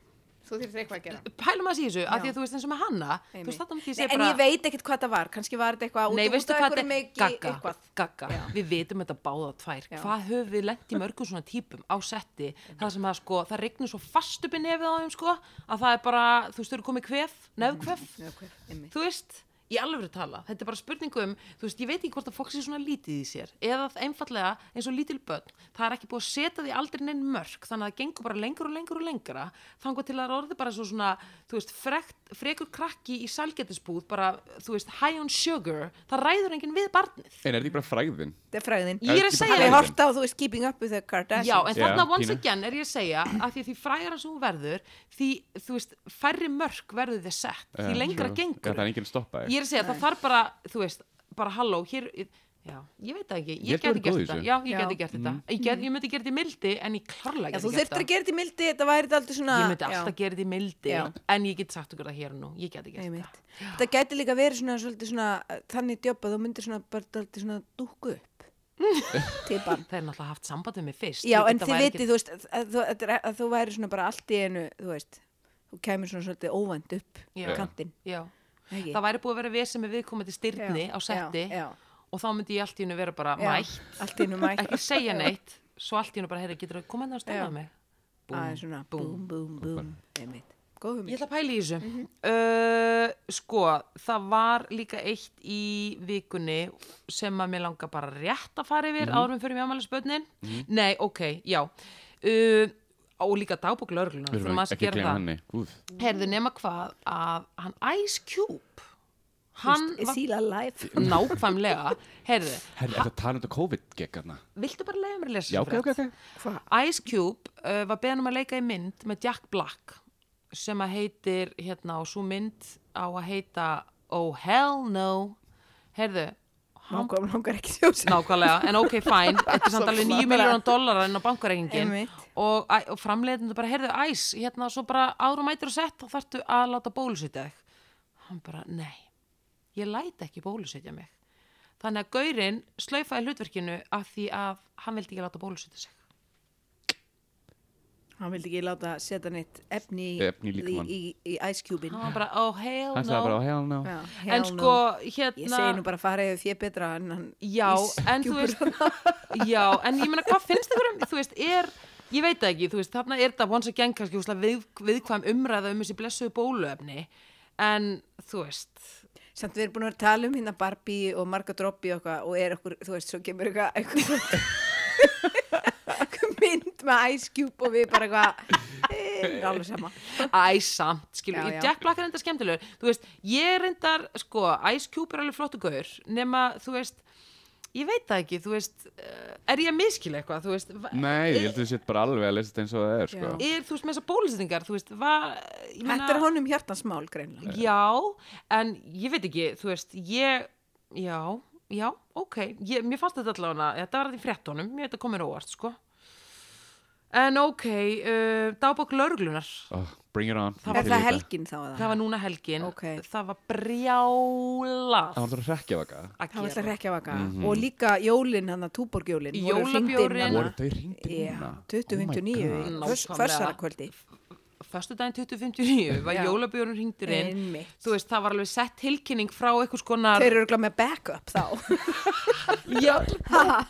S3: Þú þurftir eitthvað að gera.
S1: pælum að sé þessu, af því
S3: Já.
S1: að þú veist eins og með hanna þú
S3: Einmitt.
S1: veist þetta mútti ég
S3: Nei,
S1: segja
S3: en
S1: bara
S3: ég veit ekkert hvað það var, kannski var þetta eitthvað
S1: Nei,
S3: út-
S1: veistu
S3: út af
S1: hvað þetta er,
S3: einhverju meiki,
S1: gagga,
S3: eitthvað.
S1: gagga,
S3: Já.
S1: við vitum þetta báða tvær,
S3: Já.
S1: hvað höfum við lent í mörgum svona típum á setti, þar sem það sko, það regnur svo fast upp í nefið á þeim sko, að það er bara, þú veist, þau eru komið kvef, nefkvef,
S3: Já, hver- einmitt.
S1: þú veist, í alveg tala, þetta er bara spurningu um, þú veist, ég veit ekki hvort að fólk sé svona lítið í sér, eða einfallega eins og lítil börn, það er ekki búið að setja því aldrei neinn mörg, þannig að það gengur bara lengur og lengur og lengra, þangar til að það er orðið bara svo svona, þú veist, frekt, frekur krakki í sælgetisbúð, bara, þú veist, high on sugar, það ræður enginn við barnið.
S2: en er þetta ekki bara fræðin?
S3: Þetta er fræðin.
S1: Ég er að segja
S3: Það er
S1: þér.
S3: hort á, þú veist, keeping up with the Kardashians.
S1: Já, en
S2: Já,
S1: þarna once
S2: pínu.
S1: again er ég að segja að því því fræðara sem hún verður, því, þú veist, færri mörg verður þið sett, því lengra
S2: Eh, Já,
S1: gengur.
S2: Það er enginn að stoppa
S1: ég
S2: þig
S1: er að segja, það þarf bara, þú veist, bara halló, hér, Já, ég veit það ekki,
S2: Ég
S1: ég
S2: held
S1: geti
S2: þú værir
S1: gert
S2: góð í
S1: þetta
S2: þessu.
S1: Já, ég
S3: Já.
S1: geti gert þetta ég, get, ég myndi gera þetta í mildi, en ég klarlega
S3: Já,
S1: geti
S3: þú
S1: gert
S3: þyrftir að gera þetta í mildi, þetta væri þetta aldrei svona...
S1: Ég myndi
S3: Já.
S1: alltaf gera þetta í mildi,
S3: Já.
S1: en ég get sagt ykkur það hér og nú Ég geti gert þetta
S3: Einmitt. Þetta gæti líka verið svona, svolítið svona uh, þannig djópa, þú myndir svona bara dálítið svona dúkku upp tippan.
S1: Það er náttúrulega haft samband við mig fyrst
S3: Já,
S1: Ég-
S3: en
S1: þetta
S3: þið
S1: væri
S3: vitið, þú veist, að, að, þú- þetta er- að þú væri svona bara allt í einu, þú veist, þú kæmur svona svolítið óvænt upp
S1: Já.
S3: kantinn.
S1: Já,
S3: Ekki?
S1: það væri búið að vera vesið með viðkomandi styrni
S3: Já,
S1: á setti
S3: já, já.
S1: og þá myndi ég allt í hennu vera bara
S3: Já,
S1: mætt,
S3: Allt í einu mætt.
S1: ekki segja neitt svo allt í hennu bara, heyrðu, getur þú komað að
S3: Já.
S1: stöðna mig
S3: Það er svona búm, búm, búm, einmitt. Góð
S1: Ég
S3: hugmynd.
S1: ætla að pæla í þessu.
S2: Mhm.
S1: uh, sko, það var líka eitt í vikunni sem að mér langar bara rétt að fara
S2: Mhm.
S1: yfir mm -hmm. árum fyrir mjög amælisbönnin. Nei, ok, já. Uh, og líka dagbók lörgluna.
S2: Við erum ekki að gleyma henni. Úf.
S1: Herðu nema hvað að hann Ice Cube, hann
S3: Ég
S1: var
S3: síla live.
S1: nákvæmlega, herðu,
S2: Herri, er það talað um þetta COVID-gegg aðna?
S1: viltu bara leiða mér að lesa
S2: Já,
S1: þessu
S2: ok,
S1: frétt?
S2: ok, ok.
S3: Hvað?
S1: Ice Cube uh, var beðan um að leika í mynd með Jack Black sem að heitir hérna og svo mynd á að heita Oh Hell No herðu, hann
S3: Nákvæm langar ekki sjósa.
S1: nákvæmlega, en ok fine þetta er samt alveg 9 miljónar dólarar inn á bankareikingin
S3: Einmitt.
S1: og, æ- og framleiðinu bara herðu Ice, hérna svo bara áður og mætir og sett þá þarftu að láta bólusetja þig hann bara, nei ég læti ekki bólusetja mig þannig að gaurinn slaufaði hlutverkinu af því að hann vildi ekki láta bólusetja sig
S3: Hann vildi ekki láta setja neitt efni, í-
S2: Efni í líkamann.
S3: í, í, í Ice Cube-in.
S1: hann var bara, oh hell
S2: Hann
S1: no
S2: sagði bara, hell no.
S3: Já,
S1: en
S3: hell no.
S1: sko, hérna
S3: Ég segi nú bara að fara yfir fjö betra en hann
S1: já, en þú veist já, en ég meina, hvað finnst ykkur um þú veist, er, ég veit það ekki þú veist, þarna er þetta once again kannski úslega við, viðkvæm umræða um þessi blessuðu bóluefni en, þú veist
S3: Samt við erum búin að vera að tala um hérna Barbie og Marga Droppi og eitthvað og er okkur, þú veist, svo kemur eitthvað eitthvað eitthvað mynd með Ice Cube og við bara eitthvað e, alveg sama
S1: Æ, samt, skilur, já,
S3: Já, já.
S1: Jack Black er reyndar skemmtilegur þú veist, ég reyndar, sko Ice Cube er alveg flottu gaur nema, þú veist, ég veit það ekki þú veist, eh, er ég að miskila eitthvað þú veist, va-
S2: Nei, ég held að þú sétt bara alveg að lesa þetta eins og það er, sko.
S3: Já.
S1: er, þú veist, með þessar bólusetningar þú veist, var, ég
S3: Þetta er honum hjartansmál greinlega
S1: Já, en ég veit ekki, þú veist, ég, já, já, ok, ég, mér fannst þetta allavega, þetta var þetta í fréttunum, mér þetta komið óvart, sko. En ok, uh, dagbók lörglunar,
S2: Oh, bring it on. Ég til
S3: Er
S2: í
S3: það
S2: þetta.
S3: helgin þá að
S1: það
S3: það?
S1: var núna helgin,
S3: Ókei.
S1: það var brjála
S2: Það var það að rekja vaka.
S1: að
S3: Það var alltaf
S1: gera.
S3: rekja vaka og líka jólin hann að túborgjólin
S1: Jólabjórinn.
S2: Voru þau hérna? hringdi núna?
S3: Já, 2029
S1: God. Nákvæmlega.
S3: Fössara kvöldi
S1: Föstudaginn 2059 var
S3: Já.
S1: jólabjörn hringdur inn,
S3: Einmitt.
S1: þú veist, það var alveg sett tilkynning frá einhvers konar,
S3: Þeir eru örugglega með backup þá
S1: já,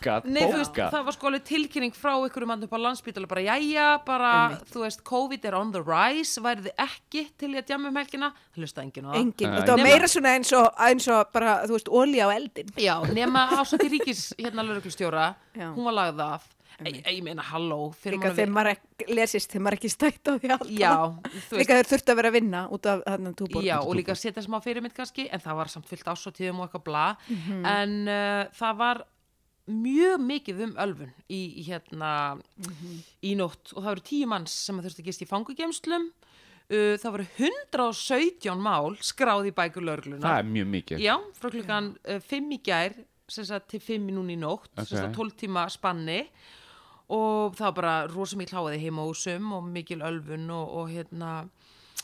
S2: Gat,
S1: Nei, þú veist,
S2: bóka.
S1: það var sko alveg tilkynning frá einhverjum mann upp á landsbítala bara, jæja, bara, þú veist, COVID er on the rise, værið þið ekki til í að djama um helgina, það hlusta enginn á það.
S3: Engin,
S2: Nei.
S3: þetta var
S2: Nema-
S3: meira svona eins og, eins og bara, þú veist, olja á eldin
S1: Já, nema ásandi ríkis, hérna lauruglustjóra,
S3: Já.
S1: hún var lagð af, e, e, ég meina, halló, fyrir
S3: Líka
S1: mann
S3: þegar maður ekki lesist, þegar maður ekki stætt á því alltaf.
S1: Já, þú veist,
S3: Líka þeir þurfti að vera að vinna út af þarna um túborg.
S1: já, og líka setja smá fyrirmynd kannski, en það var samt fullt ásótíðum og eitthvað bla, en uh, það var mjög mikið um ölfun í, í hérna, í nótt og það voru tíu manns sem þurfti að gist í fangugemslum, uh, það voru 117 mál skráð í bækur lörgluna.
S2: Það er mjög mikið.
S1: Já, frá klukkan 5 í gær sem sagt til 5 núna í nótt
S2: Ok.
S1: sem sagt 12 tíma spanni og það var bara rosa mikil háaði heima á húsum og mikil ölfun og, og hérna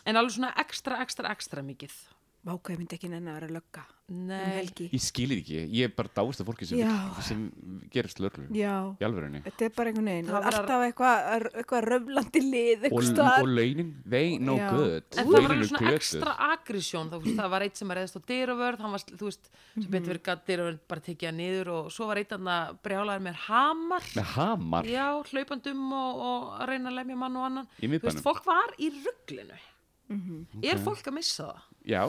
S1: en alveg svona ekstra, ekstra, ekstra mikið
S3: Váka, ég myndi ekki nenni að vera að lögga. Um
S1: Nei,
S3: helgi.
S2: Ég skilir ekki. Ég er bara dáist af fólki sem,
S3: Já.
S2: sem gerist lörglu.
S3: Já.
S2: Í alvörunni.
S3: Þetta er bara einhvern veginn.
S1: Það
S3: Það
S1: var-
S3: er alltaf eitthvað, eitthvað röflandi lið,
S2: Og,
S3: eitthvað
S2: og
S3: staðar.
S2: launin, they no
S3: Já.
S2: good.
S1: en það var alveg svona ekstra agressjón þá, þú veist, það var eitt sem að reyðast á dyravörð hann var, þú veist, sem betur verið gatt dyravörð bara tekið hann niður og svo var eitt hann að brjálaður með hamar
S2: Með hamar.
S1: já, hlaupandum og, og að reyna að lemja mann og annan
S2: Í
S1: þú veist,
S2: miðbænum.
S1: fólk var í rugglinu er fólk að missa það?
S2: Já.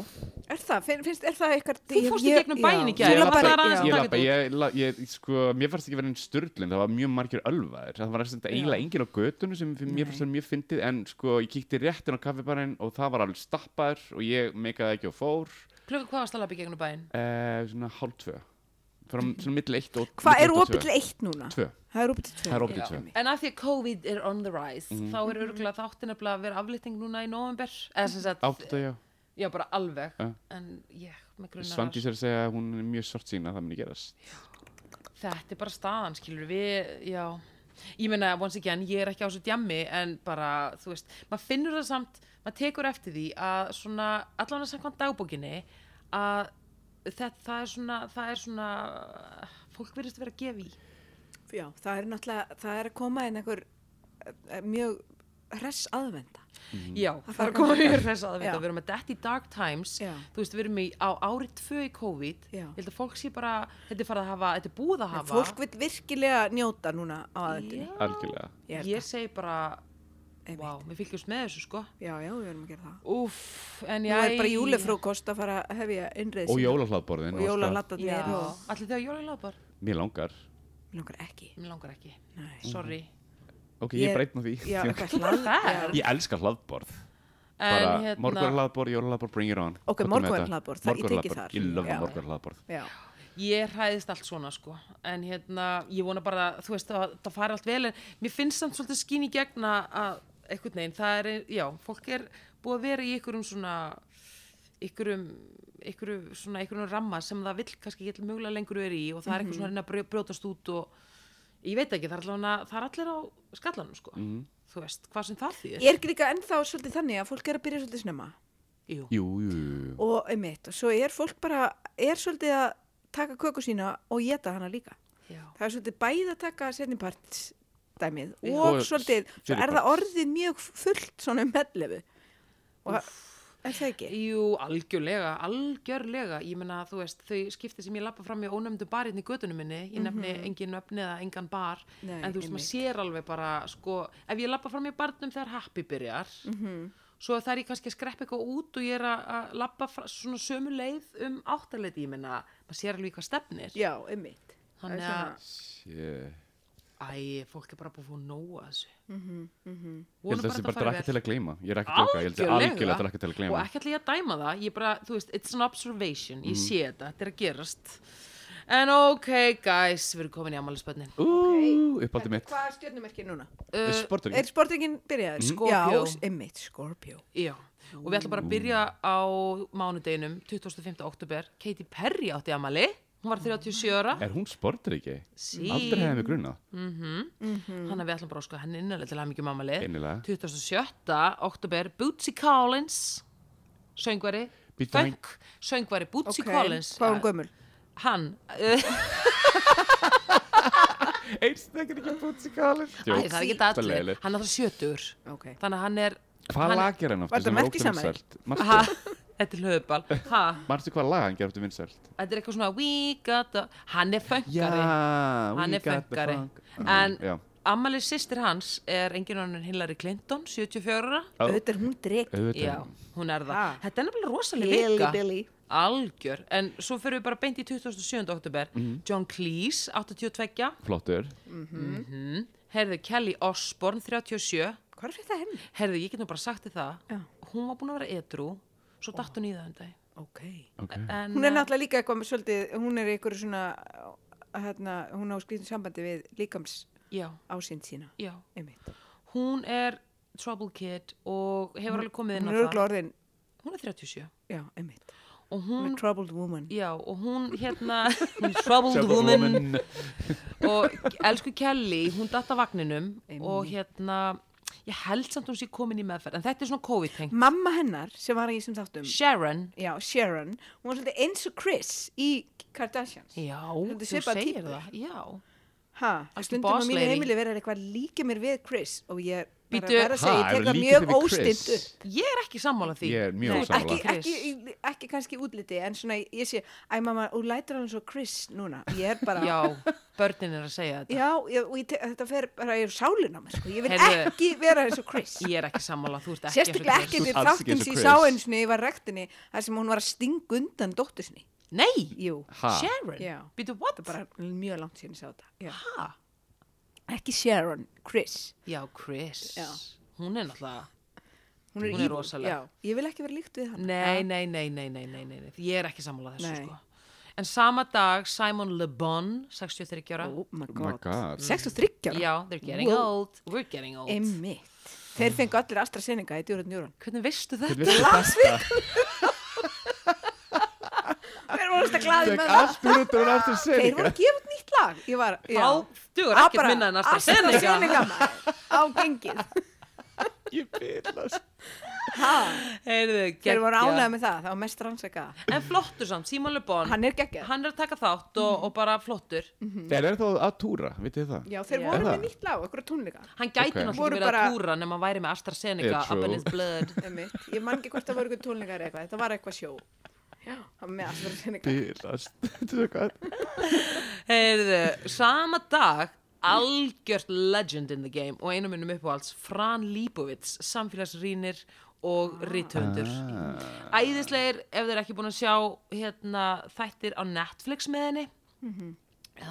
S3: Er það, finn- finnst, er það eitthvað...
S1: Þú
S3: ég-
S1: fórst í
S3: ég-
S1: gegnum
S3: já.
S1: bæinn í gær,
S2: Ég
S3: Ég
S1: það
S2: labba,
S1: bara
S3: labbaði-
S1: aðeins
S2: ég
S1: að
S3: já.
S1: taka
S2: labba,
S1: þetta
S2: ég, la- ég, sko, mér fannst ekki verið einn störlun, það var mjög margir ölvaðir, það var þetta eiginlega enginn á götunum sem fyrir mér fannst það mjög fyndið, en sko, ég kíkti réttin á kaffibarinn og það var alveg stappaður og ég meikaði ekki og fór,
S1: Klukkan hvað varst að lappa í gegnum bæinn?
S2: eh, svona hálf tvö, frá svona milli eitt og
S3: Hvað
S2: milli
S3: er
S2: eitt og tvö.
S3: opið til eitt núna?
S2: Tvö,
S3: Það er opið til tvö.
S2: það er opið
S1: Já.
S2: til tvö. Mhm.
S1: En af því að COVID er on the rise þá er örgulega þáttin nefnilega að vera aflýtting núna í november eða sem sagt,
S2: Átta, já,
S1: já bara alveg
S2: Já.
S1: en ég, með grunnar
S2: Svandís er að segja að hún er mjög svart sína, það muni gerast.
S1: þetta er bara staðan, skilur við, já, ég meina, once again, ég er ekki á svo djammi, en bara, þú veist, maður finnur það samt, maður tekur eftir því að svona, allan að samkvæmt dagbókinni, að þetta, það er svona, það er svona, fólk verðist vera að gefa í.
S3: Já, það er náttúrulega, það er að koma inn einhver eh, mjög hress aðvenda.
S1: Já, það er að koma mjög hress að við erum að detti í dark times,
S3: Já.
S1: þú veist, við erum í, á ári tvö í COVID,
S3: Já.
S1: ég held að fólk sé bara, þetta er farið að hafa, þetta er búið að
S3: En
S1: hafa.
S3: Fólk vil virkilega njóta núna á aðvendinni.
S1: Já.
S2: algjörlega
S3: Ég
S1: Ég,
S3: held
S1: segi bara,
S3: Einmitt.
S1: vá, við fylgjumst með þessu, sko.
S3: Já, já, við verðum að gera það.
S1: Úff, en
S3: Nú
S1: já
S3: er bara júlefrúkost að fara að hefja innreið
S2: og
S3: sína.
S2: jólahlaðborðin
S3: Og
S1: Já,
S3: jólalattarnir og...
S1: allir þegar jólinn lopar
S2: mér langar
S3: Mér langar ekki.
S1: Mér langar ekki,
S3: Nei.
S1: sorry
S2: ok, ég
S3: Ég-
S2: breytna því
S3: Já,
S2: Ég-
S3: eitthvað hlað.
S1: Það
S3: já.
S2: ég elska hlaðborð bara
S1: En
S2: hérna...
S1: hérna,
S2: morgunhlaðborð, jólahlaðborð, bring it on Hvað
S3: Ok,
S2: er
S3: morgunhlaðborð,
S2: þetta?
S3: það- ég teki
S2: Morgunhlaðborð, ég
S3: þar. Já.
S2: löfum morgunhlaðborð
S3: Já,
S1: ég hræðist allt svona sko En hérna, ég vona bara, að, þú veist, að það fari allt vel En mér finnst samt svolítið skín í gegna að Einhvern veginn, það er, já, fólk er búið að vera í einhverjum svona Einhverjum, einhverjum, svona einhverjum ramma sem það vill kannski ekki mjögulega lengur vera í Og það er eitthvað svona að reyna að brjó- brjótast út og Ég veit ekki, það er, allavega- það er allir á skallanum sko Þú veist, hvað sem það þýðir
S3: ég er ekki líka ennþá svolítið þannig að fólk er að byrja svolítið snemma
S1: Jú.
S2: jú, jú, jú.
S3: og einmitt og svo er fólk bara, er svolítið að taka köku sína og geta hana líka.
S1: Já.
S3: Það er svolítið bæði að taka setnipart dæmið og,
S2: Og
S3: svolítið, svo er
S2: seinniparts.
S3: það orðið mjög fullt svona um meðlefu og það, er það ekki?
S1: Jú, algjörlega, algjörlega ég meina þú veist, þau skipti sem ég lappa fram í ónefndu barinn í götunum minni ég nefni engin nöfni eða engan bar
S3: Mhm. Nei,
S1: en þú veist, maður
S3: einmitt.
S1: sér alveg bara sko, ef ég lappa fram í barnum þegar happy byrjar
S3: Mhm.
S1: svo þar ég kannski að skreppa eitthvað út og ég er að- að lappa svona sömu leið um áttaleiti, ég meina maður sér alveg í hvað stefnir
S3: Já, einmitt. Það er
S1: þannig að,
S2: Shit.
S1: æ, fólk er bara búið að fá nóa þessu
S3: Mhm,
S2: ég held að það sé bara drakka til að gleyma ég er ekki að gleyma, ég held að
S1: Algjörlega.
S2: algjörlega drakka til að
S1: og
S2: gleyma
S1: ekki ætla ég að dæma það ég bara, þú veist, it's an observation
S2: Mhm.
S1: ég sé þetta, þetta er að gerast en ok guys, við erum komin í ammælisbönnin
S2: Ú, uppáldið
S3: Þetta-
S2: mitt
S3: Hvað er stjórnumerkið núna?
S2: Er
S1: uh,
S2: sporturinn?
S3: Er sportingin byrjaður?
S1: Scorpio.
S3: Já, einmitt, Scorpio.
S1: já, og við ætlum bara að byrja á mánudeginum, 25. oktober Katy Perry átti ammæli hún var 37 ára
S2: Er hún sportur ekki?
S1: Sí.
S2: Aldrei hefði mig gruna
S1: hann að við ætlum bara að sko henni innanlega til ammægjum ammæli
S2: Innilega.
S1: 27. oktober, Bootsy Collins söngvari,
S2: Bíddu, hann-
S1: funk söngvari Bootsy
S3: Ok,
S1: Collins
S3: Hvað er hún gömul?
S1: hann, uh,
S2: Eins þegar ekki Bootsy Collins
S1: Æ, það er ekki allir, hann er það sjötur
S3: Ok.
S1: þannig að hann er
S2: Hvað
S1: hann-
S2: lag er hann
S3: Var
S2: aftur
S3: þetta
S2: sem er óttum
S3: merkisamari?
S2: vinsælt?
S1: ha,
S2: Marstu,
S1: þetta er hlöðubal ha,
S2: marstu hvað lag hann gerði aftur vinsælt?
S1: þetta er eitthvað svona we got the, hann er fönkari
S2: we
S1: hann er
S2: got the
S1: fönkari
S2: funk.
S1: en
S2: Ah, Já.
S1: ammali sýstir hans er engin annan Hillary Clinton 74
S2: Ó,
S3: Auðvitað er hún dreg.
S1: já,
S2: Auðvitað
S1: hún er það
S3: Ha.
S1: þetta er nefnilega rosalega vika
S3: Billy.
S1: algjör, en svo fyrir við bara beint í 27. oktober John Cleese, 82
S2: Flottur
S1: herði Kelly Osborne, 37
S3: Hvað er þetta henni?
S1: herði, ég get nú bara sagt þið það
S3: Já.
S1: hún var búin að vera edru svo datt hún í það um dag
S3: Ok.
S2: Ok.
S1: en,
S3: Hún er
S1: eh,
S3: náttúrulega líka eitthvað með svolítið, hún er eitthvað svona, hérna, hún á skrýtum sambandi við líkams
S1: já,
S3: ásýnd sína.
S1: já,
S3: Einmitt.
S1: hún er trouble kid og hefur alveg komið inn
S3: Hún
S1: á
S3: er
S1: það
S3: örgulega orðin,
S1: hún er 37
S3: já, einmitt.
S1: og
S3: Hún
S1: hún,
S3: er troubled woman.
S1: já, og hún hérna hún er troubled
S2: Trouble
S1: woman
S2: woman.
S1: og elsku Kelly, hún datt af vagninum og
S3: Einmitt.
S1: hérna ég held samt hún sé komin í meðferð en þetta er svona COVID-tengt
S3: Mamma hennar, sem var í sem þáttum,
S1: Sharon,
S3: já, Sharon, hún var svolítið eins og Chris í Kardashians.
S1: já,
S3: Þetta
S1: þú
S3: er
S1: segir
S3: svipað típa.
S1: það já,
S3: Ha,
S1: Algjör
S3: stundum á
S1: boss
S3: mínu
S1: lady.
S3: heimili verður eitthvað líka mér við Chris og ég bara
S1: Bíddu.
S3: verð að segja,
S2: Ha,
S3: ég
S2: eru
S3: tek það
S2: líka
S3: mjög
S2: þið við Chris?
S3: óstint upp.
S1: ég er ekki sammála því
S2: Ég er mjög
S1: Nei,
S2: ósammála.
S3: ekki,
S1: ekki
S3: ekki,
S1: Chris.
S3: í- ekki kannski útliti en svona ég sé, æ mamma, hún lætur hann svo Chris núna, ég er bara
S1: já, börnin er að segja þetta
S3: já ég, og ég, te- þetta fer bara í sálina mér sko. ég vil
S1: Heyrðu.
S3: ekki vera eins og Chris
S1: ég er ekki sammála, þú ert ekki eins og
S3: sérstaklega
S1: Chris.
S3: ekki
S2: Þú ert
S3: til
S2: alls ekki
S3: þáttum
S2: eins og
S3: sem ég
S2: Chris.
S3: sá eins og ég var rektinni þar sem hún var að stinga undan dóttur sinni
S1: nei,
S3: jú,
S2: Ha?
S1: Sharon,
S3: Já.
S1: býtu what
S3: bara mjög langt síðan ég sá þetta já.
S1: ha,
S3: ekki Sharon, Chris
S1: já, Chris
S3: Já.
S1: hún er náttúrulega
S3: hún er,
S1: Hún er
S3: í-
S1: rosaleg.
S3: já, ég vil ekki vera líkt við hann
S1: Nei, nei, nei, nei, nei, nei, nei, nei. Ég er ekki sammála þessu,
S3: Nei.
S1: sko. En sama dag, Simon Le Bon, 63 ára.
S3: oh
S2: my
S3: my god,
S2: God.
S3: 63 ára
S1: Já, they're getting
S3: Wow.
S1: old. We're getting old.
S3: Einmitt. þeir fengu allir AstraZeneca í djúrun djúrun
S1: Hvernig veistu þetta?
S2: Hvernig veistu þetta?
S3: Þeir voru alltaf glaðið
S2: Tek
S3: með það.
S2: allt úr út og hún aftur
S3: Þeir voru
S2: sér
S3: að gefa út nýtt slag ég var, já.
S1: Þá dugur
S3: Að
S1: ekkert
S3: bara
S1: minna en AstraZeneca.
S3: AstraZeneca, maður, á gengið
S2: Ég byrðast.
S3: ha,
S1: Heyrðu,
S3: þeir voru
S1: geggjað.
S3: ánægð með það, það var mest rannsaka
S1: En flottur samt, Simon Le Bon
S3: hann Mm. er geggjað
S1: Hann er að taka þátt og, og bara flottur
S2: Þeir eru þá að túra, vitið þið það?
S3: já, þeir
S1: Já.
S3: voru
S2: Er
S3: með
S2: það?
S3: nýtt lag, okkur tónleika
S1: Hann gæti
S2: Ok.
S1: náttúrulega
S3: Voru
S1: verið
S3: bara-
S1: að túra nema hann væri með AstraZeneca
S2: Yeah,
S1: up
S2: true.
S1: in his blood
S3: Einmitt. ég man ekki hvort það voru eitthvað tónleikar eða eitthvað, þetta var eitthvað sjó það var með AstraZeneca
S2: Byrðast. Þetta er svo gott.
S1: Heyrðu, sama dag algjört legend in the game og einu minnum uppáhalds Fran Líbovits, samfélagsrýnir og rítöndur
S2: Ah.
S1: Æðislegir ef þeir ekki búin að sjá hérna, þættir á Netflix með henni
S3: Mhm.
S1: mm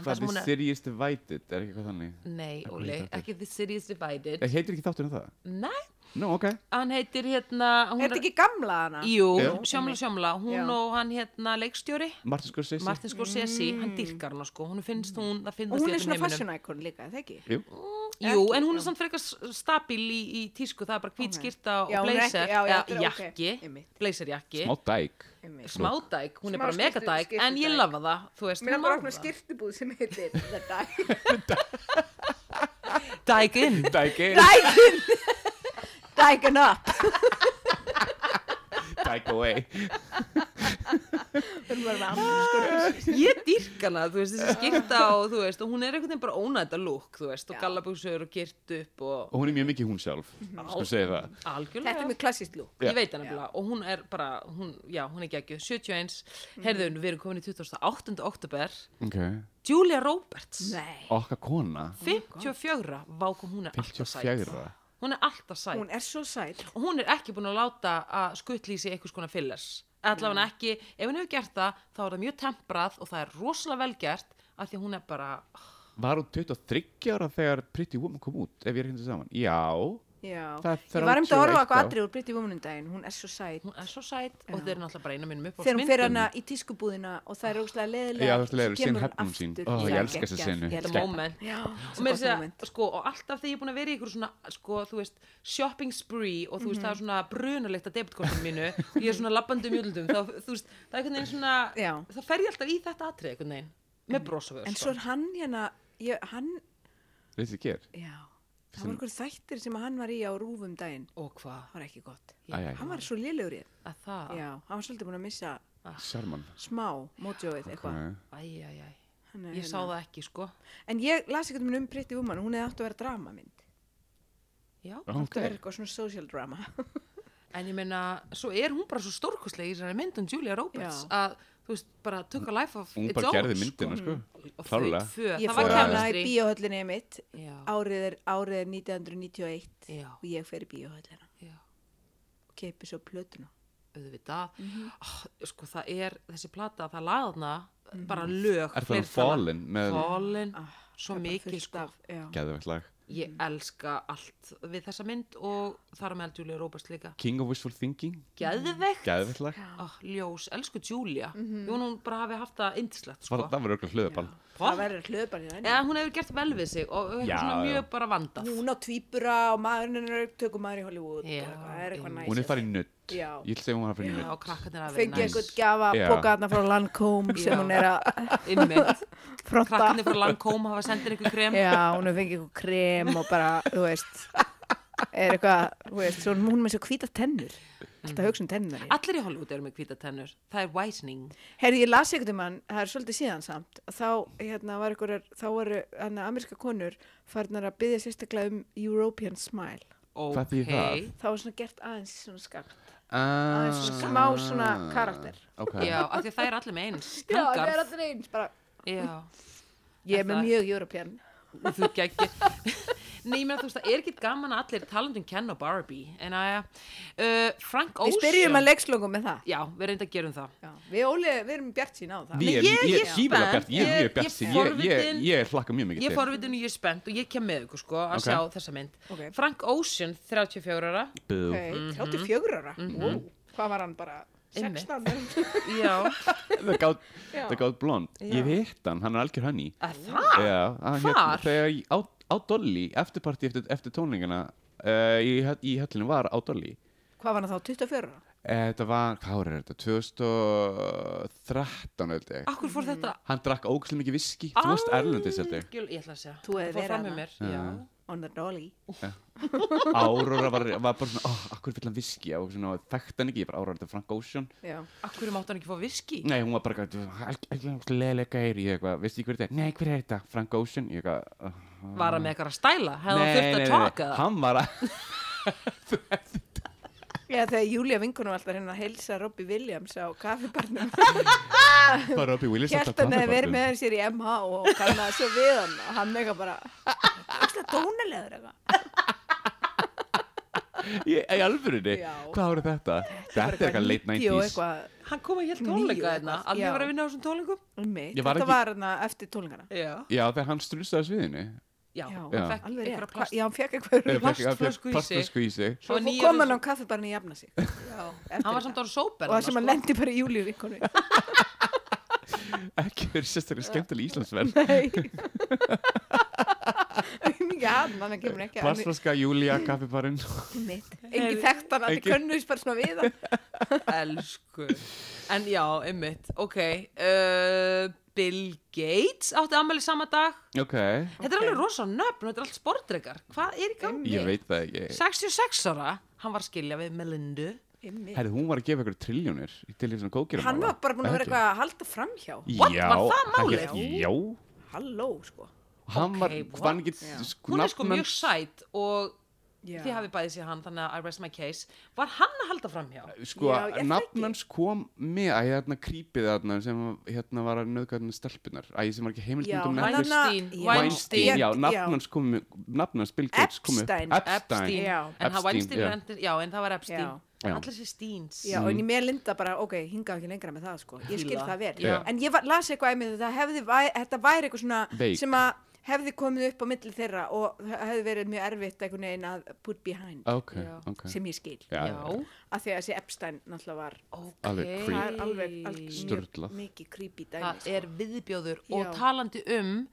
S2: Hvað
S1: -hmm.
S2: er Sirius Divided? Er ekki hvað þannig?
S1: Nei,
S2: Hvað
S1: Óli,
S2: heitir þetta?
S1: ekki The City is Divided
S2: Eh, Heitir ekki þátturinn það?
S1: Nei,
S2: Nú, ok.
S1: hann heitir hérna hún
S3: er þetta ekki gamla hana?
S1: Jú,
S2: Já.
S1: sjámla sjámla, hún
S3: Já.
S1: og hann hérna leikstjóri,
S2: Martin Scorsese.
S1: Martin Scorsese, hann dýrkar hana sko, hún finnst hún, það finnst
S3: Mm. og
S1: í
S3: hún er
S1: öllum
S3: svona
S1: heiminum.
S3: fashion icon líka, það ekki?
S2: Jú.
S1: Jú,
S3: Ekki,
S1: en hún
S3: já.
S1: er samt frekar s- stabil í, í tísku, það er bara hvít
S3: Ok.
S1: skyrta og
S3: Já, hún er ekki-
S1: blazer,
S3: já, já,
S1: eða
S3: þetta er ok.
S1: jakki,
S3: Einmitt.
S1: blazer jakki,
S2: Má dæk.
S3: Einmitt.
S1: smádæk, hún er
S3: Smá
S1: bara
S3: skyrtu-
S1: megadæk, en ég
S3: skyrtudæk.
S1: lafa það, þú veist, hún
S3: Mér er bara
S1: má
S3: að opna
S1: það.
S3: skirtubúð sem heitir The Dye
S1: Dæk inn,
S2: Dæk in.
S3: Dyken Dyken up
S2: Dæk away.
S3: Við erum bara með andri skurðis
S1: ég dýrka hana, þú veist, þessi skyrta og þú veist, og hún er einhvern veginn bara ónæta lúk, þú veist, og
S3: Já.
S1: gallabuxur og gyrt upp og
S2: Og hún er mjög mikið hún sjálf. Sko segja það.
S1: algjörlega.
S3: Þetta er mjög klassist lúk
S2: Já.
S1: Ég veit hann nefnilega og hún er bara, hún, já, hún er geggju, 71,
S3: Mhm.
S1: herðu, við erum komin í 28. oktober,
S2: Ok.
S1: Julia Roberts,
S3: Nei Oh
S2: Okka kona.
S1: 54, vákum hún er alltaf sætt,
S2: 54.
S1: hún er alltaf sætt.
S3: Hún er svo sæt
S1: og hún er ekki búin að láta að skuttlýsi einhvers konar fillers allavega ekki, ef hún hefur gert það þá er það mjög temprað og það er rosalega vel gert af því að hún er bara ah,
S2: Var hún 23 ára þegar Pretty Woman kom út, ef ég er ekki til saman? Já.
S3: Já
S2: Það er
S3: Ég var um þetta að horfa
S2: 31
S3: á eitthvað
S2: þá.
S3: atrið úr Britti Womanundaginn Hún er svo sæt
S1: hún er svo sætt og þetta er náttúrulega bara einu minnum upp á
S3: Þegar hún fer hana í tískubúðina og það er ógstlega
S2: Ah.
S3: leðilega
S2: Já, það er ógeðslega leiðileg, sín hefnum sín. Ó, ég elska þessa senu.
S1: þetta
S2: Skegg.
S1: moment
S3: Já,
S1: og,
S3: svo
S1: meira að
S3: gott
S1: segja,
S3: moment
S1: sko, og alltaf þegar ég er búin að vera í ykkur svona sko, þú veist, shopping spree og þú veist, það
S3: Mhm.
S1: er svona brunalegt að debitkortum mínu og ég er svona labbandi mjöldum þá, þú veist, það er einhvern veginn svona
S3: Já.
S1: það fer ég alltaf í þetta atrið einhvern veginn með brosaföður
S3: En svo er hann hérna ég, Hann,
S2: Reysi Gér.
S3: já Það voru einhver þættir sem hann var í á rúfum daginn
S1: og hvað,
S3: Það var ekki gott
S2: Æ, æ.
S3: Hann var svo lélegur í þeim.
S1: að það
S3: Já, hann var svolítið búin að missa
S2: Sjarman.
S3: smá mojoið eitthvað
S2: Ok.
S1: Æj, æj, æj,
S3: Hann er
S1: ég sá
S3: hérna-
S1: það ekki sko
S3: En ég las eitthvað um Pretty Woman, hún hefði átt að vera dramamynd.
S1: Já,
S3: Hún átt að
S2: Ok.
S3: vera eitthvað svona social drama.
S1: en ég meina, svo er hún bara svo stórkostlega í þessari mynd um Julia Roberts
S3: Já.
S1: að, þú veist, bara took a life of
S2: Hún
S1: its
S2: bara
S1: own
S2: gerði myndina, sko.
S1: og þau
S2: Klárlega.
S1: tvö,
S3: Ég
S1: það
S3: fór
S1: var
S2: bara-
S3: hana í
S1: kemastri
S3: bíóhöllinni mitt,
S1: Já.
S3: árið er, árið er 1991
S1: Já.
S3: og ég fer í bíóhöllina
S1: Já.
S3: og keipi svo plötuna.
S1: auðvitað mm
S3: Mhm.
S1: sko það er þessi plata, það laðna bara lög
S2: Er það
S1: fleirtala.
S2: Fallen með
S1: Fallen,
S3: Mhm. Ah,
S1: svo
S3: það er bara
S1: mikið
S3: fullt
S1: sko
S3: af- Mhm. já.
S2: geðvegt lag?
S1: ég elska allt við þessa mynd og þar á meðal Julia Roberts líka
S2: King of Wishful Thinking,
S1: geðveikt,
S2: geðveikt lag.
S1: Ah, ljós, elsku Julia
S3: Mhm.
S1: mm -hmm. hún bara hafi haft það indislegt sko.
S2: Var, það var auðvitað hlöðaball.
S3: Það verður hlöðbarn í henni.
S1: eða hún hefur gert vel við sig og hefur
S2: Já,
S1: svona
S2: já.
S1: mjög bara vandað
S3: Hún á tvíbura og maðurinn er tökum maður í Hollywood
S1: Já,
S3: og eitthvað, það er eitthvað
S1: einmitt.
S3: næs.
S2: Hún er farið nutt.
S3: Já.
S2: Ég ætla að segja hún var farið
S1: Já,
S2: nutt.
S1: og krakkarnir að
S3: Fengi
S1: vera
S3: eitthvað gafa
S2: Já.
S3: bókaðna frá Lancome
S1: Já.
S3: sem hún er að
S1: Einmitt.
S3: fronta.
S1: krakkarnir frá Lancome hafa sendir eitthvað krem
S3: Já, hún hefur fengið eitthvað krem og bara, þú veist er eitthvað, þú veist, svo hún er með svo hvíta tennur
S1: Mm.
S3: alltaf hugsa um tennur
S1: allir í Hollywood eru með hvíta tennur það er whitening
S3: Herði, ég las eitthvað um hann, það er svolítið síðan samt og þá, hérna, var ykkur þá voru, hann, ameríska konur farnar að byggja sérstaklega um European smile
S2: Hvað þýðir það?
S1: ok
S3: þá var svona gert aðeins svona skakt
S2: Ah.
S3: aðeins svona smá svona karakter
S2: Ok.
S1: já, af því að það er allir með eins
S3: Já, það er
S1: tangar
S3: allir eins, bara
S1: já,
S3: Ég er
S1: Er
S3: með
S1: það-
S3: mjög European
S1: og þú geggir Nei, ég meina þú veist, það er ekki gaman að allir talandum Ken og Barbie en að uh, Frank Ocean
S3: Við spyrjum að leikslöngum með það
S1: Já, við reynda að gerum það
S3: Já, við, Óli, við erum bjart sín á það
S2: Við
S1: Nei,
S2: erum-
S1: ég er
S2: Ég er
S1: ekki
S2: hífilega
S1: spennt.
S2: bjart, ég
S1: Ég-
S2: er mjög
S1: ég
S2: bjart sín. Ég, ég,
S1: forvitin.
S2: ég hlakka mjög mikið
S1: Ég er forvitin og ég er spennt og ég kem með ykkur sko að
S2: Ok.
S1: sjá þessa mynd
S3: Ok.
S1: Frank Ocean, 34 ára
S2: Bú.
S3: Ok, 34 ára wow. Hvað var hann bara
S1: Mhm. Einmitt.
S3: 16 ára?
S1: Já,
S2: Það gátt- það gátt blond. Ég hitt hann, hann er algjör hönni.
S1: að það
S2: Já, hann
S1: Hvar?
S2: hérna, þegar ég- á, á Dolly, eh, eftirparti eftir, eftir tónlingana uh, í, höll- í höllinu var á Dolly.
S3: Hvað var hann þá 24 ára?
S2: Eh, Þetta var, hvað ár er þetta? 2013 held ég
S1: Akkur fór þetta
S2: Hann drakk ógæslega mikið viski Þú varst
S1: Ah.
S2: erlendis held ég
S1: Gjöl, ég ætla að segja
S3: Þú hefði
S1: Þetta fór
S3: verið
S1: fram
S3: hana.
S1: með mér já.
S3: on the dolly
S2: Áróra var, var bara svona, oh, akkur vill hann viski og svona, þekkt hann ekki, ég bara Áróra, þetta er Frank Ocean
S3: já,
S1: Akkur máttu hann ekki fá viski
S2: Nei, hún var bara eitthvað leðlega er ég eitthvað, veistu ekki hver þetta er? Nei, hver er þetta? Frank Ocean? Ég eitthvað, uh,
S1: Var hann með eitthvað að stæla Hefði hann þurft að taka það
S2: hann var að
S3: já þegar Júlia vinkunum alltaf hérna að heilsa Robbie Williams á kaffibarnum
S2: bara Robbie Willis
S3: Kjartan hefði verið með sér í MH og kannaði svo við hann og hann eitthvað bara Það er dónalegur eitthvað
S2: Í, í alvörunni,
S3: Já.
S2: hvað voru þetta? Þetta er eitthvað late
S3: 90 og
S2: 90s
S3: eitthvað
S1: Hann kom að hjælt
S3: Níu
S1: tónleika
S3: eitthvað,
S1: þarna Alveg
S3: já.
S1: var að vinna á þessum tónleikum
S3: Einmitt,
S2: Ég var
S3: um Þetta
S2: ekki-
S3: var hérna eftir tólingana
S1: Já
S2: Já, þegar hann strunsaði sviðinu
S1: Já,
S3: Já,
S1: hann fekk
S3: alveg
S1: einhverja
S3: rétt, Hva-
S1: plast
S3: já, hann fekk eitthvað rugl.
S1: Plastflösku í sig.
S2: Plastflösku í sig
S1: Það
S3: Svo
S1: var
S3: fór-
S1: nýja
S3: kom hann á
S1: þessu-
S3: kaffibarni að jafna sig
S1: Hann var samt sko. ára sóper
S3: og það sem hann lendi bara í júli vinkonu
S2: Ekki verið sérstaklega skemmtileg íslensverð
S3: Nei Mikið hann, hann kemur ekki að
S2: Plastflöska, Júlia, kaffibarinn
S3: mitt Engi þekkt hann, allir
S2: Engin-
S3: könnus bara svona við hann
S1: Elsku En já, einmitt Ok uh, Bill Gates átti ammæli sama dag
S2: Ok,
S1: Þetta er alveg rosa nöfn, þetta er allt sportreikar Hvað er í gangi?
S2: ég veit það ekki
S1: 66 ára, hann var skilja við Melindu
S3: Einmitt.
S2: Herði, hún var að gefa ykkur triljónir til þess að kókir
S3: Hann var bara búin að vera eitthvað að halda framhjá
S1: What?
S2: Já,
S1: Var það
S2: hann
S1: málið?
S2: hélt- Já,
S3: Halló, sko
S2: hann var
S1: Ok, what?
S2: Hann get
S3: Já.
S2: sko,
S1: Hún er sko
S2: nafn
S1: mjög
S2: hans-
S1: sæt og
S3: Já.
S1: þið hafið bæðið sér hann Þannig að I rest my case Var hann að halda fram hjá?
S2: Sko,
S3: Já, ég þekki.
S2: nafnans kom með að hérna creepið þarna sem hérna var að nöðka hérna stelpunar að ég sem var ekki
S3: Já,
S2: heimildmyndum
S3: hann
S2: Netflix.
S1: Weinstein,
S3: Já.
S2: Weinstein,
S1: Weinstein
S2: já,
S3: Ég-
S2: nafnans kom nafnans Bill Gates kom upp
S3: Epstein.
S1: Epstein,
S3: Já.
S1: en það
S2: Epstein,
S1: Weinstein
S2: já.
S1: rendi, já, en það var Epstein
S3: Já.
S2: Já.
S1: Allir sér Steens
S3: Já, og en
S2: Mm.
S3: ég með Linda bara, ok, hinga ekki lengra með það, sko. Ég skil
S1: Fíla.
S3: það vel.
S1: Já.
S3: En ég var, las eitthvað einmitt, þetta hefði, væ- þetta væri eitthvað svona
S2: Veik.
S3: sem að hefði komið upp á milli þeirra og það hefði verið mjög erfitt einhvern veginn að put behind,
S2: Ok,
S1: Já.
S2: Ah, ok
S3: sem ég skil.
S2: Já,
S1: Já,
S2: já.
S3: Af því að þessi Epstein náttúrulega var,
S1: ok
S2: Alveg
S3: það er alveg, alveg
S2: Sturlað.
S3: mjög mikið creepy dæmi. sko.
S1: Það er viðbjóður
S3: Já. Mhm.
S1: og talandi um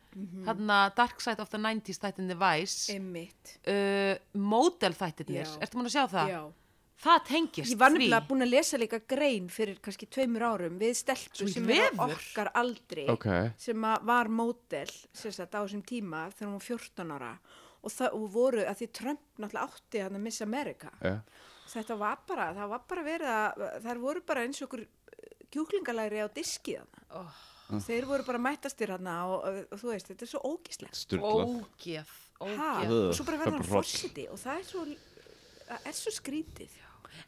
S1: þarna Dark Side of the 90s þættin The Vice
S3: Emmitt.
S1: uh, módel þættirnir,
S3: Já.
S1: ertu múin að sjá það?
S3: Já.
S1: Það tengist
S3: Ég var nefnilega búin að lesa líka grein fyrir kannski tveimur árum við stelpu
S1: Svo í
S3: sem er á
S1: vefur?
S3: okkar aldri
S2: Ok.
S3: sem að var mótel sagt, á þessum tíma þegar hún var 14 ára og það og voru að því Trump náttúrulega átti hann að missa Amerika
S2: já.
S3: þetta var bara, það var bara verið að þær voru bara eins og okkur eh, kjúklingalæri á diski þarna
S1: Oh.
S3: þeir voru bara mættastir hann og, og, og þú veist, þetta er svo ógislegt
S2: Sturlað
S1: Ógeð,
S3: Ha,
S1: ógeð
S2: Ugh,
S3: og svo bara
S2: það er
S3: verður hann
S2: bara hroll.
S3: fórsiti og það er svo, það er svo skrítið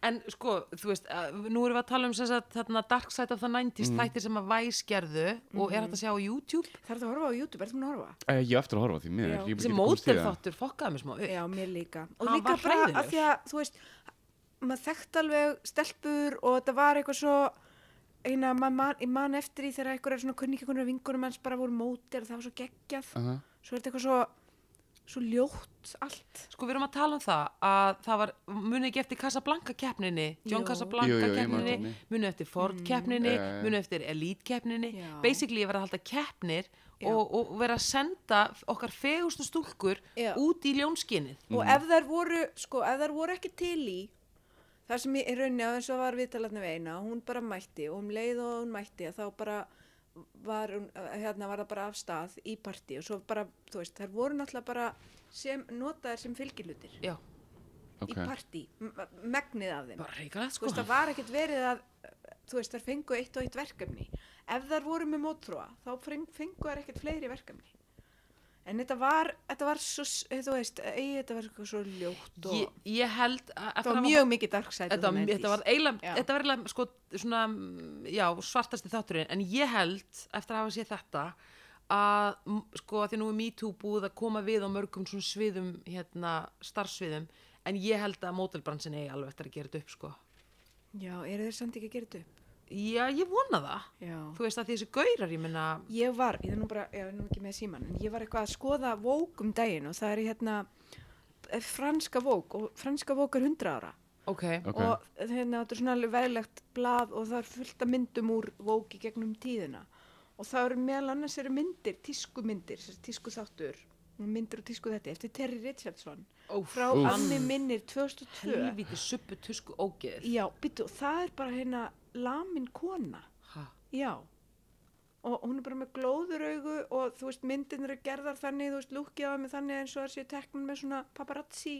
S1: En sko, þú veist, að, nú erum við að tala um sem sagt, þarna Dark Side of the 90s
S2: Mhm.
S1: þættir sem að Vice gerðu og er hægt að sjá á YouTube
S3: þarf það að horfa á YouTube, er það að horfa?
S2: Eh, Ég á eftir að horfa á því miður
S3: Já.
S2: Ég hef
S1: Þessi
S2: ekki komist í
S1: módel
S2: það.
S1: þáttur fokkaði mér smá upp
S3: Já, mér líka. Og
S1: Hann
S3: líka
S1: var
S3: bara
S1: hræðilegur.
S3: af því að, þú veist, maður þekkt alveg stelpur og þetta var eitthvað svo, eina, maður man, ég man eftir í þegar eitthvað er svona kunningakunnar vingunum hans bara voru mótir og það var svo geggjað.
S2: Aha.
S3: Svo er þetta eitthvað svo, svo ljótt allt.
S1: Sko, við erum að tala um það að það var, munið ekki eftir Casablanca keppninini, John
S3: Jú. Mm.
S1: Casablanca
S2: Jú, jú, ég man
S1: keppninini,
S2: eftir
S1: munið eftir Ford keppninni,
S2: Já, já, já.
S1: munið eftir Elite keppninni.
S3: Já.
S1: Basically, ég var að halda keppnir
S3: Já.
S1: og, og vera að senda okkar fegustu stúlkur
S3: Já.
S1: út í ljónskinnið.
S2: Mm.
S3: Og ef þær voru, sko, ef þær voru ekki til í, það sem ég raunni á eins og var viðtalarni við eina, hún bara mætti og um leið og hún mætti að þá bara var, hún, hérna, var það bara af stað í partí og svo bara, þú veist, þær voru náttúrulega bara sem, notaðar sem fylgilutir.
S1: Já,
S2: Ok.
S3: í partí, m- megnið af þeim
S1: bara reikalegt,
S3: þú
S1: sko.
S3: veist, það var ekkert verið að þú veist, þær fengu eitt og eitt verkefni ef þær voru með mótrúa þá feng- fengu þær ekkert fleiri verkefni en þetta var, þetta var svo, s- þú veist, ei, þetta var eitthvað svo ljótt og
S1: Ég, ég held að... eftir
S3: þetta
S1: að
S3: var
S1: hafa-
S3: mjög mikið darksæti
S1: Þetta, var- þetta var eiginlega,
S3: Já.
S1: þetta var eiginlega sko, svona, mm, já, svartasti þátturinn en ég held, eftir að hafa séð þetta að, m- sko, að því nú er MeToo búið að koma við á mörgum svona sviðum, hérna, starfsviðum en ég held að mótelbransin eigi alveg eftir að gera þetta upp, sko
S3: já, eru þeir samt ekki að gera þetta upp
S1: Já, ég vona það
S3: já.
S1: Þú veist að því þessi gaurar, ég meina
S3: ég var, ég er nú bara, ég er nú ekki með síman en ég var eitthvað að skoða vók um daginn og það er í hérna eh, franska vók og franska vók er 100 ára
S1: Ok,
S2: Ok.
S3: og hérna, þetta er svona alveg veglegt blað og það er fullt af myndum úr vóki gegnum tíðina og það eru meðal annars eru myndir, tískumyndir tísku þáttur, myndir og tísku þetta eftir Terry Richardson frá
S2: Úff.
S3: Anni minnir 2002
S1: Helvíti suppu tusku ógeð
S3: Já, býttu, það er bara hérna lamin kona
S1: ha.
S3: Já og hún er bara með glóðuraugu og þú veist myndin eru gerðar þannig þú veist lúkið á henni þannig eins og það séu teknum með svona paparazzi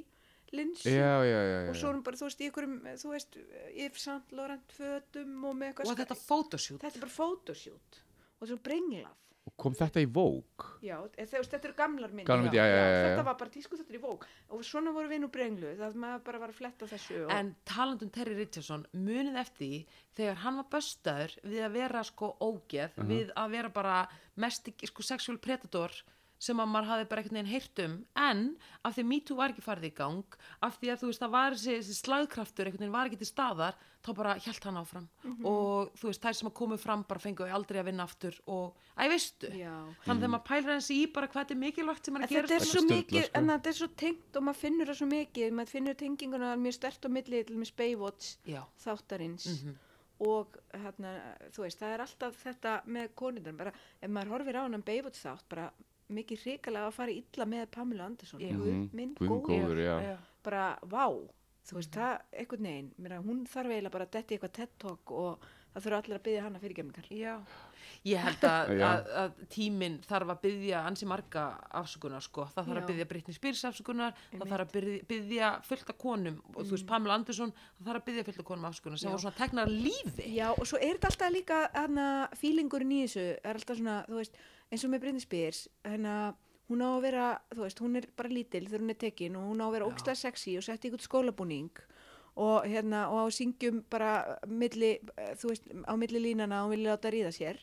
S3: linsu
S2: já, já, já, já.
S3: og svo er hún bara þú veist í ykkurum þú veist eh, Yves Saint Laurent fötum og með
S1: Og
S3: eitthvað sko-
S1: þetta photoshoot
S3: þetta er bara photoshoot og svo brenglað
S2: Og kom þetta í vók
S3: Já, eða, þú veist, þetta eru gamlar myndir
S2: Gamlar myndir, já, já, já, já.
S3: Þetta var bara tísku þetta er í vók og svona voru við nú brengluð það maður bara var að fletta þessu og,
S1: En talandum Terry Richardson munið eftir því þegar hann var böstaður við að vera sko ógeð
S3: Mhm.
S1: við að vera bara mest sko sexual predator sem að maður hafi bara einhvern veginn heyrt um en af því að MeToo var ekki farið í gang af því að þú veist það var þessi, þessi slagkraftur einhvern veginn var ekki til staðar þá bara hjælt hann áfram
S3: Mhm.
S1: og þú veist þær sem að komu fram bara fengu aldrei að vinna aftur og æ veistu
S3: Já.
S1: þannig þegar maður pælir hans í bara hvað þetta er mikilvægt sem maður
S3: En
S1: gerir
S3: þetta er
S2: Þetta
S3: svo
S2: er sturlað,
S3: mikið,
S2: sko.
S3: en þetta er svo tengt og maður finnur það svo mikið, maður finnur tenginguna mjög stert á milli til með Baywatch
S1: Já.
S3: þáttarins og hérna, þú veist, það er alltaf þetta með konundar, bara ef maður horfir á hann Baywatch þátt, bara mikið hrikalega að fara illa með Pamela Anderson
S1: Já.
S3: Guð
S2: Mhm.
S3: minn
S2: Guð minn
S3: góður,
S2: góður, já.
S1: Já.
S3: bara vá þú veist, það, einhvern veginn, mér að hún þarf eiginlega bara að detti eitthvað TED Talk og það þurfa allir að byggja hana fyrirgemmingar
S1: Já, ég held að,
S2: Já.
S1: að, að tíminn þarf að byggja ansi marga afsökunar sko, það þarf
S3: Já.
S1: að byggja Britney Spears afsökunar, það þarf að byggja- byggja fullt af konum og þú veist Pamela Anderson, það þarf að byggja fullt af konum afsökunar sem
S3: Mm. Já.
S1: var svona teknar lífi.
S3: Já, og svo er þetta alltaf líka hana, fílingurinn í þessu, er alltaf svona, þú veist, eins og með Britney Spears, hana, hún á að vera, þú veist, hún er bara lítil þegar hún er tekin og hún á að vera ógstlega sexy og setja ykkur skólabúning og hérna, og á syngjum bara milli, eh, þú veist, á milli línana og hún vilja láta ríða sér.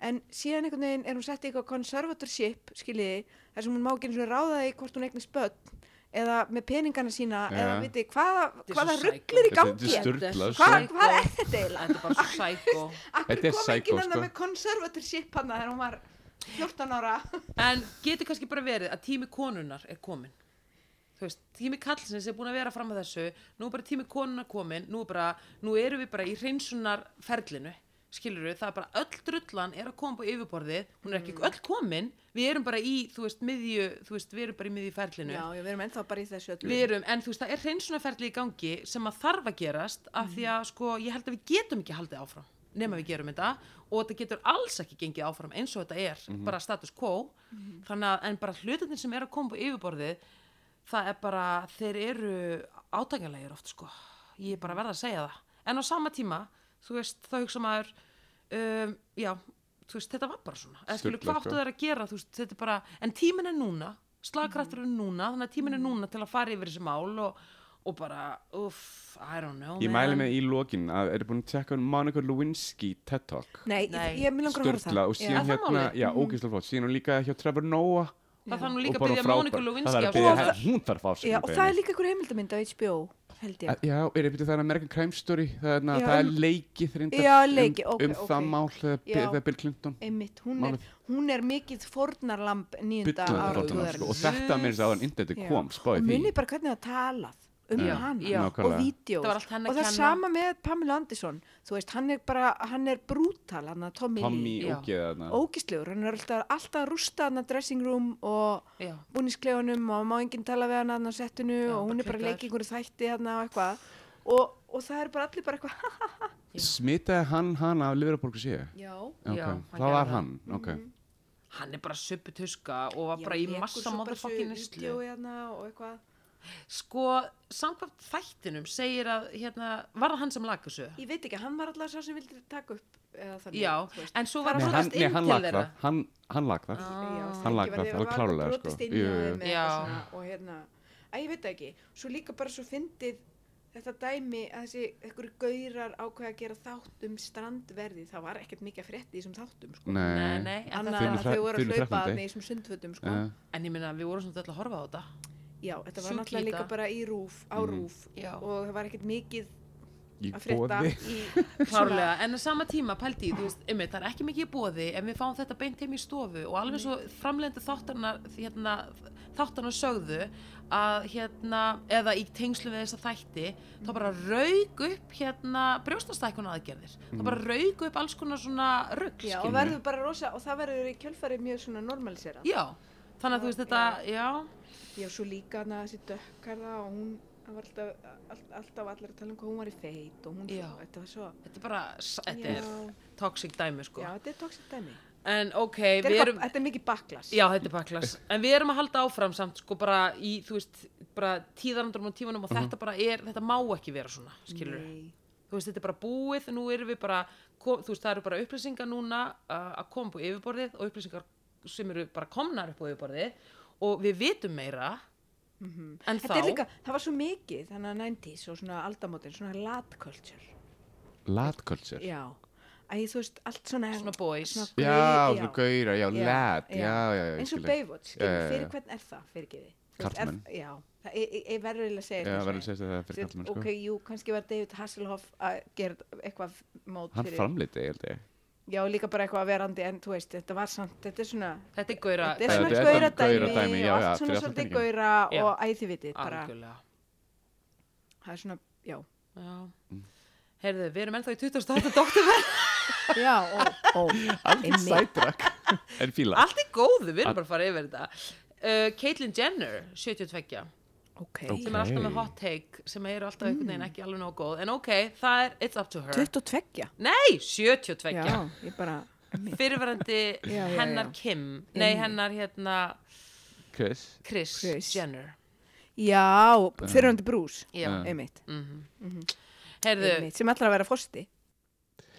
S3: En síðan einhvern veginn er hún sett í eitthvað conservatorship, skiljiði, þar sem hún má ekki eins og ráða því hvort hún eignist börn eða með peningana sína
S2: Já.
S3: eða viti hvaða,
S1: er
S3: hvaða
S1: svo
S3: rugglir
S2: Þetta
S3: í
S2: er-
S3: gangi
S2: þetta er sturlað,
S3: Hvað-
S2: sko.
S3: hvað er þetta eiginlega?
S1: Þetta er bara svo sko. sækó.
S2: Þetta
S3: Akkur
S2: er
S3: kom
S2: psycho,
S3: enginn annað
S2: sko.
S3: með conservatorship hann þegar hún var 14 ára
S1: En getur kannski bara verið að tími konunar er komin. Þú veist, tími kallsins er búin að vera fram að þessu, nú er bara tími konunar komin, nú, er bara, nú erum við bara í hreinsunarferlinu, skilur við, það er bara öll drullan er að koma á yfirborðið, hún er ekki öll komin, við erum bara í, þú veist, miðju, þú veist, við erum bara í miðju ferlinu.
S3: Já, já, við erum ennþá bara í þessu öllu
S1: Við erum, en þú veist, það er hreinsunarferli í gangi sem að þarf að gerast af því að, sko, ég held að við getum ekki haldið áfram nema við gerum þetta og þetta getur alls ekki gengið áfram eins og þetta er bara status quo þannig að, en bara hlutinir sem er að koma á yfirborðið það er bara, þeir eru átækjanlegir oft, sko ég er bara að verða að segja það en á sama tíma, þú veist, þá hugsa maður um, já, þú veist, þetta var bara svona eða skilu,
S2: Sturlað,
S1: hvað
S2: sko.
S1: áttu það er að gera þú veist, þetta er bara, en tíminn er núna slagkraftur er núna, þannig að tíminn
S3: Mm.
S1: er núna til að fara yfir þessi mál og, og bara uff, I don't
S3: Oh
S1: know
S2: Ég
S1: man.
S2: mæli með í lokin að er búin að tjekka um Monica Lewinsky TED Talk
S3: Nei,
S1: Nei.
S3: ég, ég vil langar að horfa á
S2: Sturla
S3: það Mhm.
S2: og síðan
S1: Er það
S2: hérna,
S1: málið?
S2: já, ógeðslega flott síðan hún líka hjá Trevor Noah
S1: það þarf nú
S2: og
S1: líka að
S2: bara
S1: byggja
S2: frábær.
S1: Móniku
S2: Það
S1: Lewinsky
S2: þarf
S1: á
S2: að byggja
S1: sko.
S2: henn- hún þarf að fá
S3: já,
S2: sig
S3: Og það er líka einhver heimildamind á HBO held ég
S2: Já, er þetta það er American Crime Story það er, na,
S3: Já,
S2: það er
S3: um-
S2: leikið reyndar
S3: Já, leikið,
S2: um,
S3: ókei,
S2: um
S3: ókei.
S2: það mál þegar
S3: Já.
S2: þegar Bill Clinton
S3: Einmitt, hún er,
S2: Málið.
S3: hún er mikið fornarlamb nýjunda
S2: byllaði
S3: ára
S2: þáttan hans, sko, og
S1: Guðarins.
S2: þetta mér sá hann
S3: Já.
S2: internetið kom
S3: Og
S2: spáði því
S3: munið bara hvernig það talað um
S2: Já,
S3: hana
S1: já.
S3: og
S2: nákvæmlega.
S3: vídeos
S1: Það var allt henni að
S3: og það
S1: kenna.
S3: sama með Pamela Anderson þú veist, hann er bara, hann er brútal hann að Tommy,
S2: Tommy
S1: Já.
S2: ógeða þarna
S3: ógistlegur, hann er alltaf, alltaf að rústa hann að dressing room og
S1: Já.
S3: búninsklefunum og má enginn tala við hann hann á settinu og
S1: bara
S3: hún er bara að
S1: klikkar.
S3: leika í einhverju þætti hann og eitthvað og, og það er bara allir bara eitthvað
S2: smitaði hann hann af Liverpool síðu
S3: já,
S1: Já, hann
S2: það
S1: gerði
S2: var
S1: það.
S2: hann ok
S3: Mhm.
S1: hann er bara supputuska og var bara í massa motherfucking neslu
S3: hérna og eitthvað
S1: sko, samkvæmt þættinum segir að, hérna, var það hann sem laga þessu?
S3: ég veit ekki, hann var alltaf sá sem vildi taka upp eða þannig
S1: Já,
S3: þú veist.
S1: en svo var
S2: Nei,
S1: hann
S2: hann,
S1: brotast
S2: nei,
S1: inn
S2: hann
S1: til
S2: lag
S1: þeirra
S2: það, hann, hann lag það.
S3: Já, það
S2: Hann
S3: ekki
S2: lagði
S3: verið-
S2: það, alveg
S3: var
S2: klárlega,
S3: brotist
S2: sko.
S3: inn hjá
S2: Jú, jú,
S3: þeim
S2: jú.
S3: með
S1: Já.
S3: eitthvað svona og hérna, að ég veit það ekki svo líka bara svo fyndið þetta dæmi að þessi ykkur gaurar ákveða að gera þátt um strandverði það var ekkert mikið að frétti í þessum þáttum sko.
S1: Nei,
S2: Nei,
S1: nei, en,
S3: annað
S1: þetta,
S2: Þau
S3: en
S2: eru
S3: að
S2: þre-
S3: þau
S2: þau
S3: voru að
S2: eru
S3: hlaupa
S2: 13
S3: þarna í þessum sundfötum sko.
S2: Eh,
S1: en ég minna, við vorum svona öll að horfa á þetta
S3: já, þetta var
S1: Sjúk
S3: náttúrulega
S1: líka.
S3: líka bara í rúf á rúf
S1: Já.
S3: og það var ekkert mikið
S2: Mm. í
S3: að frétta
S2: boði.
S3: í
S1: Klárlega, en á sama tíma pældi, ég, þú veist, ymmið, það er ekki mikið í bóði en við fáum þetta beint heim í stofu og
S3: Mm.
S1: alveg svo framlegndi þáttarna hérna, þáttarna sögðu að hérna, eða í tengslu við þessa þætti, þá bara
S3: Mm.
S1: rauk upp hérna brjóstastækuna aðgerðir þá
S3: Mm.
S1: bara rauk upp alls konar svona rugg
S3: já, og verður bara rosa og það verður í kjölfari mjög svona normalisera
S1: Já, þannig að þú veist þetta, já,
S3: Ég var svo líka hana þessi dökkarða og hún það var alltaf, all, alltaf allir að tala um hvað hún var í feit og hún,
S1: Já.
S3: þetta var svo,
S1: þetta er bara, s- þetta
S3: Já.
S1: er toxic dæmi, sko.
S3: já, þetta er tóksið dæmi.
S1: En ok,
S3: Þetta
S1: við
S3: er,
S1: erum,
S3: erum, þetta er mikið baklas.
S1: já, þetta er baklas, en við erum að halda áfram samt, sko, bara í, þú veist, bara tíðarandrum og tímanum og þetta bara er, þetta má ekki vera svona, skilur
S3: Mhm. Nei.
S1: þú veist, þetta er bara búið, nú erum við bara kom, þú veist, það eru bara upplýsingar núna uh, að koma upp á yfirborðið og upplýsingar sem eru bara komnar upp á yfirborðið og við vitum meira en
S3: Mhm. Þetta er
S1: þá
S3: líka, það var svo mikið, þannig að 90s og svona aldamótin, svona lat culture.
S2: Latkultur.
S3: Já. Æ, þú veist, allt svona...
S1: Svona boys.
S3: svona
S2: Já,
S3: gau-
S2: svona gauðra, já, lad, já, já, já. ég
S3: Eins og
S2: skil.
S3: Baywatch, skilur,
S2: Já, já, já.
S3: fyrir hvern er það, fyrir ekki
S2: Karlmenn.
S3: Já, það er- ég- ég verður eiginlega að segja
S2: Já,
S3: þetta,
S2: verður að
S3: sko.
S2: segja þetta fyrir
S3: Þú veist,
S2: kallmenn, sko.
S3: Ok, jú, kannski var David Hasselhoff að gera eitthvað mót
S2: Hann
S3: fyrir
S2: framliti, ég held ég.
S3: Já, líka bara eitthvað verandi, en þú veist, þetta var samt, þetta er svona
S1: þetta er gauðra
S3: Þetta er svona
S2: Þetta er
S3: gauðra
S2: þetta
S3: dæmi,
S2: gauradæmi, já, já,
S3: og allt svona
S2: fyrir allan
S3: svolítið
S2: peninginn.
S3: gauðra
S1: Já.
S3: og æðivitið bara,
S1: algjörlega
S3: það er svona, já
S1: já.
S2: Mm.
S1: heyrðu, við erum ennþá í 28. doktorverð
S3: Já, ó, ó,
S2: Aldrei sætrak. En fíla.
S1: allt er góðu, við erum bara að fara yfir þetta uh, Caitlyn Jenner, 72
S3: ok
S1: sem er alltaf með
S2: Ókei.
S1: hot take sem eru alltaf einhvern veginn
S3: Mm.
S1: ekki alveg nóg góð en ok, það er, it's up to her
S3: 22,
S1: nei, 72
S3: já, ég bara
S1: fyrirverandi
S3: já, Mm. já.
S1: hennar Kim nei hennar hérna
S2: Chris.
S1: Chris,
S3: Kris.
S1: Jenner
S3: Já, fyrirhandi brús,
S1: já,
S3: einmitt,
S1: Mhm. heyrðu
S3: Mhm. einmitt sem ætlar að vera fosti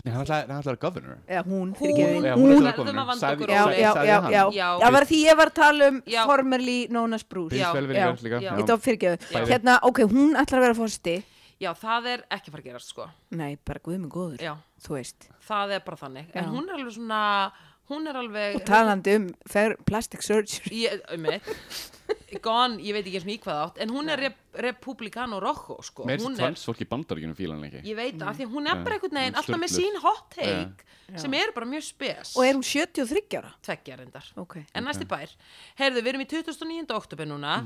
S2: Nei, hann ætlaði að vera governor.
S3: eða hún,
S1: Hún-
S3: fyrirgefiðin,
S2: Já,
S1: hún-
S2: hún
S1: Verðum
S2: ætlaði
S1: að vanda
S2: Sagði-
S1: okkur
S3: já,
S1: rólega.
S3: já,
S2: sagði
S3: já,
S2: hann.
S3: já,
S1: Já.
S3: það var því ég var að tala um
S1: Já.
S3: formerly known as Bruce
S2: Prins
S1: Já,
S2: velvinningar líka,
S1: já.
S2: já.
S3: Ég tóf fyrirgefið,
S2: Bæði.
S3: hérna, ok, hún ætlar að vera fórsti
S1: já, það er ekki að fara að gerast sko
S3: nei, bara guðminn góður,
S1: já,
S3: þú veist
S1: það er bara þannig en
S3: Já.
S1: hún er alveg svona hún er alveg
S3: og talandi um fer, plastic surgery
S1: ég, um gone, ég veit ekki eins og í hvað átt en hún er rep republikan og rojo sko.
S2: Mér
S1: hún
S2: finnst
S1: er,
S2: transfólk í bandaríkjunum fíla hann ekki.
S1: ég veit að því að hún er
S2: Já,
S1: bara einhvern
S2: hún er
S1: veginn alltaf með
S2: sturluð.
S1: sín hot take sem er bara mjög spes
S3: og er hún 73 ára
S1: tveggja reyndar
S3: ok,
S1: en næsti bær, heyrðu, við erum í 2009. oktober núna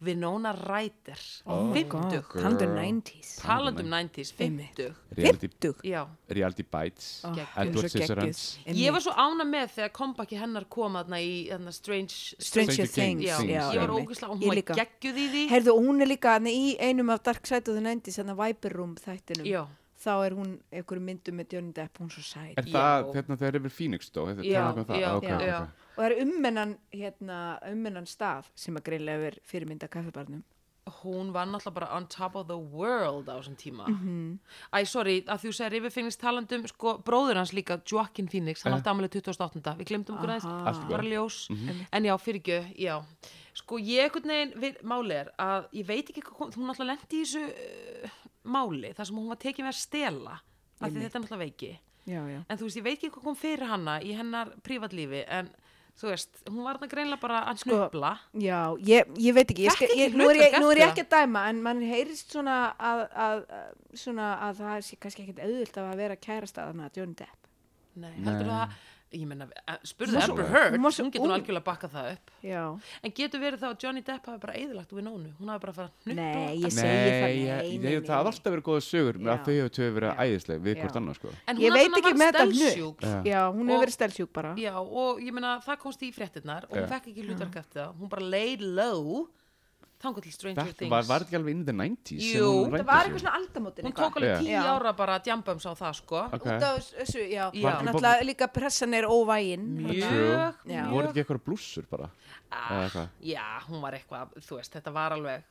S1: Winona Ryder
S3: oh
S1: 50,
S3: talandi um 90s
S1: talandum 90s, 50
S2: Reality,
S3: 50
S1: já,
S2: reality Bites.
S3: Ah,
S1: Geggjuð.
S2: Edward
S3: svo geggjuð.
S2: Scissorhands.
S1: ég var svo ána með þegar kompaki hennar kom aðna í þarna Strange
S3: Stranger
S2: Stranger
S3: Things
S2: Things,
S1: já,
S2: Things,
S1: ég var
S2: einmitt.
S1: ógislega og
S3: Ég
S1: hún var
S3: líka.
S1: geggjuð í því
S3: Heyrðu, og hún er líka þarna í einum af Dark Side of the 90s, þannig að Viper Room þættinum
S1: já,
S3: þá er hún einhverjum myndum með Johnny Depp, hún er svo sæt
S1: Já.
S2: Er það, þetta þegar yfir Phoenix dó? Þetta er
S1: Já,
S2: talað um það?
S1: já,
S2: Ok,
S1: já,
S2: ok.
S1: já.
S3: og það er ummennan hérna, ummennan stað sem að greinlega er fyrirmynda kaffibarnum
S1: hún var náttúrulega bara on top of the world á þessum tíma æ, sorry, að þú segir yfirfengnis talandum, sko, bróður hans líka Joaquin Phoenix, hann átti amalið 2008 við glemdum okkur aðeins,
S2: Eh. Allt í Mhm. góðu.
S1: bara ljós en já, fyrirgjöð, já sko, ég einhvern veginn, við, máli er að ég veit ekki, hvað kom- hún náttúrulega lendi í þessu uh, máli, þar sem hún var tekin með að stela, af því þetta er náttúrulega veiki
S3: já, já.
S1: en þú veist, ég veit ekki hvað kom fyrir hanna í hennar prívatlífi, en þú veist, hún var þarna greinlega bara að hnupla
S3: Já, ég, ég veit ekki, ég skal,
S1: Þekki ekki
S3: ég, nú, er ég,
S1: hlutverk
S3: nú er ég
S1: eftir
S3: ekki að dæma en mann heyrist svona að, að, að, svona að það sé kannski ekkit auðvilt að vera kærasta þarna að Johnny Depp
S1: Nei, heldur það, ég menna, spurðu
S2: var svo-
S1: Amber Heard,
S3: hún var svo
S1: hún getur nú
S3: ung.
S1: algjörlega bakkað það upp.
S3: Já,
S1: En getur verið þá að Johnny Depp hafi bara eðilagt Winónu, hún hafi bara farið að hnupla.
S3: nei, ég segi það
S2: Nei, ég- ég- það hafa alltaf verið góða sögur með
S3: Já.
S2: að þau hefur tvö verið
S3: Já.
S2: æðisleg við hvort
S3: Já.
S2: annað sko.
S1: En
S3: Ég
S1: hún
S3: veit
S1: allavega
S3: ekki
S1: var
S3: með þetta
S1: stelsjúk.
S3: hnupp Já, hún
S1: Og-
S3: hefur verið stelsjúk bara
S1: Já, og ég menna, það komst í fréttinnar og hún
S2: Já.
S1: fekk ekki hlutverk eftir það. Hún bara laid low, þangur til Stranger
S2: Þetta
S1: Things.
S2: var, var þetta ekki alveg in the 90s sem
S1: Jú.
S2: hún
S3: Það
S2: ræddi
S3: var
S2: sig?
S3: eitthvað svona aldamótin
S1: Hún tók alveg
S2: Já.
S1: tíu
S3: Já.
S1: ára bara að djambums á það, sko.
S2: Ok.
S3: Út af þessu,
S1: Já.
S3: já, já. náttúrulega líka pressan er óvægin
S2: True.
S1: Mjög,
S3: Já.
S2: Voru þetta ekki eitthvað blússur bara? Eða
S1: mjög.
S2: eitthvað?
S1: Ah, Já, hún var eitthvað, þú veist, þetta var alveg,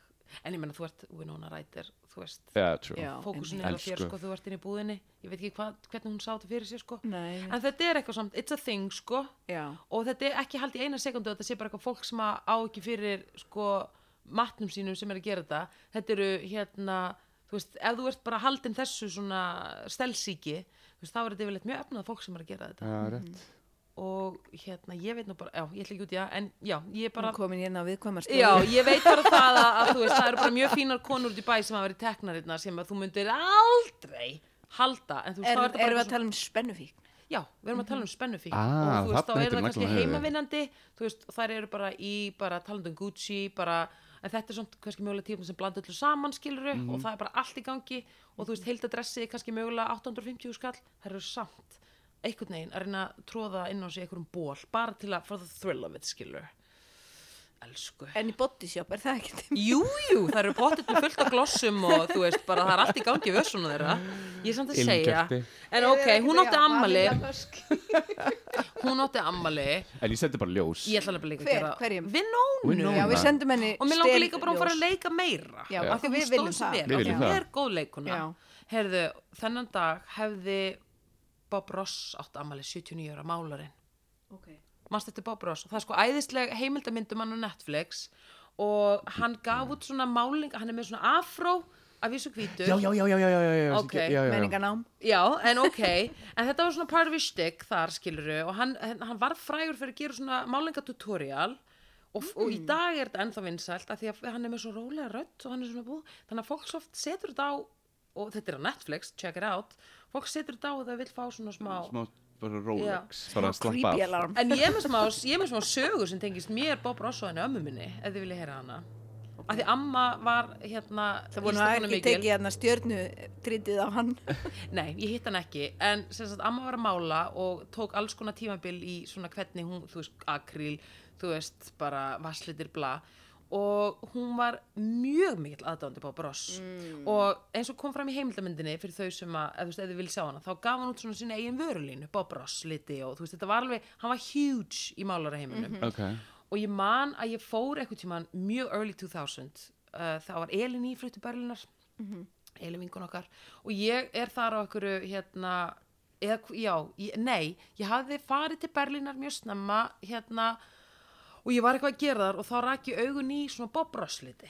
S1: en ég menna, þú ert Winona Ryder, þú veist,
S2: Já, true.
S3: Já.
S1: fókusin
S2: einmitt.
S1: er á þér
S2: Elsku.
S1: sko, þú ert inn í búðinni ég veit ekki hva, hvernig hún sá þetta fyrir sér sko
S3: Nei,
S1: en þetta er eitthvað samt, it's a thing sko
S3: já,
S1: og þetta er ekki haldið í eina sekundu þetta sé bara eitthvað fólk sem að á ekki fyrir sko matnum sínum sem er að gera þetta þetta eru hérna þú veist, ef þú ert bara haldin þessu svona stelsíki, þú veist, þá er þetta yfirleitt mjög efnað fólk sem er að gera þetta
S2: Já, rétt.
S3: Mm.
S1: og hérna, ég veit nú bara, já, ég ætla ekki út í það en já, ég bara
S3: hún komin hérna á viðkvæmast
S1: Já, ég veit bara það að, að þú veist, það eru bara mjög fínar konur út í bæ sem hafa verið teknarinnar sem að þú myndir aldrei halda, en þú veist,
S3: Er,
S1: þá er þetta
S3: erum við
S1: bara
S3: að tala um spennufík?
S1: Já, við erum að tala um spennufík
S2: Ah,
S1: og þú veist, þá eru það
S2: þarna hittir naglann á
S1: kannski
S2: höfuðið.
S1: heimavinnandi þú veist, og þær eru bara í bara talandi um Gucci, bara en þetta er svona kannski mögulega tífum sem blanda öllu saman skiluru
S2: Mhm.
S1: og það er bara allt í gangi og þú veist, heildadressið er kannski mögulega 850 skall, þær eru samt einhvern veginn að reyna að tróða inn á sig einhverjum ból, bara til að, for the thrill of it skiluru
S4: elsku
S3: En í bodyshop er það ekkert
S1: Jú, jú, það eru pottir með fullt af glossum og þú veist bara það er allt í gangi við össuna þeirra Ég er samt að segja
S2: Ilmgjalti.
S1: En ok, hún átti ammali
S3: Hver,
S1: Hún átti ammali
S2: En ég sendi bara ljós
S1: Ég ætla nefnilega líka að
S3: Hver-
S1: gera
S3: hverjum?
S1: Vinónu
S2: Winona.
S3: Já, við sendum henni
S1: Og mér langar
S3: stel-
S1: líka bara að hún fara
S3: ljós.
S1: að leika meira
S3: Já,
S1: Af
S3: af því
S1: því
S3: við
S1: hún stóð
S3: viljum
S1: sig
S3: það.
S1: vel
S2: Við
S1: af því
S2: viljum
S1: Hún
S2: það.
S1: er góð leikuna
S3: Já.
S1: Herðu, þennan dag hefði Bob Ross átt ammali 79 ára málarinn
S3: Ok.
S1: Manstu eftir Bob Ross, það er sko æðisleg heimildamyndum hann á Netflix og hann gaf út svona máling, hann er með svona afró af vísu hvítu
S2: já, já, já, já, já, já, já, já,
S1: Ok,
S2: já, já, já.
S3: Menninganám
S1: Já, en ok, en þetta var svona part of his stick þar skiluru og hann, hann hann var frægur fyrir að gera svona málingatutorial og, og
S3: Mm.
S1: í dag er þetta ennþá vinsælt af því að hann er með svo rólega rödd og hann er svona búið, þannig að fólk svo oft setur þetta á og þetta er á Netflix, check it out fólk setur þetta á og það vil fá svona smá,
S2: smá bara Rolex bara að slappa
S3: Creepy
S2: af
S3: alarm
S1: en ég er með smá, ég er með smá sögur sem tengist mér Bob Ross og henni ömmu minni, ef þið viljið heyra hana af því amma var hérna
S3: Það voru
S1: listakona
S3: það ekki
S1: mikil.
S3: tekið hérna stjörnu trítið á hann
S1: Nei, ég hitt hann ekki, en sem sagt amma var að mála og tók alls konar tímabil í svona hvernig hún, þú veist, akríl, þú veist, bara vasslitir bla og hún var mjög mikill aðdándi Bob Ross og eins og kom fram í heimildamyndinni fyrir þau sem að, eða þú veist, ef þið vil sjá hana þá gaf hann út svona sína eigin vörulínu, Bob Ross liti og þú veist, þetta var alveg, hann var huge í málaraheiminum
S2: ok,
S1: og ég man að ég fór eitthvað tíman mjög early 2000 uh, þá var Elin í fluttu Berlinar Elin vingun okkar og ég er þar á einhverju hérna eða, hv- já, ég, nei, ég hafði farið til Berlinar mjög snemma hérna og ég var eitthvað að gera þar og þá rak ég augun í svona bobrosliti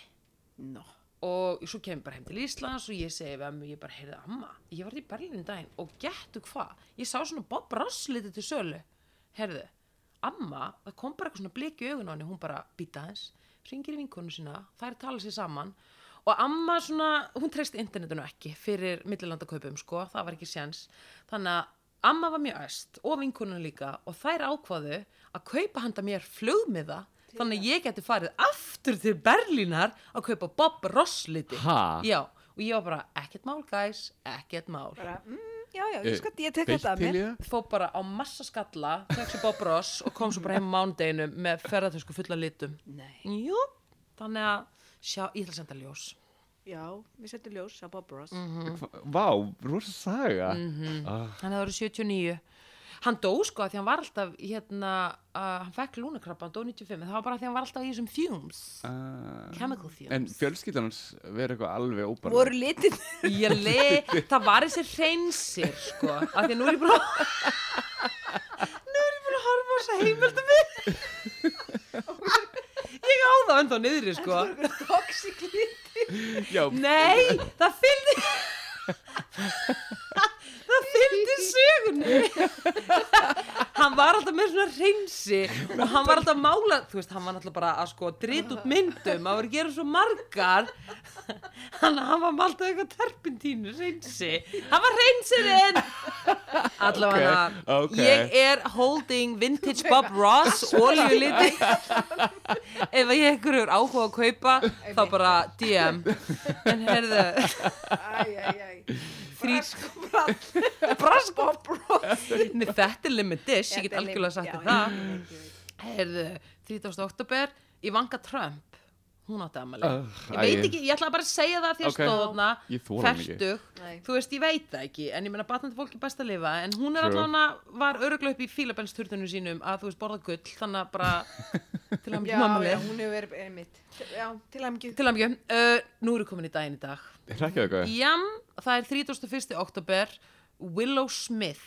S3: no.
S1: og svo kem ég bara heim til Íslands og ég segi við amma, ég bara heyrði amma ég var í Berlín um daginn og gettu hvað ég sá svona Bob Ross litið til sölu heyrðu, amma það kom bara eitthvað svona blik í augun á henni hún bara býta hans, ringir í vinkonu sína þær tala sér saman og amma svona, hún treysti internetinu ekki fyrir millilandakaupum sko, það var ekki séns þannig að amma var mjög æst og vinkonuna líka og þær ákvaðu að kaupa handa mér flugmiða þannig að ég geti farið aftur til Berlínar að kaupa Bob Ross liti
S2: Ha?
S1: Já, og ég var bara, ekkert mál guys, ekkert mál
S3: bara, mm, Já, já, ég, skal, ég tek
S2: Beitt
S3: þetta að
S2: Eh, til í
S3: mér
S2: það?
S1: Fó bara á massa skalla, tek sér Bob Ross og kom svo bara heim á mánudeginu með ferðartösku fulla litum
S3: Nei.
S1: Jú, þannig að sjá, ég ætla að senda ljós
S3: Já, við setjum ljós á Bob Ross
S1: Mhm.
S3: Mm.
S2: vá, rosa saga
S3: Mhm.
S2: Ah,
S1: Þannig að það eru 79 Hann dó sko að því hann var alltaf hérna, uh, hann fekk lúnakrabba, hann dó 95 en það var bara að því hann var alltaf í þessum fumes
S2: ah.
S1: chemical fumes
S2: en fjölskyldan hans verið eitthvað alveg óbara
S3: Voru litin
S1: Ég le, það var þessi hreinsir sko, af því að nú er ég búin að nú er ég búin að horfa á þess að heimildu mig ég á það ennþá niðri sko
S3: Toxic litin
S2: já,
S1: nei, það fylgdi það fylgdi sögunni hann var alltaf með svona hreinsi og hann var alltaf að mála þú veist, hann var alltaf bara að sko drita út myndum hann var að gera svo margar hann, hann var með alltaf eitthvað terpentínu hreinsi hann var hreinsirinn allavega
S2: Ok, ok.
S1: ég er holding vintage Bob Ross oljuliti ef að ég ykkur er áhuga að kaupa þá bara DM en heyrðu,
S3: Æ, æ, æ
S1: þrýr
S3: Brask
S1: brask
S3: Bob Ross
S1: Nei, þetta er limit dish, ég get
S3: Þetta er
S1: algjörlega
S3: lim-
S1: sagt
S3: já,
S1: þér það
S3: já, ég veit, ég veit.
S1: Herðu, 30. oktober Ivanka Trump, hún átti ammali
S2: Ah,
S1: Ég veit
S2: æi.
S1: ekki, ég ætla bara að segja það því að
S2: Ok.
S1: stóð þarna
S2: Ég þoli hann ekki.
S1: fertug.
S3: Nei.
S1: Þú veist, ég veit það ekki En ég meina batnandi fólk er best að lifa En hún er
S2: True.
S1: allan að var öruglega upp í fílabensturðunum sínum Að þú veist, borða gull Þannig að bara til að
S3: Já,
S1: mjög ammali
S3: já, hún hefur verið einmitt Já, til að mikið
S1: Til að mjög, uh, nú erum við komin í daginn í dag
S2: hrekkja eitthvað
S1: Jam, það er 31. oktober Willow Smith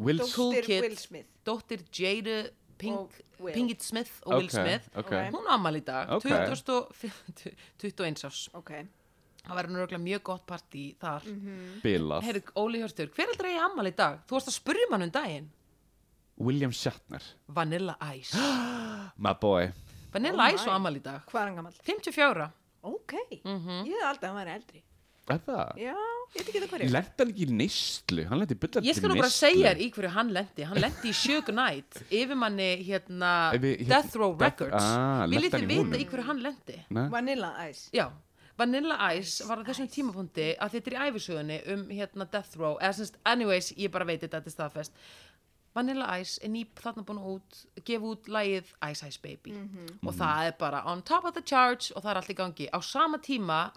S2: Will
S1: Cool
S3: Dóttir
S1: Kid.
S3: Will Smith
S1: dóttir Jada Pink,
S3: Og Will.
S1: Pinkett Smith og Will
S2: Ok,
S1: Smith
S2: ok.
S3: Ok.
S1: hún ámali í dag
S2: Ok.
S1: 20, 21 árs
S3: Ok
S1: það verður nörgulega mjög gott partí þar
S3: Mhm.
S1: mm -hmm.
S2: Bilað
S1: Herru, Óli Hjörstur, hver heldur að ég ammali í dag? Þú varst að spurja mann um daginn
S2: William Shatner
S1: Vanilla Ice
S2: my boy
S1: Vanilla
S3: Oh
S1: Ice
S3: my.
S1: og ammali í dag
S3: Hvað er hann gamall?
S1: 54
S3: Ok
S1: Mhm.
S3: Ég hefði aldrei að hann væri eldri
S2: er það?
S3: Já, ég veit ekki það hverju
S2: Lert hann ekki í neyslu, hann lenti byrjað
S1: Ég skal nú bara segja þér í hverju hann lendi Hann lendi í Suge Knight Yfirmanni hérna,
S2: Ef við- hérna-
S1: Death Row
S2: Death-
S1: Records
S2: Ah,
S1: Viljið
S2: lenti
S1: þið
S2: hann í
S1: vita
S2: honum?
S1: í hverju hann lendi?
S3: Vanilla Ice
S1: Já, Vanilla Ice var á þessum tímapunkti að þetta er í æfisögunni um hérna Death Row, eða semst, anyways, ég bara veit þetta, þetta er staðfest Vanilla Ice er ný þarna búin að út, gefa út lægið Ice Ice Baby og það er bara on top of the charts og það er allt í gangi. Á sama tíma,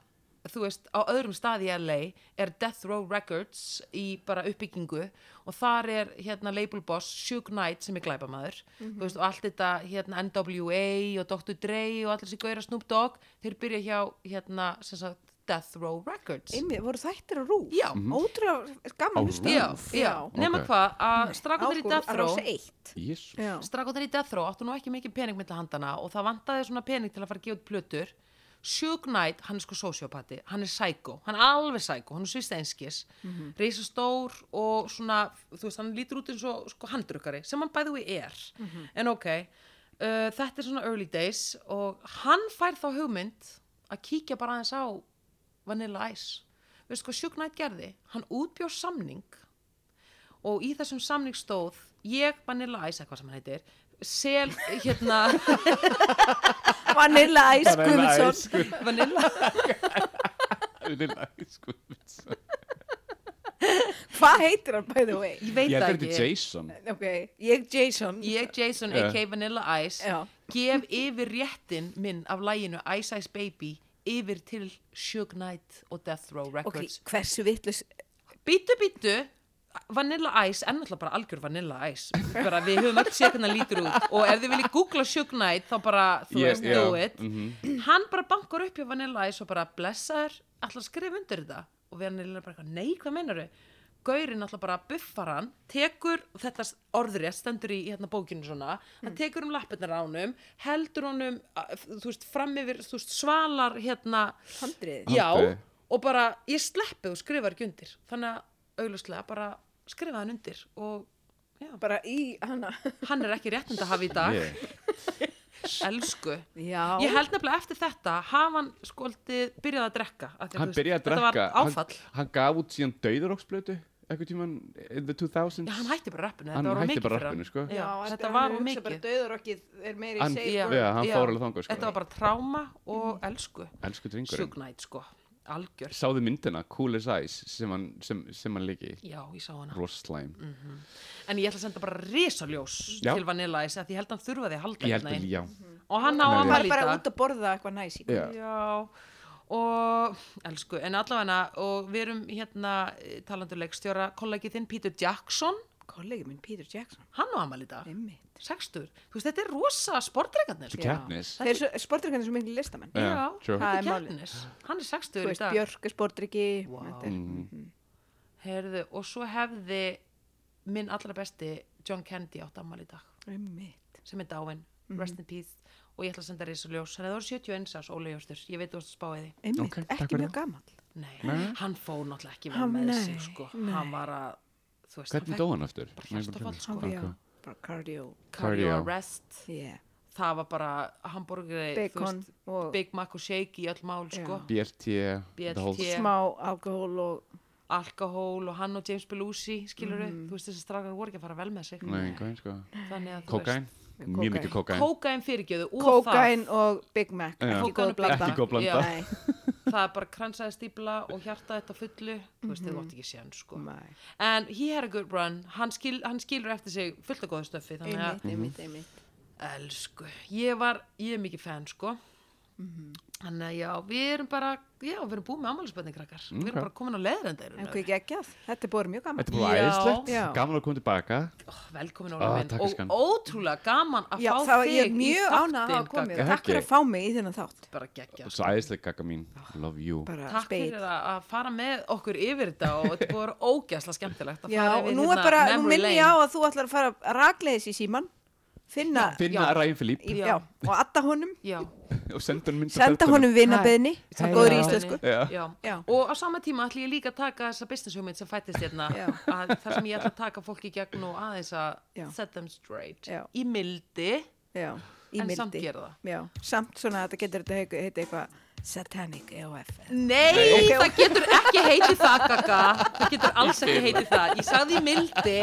S1: þú veist, á öðrum stað í LA er Death Row Records í bara uppbyggingu og þar er hérna label boss Suge Knight sem er glæpamaður mm veist, og allt þetta hérna NWA og Dr. Dre og allir þessi gauðra Snoop Dogg, þeir byrja hjá hérna sem sagt Death Row Records.
S3: Einmi, voru þættir á rúf?
S1: Já.
S3: Ótrúlega
S2: Á
S3: gaman hlusta.
S2: RÚV?
S1: Já, já, nema
S2: Ok.
S1: hvað að strákanir í
S3: Ágúr-
S1: Death
S3: á
S1: Row
S3: Rási eitt.
S2: Jésus.
S3: Já.
S1: strákanir í Death Row áttu nú ekki mikið pening milli handana og það vantaði svona pening til að fara að gefa út plötur Suge Knight, hann er sko sociopati hann er psycho, hann er alveg psycho hann er svistenskis, mm -hmm. reisastór og svona, þú veist, hann lítur út eins og sko handrukkari, sem hann bæði við er en ok uh, þetta er svona early days og hann fær þá hugmynd að kíkja bara aðeins á Vanilla Ice veist hvað Suge Knight gerði, hann útbjóð samning og í þessum samning stóð ég Vanilla Ice, eitthvað sem hann heitir sel, hérna
S3: Vanilla Ice Guðmundsson.
S1: Vanilla
S2: Vanilla Ice Guðmundsson.
S3: Hvað heitir hann by the way?
S1: ég veit
S2: Ég
S1: það
S2: heldur þetta er
S1: ekki,
S2: Jason.
S3: Ok, ég Jason.
S1: ég Jason
S2: Já.
S1: a.k. Vanilla Ice
S3: Já.
S1: gef yfir réttin minn af læginu Ice Ice Baby yfir til Suge Knight og Death Row
S3: Ok,
S1: Records
S3: hversu vitlis
S1: Bítu, bítu Vanilla Ice, en náttúrulega bara algjör Vanilla Ice bara við höfum öll séð hvernig hann lítur út og ef þið viljið googla Suge Knight þá bara, þú
S2: Ég-
S1: veist,
S2: já,
S1: do it
S2: mhm.
S1: hann bara bankar upp hjá Vanilla Ice og bara blessaður, ætla að skrifa undir þetta og Vanilla bara, eitthvað, nei, hvað meinar þau? Gaurinn ætla bara að buffar hann tekur þetta orðrétt stendur í hérna bókinu svona, hann tekur um lappirnar ánum, heldur honum að- þú veist, fram yfir, þú veist, svalar hérna,
S3: handriðið?
S1: já
S2: Handbragðið.
S1: og bara ég sleppi og skrifar ekki undir þannig að auglustlega bara skrifa hann undir og já,
S3: Bara í hana.
S1: hann er ekki réttind að hafa í dag
S2: Ég-
S1: elsku
S3: Já.
S1: ég held nefnilega eftir þetta hafa hann skoldið byrjað að drekka af því að, þú
S2: Hann
S1: veist,
S2: byrjaði að
S1: þetta
S2: drekka.
S1: var áfall
S2: Hann, hann gaf út síðan dauðaróksblötu eitthvað tíman in the 2000s.
S1: já, hann hætti bara rappinu,
S2: Hann
S1: þetta var of
S2: hætti
S1: mikið
S2: bara
S1: fyrir hann
S2: rappinu, sko.
S1: já, þetta var of
S3: Bara
S1: mikið
S3: döðurokkið er meiri
S2: Hann-
S3: safe
S2: Já.
S3: word.
S2: hann fór alveg þangað, sko.
S1: þetta var bara tráma
S3: Mhm.
S1: og elsku
S2: Elsku drengurinn.
S1: sjúknætt sko, algjör
S2: Sáðu myndina, Cool as Ice, sem hann, sem, sem hann líki.
S1: já, Mm. ég sá hana
S2: Roslæm.
S1: en ég ætla að senda bara risaljós
S2: Já.
S1: til Vanilla Ice af því ég held að hann þurfaði að halda
S2: Ég held
S1: hérna
S2: að,
S1: inn.
S2: já.
S1: og hann á
S2: Nei,
S3: Bara
S1: ammali í
S3: bara
S1: dag
S3: út að borða eitthvað næs í.
S2: Já.
S1: Já, og elsku, en allavega og við erum hérna talandur leikstjóra kollegið þinn Peter Jackson
S3: Kollegi minn Peter Jackson.
S1: hann á amal í dag,
S3: Einmitt.
S1: sextur þú veist, þetta er rosa sportreikarnir
S2: Þetta er keppnis.
S3: Þeir eru sportryggarnir svo miklu listamenn.
S2: Já,
S1: Já,
S2: true.
S1: þetta er
S3: Það er málið.
S1: keppnis hann er sextur
S3: Þú
S1: í
S3: veist,
S1: dag
S3: Björk er sportryggi.
S1: Vá.
S2: Mhm.
S1: Herðu, og svo hefði minn allra besti John Candy átt amal í dag
S3: Einmitt.
S1: sem er dáin,
S3: Mhm.
S1: rest in peace og ég ætla að senda reysa ljós, hann er það 71 ás Óli Jóstur, ég veit þú varst að spá í því
S3: Einmitt.
S2: Ok, takk
S3: Ekki
S2: fyrir
S3: mjög gamall.
S1: Nei,
S2: Nei.
S1: hann fór náttúrulega ekki vel
S3: Hann-
S1: með
S3: nei,
S1: sig sko.
S3: nei.
S1: hann var að þú veist, hann
S2: Hvernig dó hann aftur?
S1: bara hjartafall, sko.
S3: Hann
S2: Ok.
S3: já. Bara cardio.
S1: cardio
S2: Cardio.
S1: arrest
S3: Yeah.
S1: það var bara hambúrgri
S3: Bacon og
S1: Big Mac og shake í öll mál sko.
S2: BLT, the whole-
S1: BLT.
S3: smá alkohól og...
S1: alkohól og hann og James Belushi skilur
S3: Mhm.
S1: þú veist þessi strákar voru ekki að fara vel með sig
S2: Nei, hvað er sko?
S1: þannig að mm. þú
S2: Kokain? Mjög
S3: Kókaín.
S2: mikið kokain.
S1: veist kókain fyrirgjöðu og það,
S3: Kókain og Big Mac.
S2: Já.
S3: Ekki
S1: Kókaín
S3: góð
S1: og Big
S3: blanda.
S1: Mac.
S2: Ekki góð blanda.
S3: Nei.
S1: það er bara kransaði stípla og hjarta þetta fullu þú veist
S3: Mhm.
S1: þið vart ekki séðan sko.
S3: Nei.
S1: en he had a good run hann, skil, hann skilur eftir sig fullt af góðu stöfi þannig að
S3: Einmitt, einmitt, einmitt.
S1: Elsku, ég var, ég er mikið fan sko
S3: Mhm.
S1: Þannig að já, við erum bara, já, við erum búið með ammælisböndin krakkar Við
S2: Ok.
S1: erum bara komin á hérna. leiðrendar
S3: En hvað geggjað? Þetta er búið mjög gaman.
S2: Þetta er bara
S1: Já.
S2: æðislegt,
S3: Já.
S2: gaman að koma tilbaka
S1: Velkomin
S2: Ah,
S1: Óla minn
S2: takk,
S1: og
S2: elskan.
S1: ótrúlega gaman að
S3: Já,
S1: fá
S3: það var
S1: þig
S3: ég er
S1: í
S3: mjög
S1: þáttinn
S3: ánað að hafa komið.
S1: Gagga.
S2: Gagga.
S3: Takk fyrir að fá mig í þennan þátt.
S1: Bara geggja
S2: Svo æðislegt kaka mín, love you
S3: Bara
S1: Takk
S3: speil.
S1: fyrir að að fara með okkur yfir þetta og þetta er búið að vera ógæsla skemmtilegt að
S3: Já,
S1: fara
S3: og
S1: yfir
S3: nú er
S1: hérna
S3: bara, nú
S1: memory
S3: minn ég
S1: lane.
S3: á að þú ætlar að fara að ragleiðis í síman, finna,
S2: Finna
S1: Já.
S2: Ræðin Filip
S3: í,
S1: Já.
S3: já, og adda honum,
S1: Já,
S2: og senda honum mynd af
S3: senda
S2: fötunum.
S3: honum vinabeðni, sem
S2: Hei,
S3: góður
S2: já.
S3: í íslensku.
S2: Já.
S1: Já.
S3: Já.
S1: og á sama tíma ætlum ég líka að taka þessa business hugmynd sem fættist hérna
S3: Já.
S1: að þar sem ég ætla að taka fólki í gegn og aðeins
S3: Já.
S1: að set them straight
S3: Já.
S1: í mildi
S3: Já, í
S1: en
S3: mildi.
S1: samt gera það
S3: Já, samt svona að þetta getur þetta heiti eitthvað Satanic E EOF
S1: Nei, það getur ekki heitið það, Gaga. Það getur alls ekki heitið það. Ég sagði í mildi.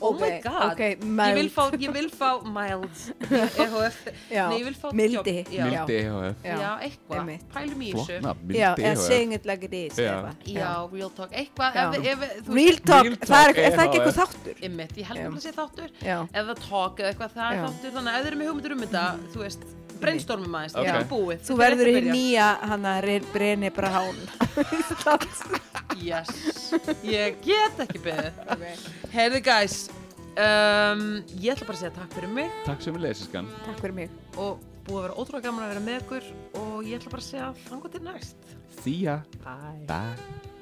S1: Oh my
S3: Ok,
S1: god.
S3: ok,
S1: Ég vil
S3: mild.
S1: fá, ég vil fá mild. E EHF.
S3: Já,
S1: Nei, ég vil fá
S3: mildi.
S1: Já, já.
S3: Mild.
S2: Mildi EHF
S1: já
S3: Já,
S1: eitthvað.
S3: einmitt.
S1: Pælum í
S2: Flott
S1: þessu.
S2: nafn,
S3: já
S2: Mildi E
S3: eða
S2: EHF
S3: saying it like it is
S2: Já.
S3: eða eitthvað.
S1: Já, real talk. Eitthvað,
S3: Já.
S1: ef, ef, ef þú
S3: Real talk,
S2: Real
S3: það er,
S2: talk, E
S3: er það ekki
S2: EHF.
S3: eitthvað þáttur?
S1: Einmitt, ég held
S3: Já.
S1: að það sé þáttur.
S3: Já,
S1: Eða talk eða eitthvað það er
S3: Já. Mm.
S1: þáttur. Þannig að ef þeir eru með hugmyndir um þetta, þú veist, brainstormum aðeins.
S2: Ok.
S1: Þetta er búið.
S3: þú
S1: Þetta er
S3: verður
S1: rétt
S3: í
S1: að byrja.
S3: nýja hana Breni Brahán
S1: Yes, ég get ekki beðið. Heyrðu guys, um, ég ætla bara að segja takk fyrir mig
S2: Takk sem við leysiskan
S3: Takk fyrir mig
S1: og búið að vera ótrúlega gaman að vera með ykkur og ég ætla bara að segja þangu til næst.
S2: See ya
S1: Bye.
S2: Bye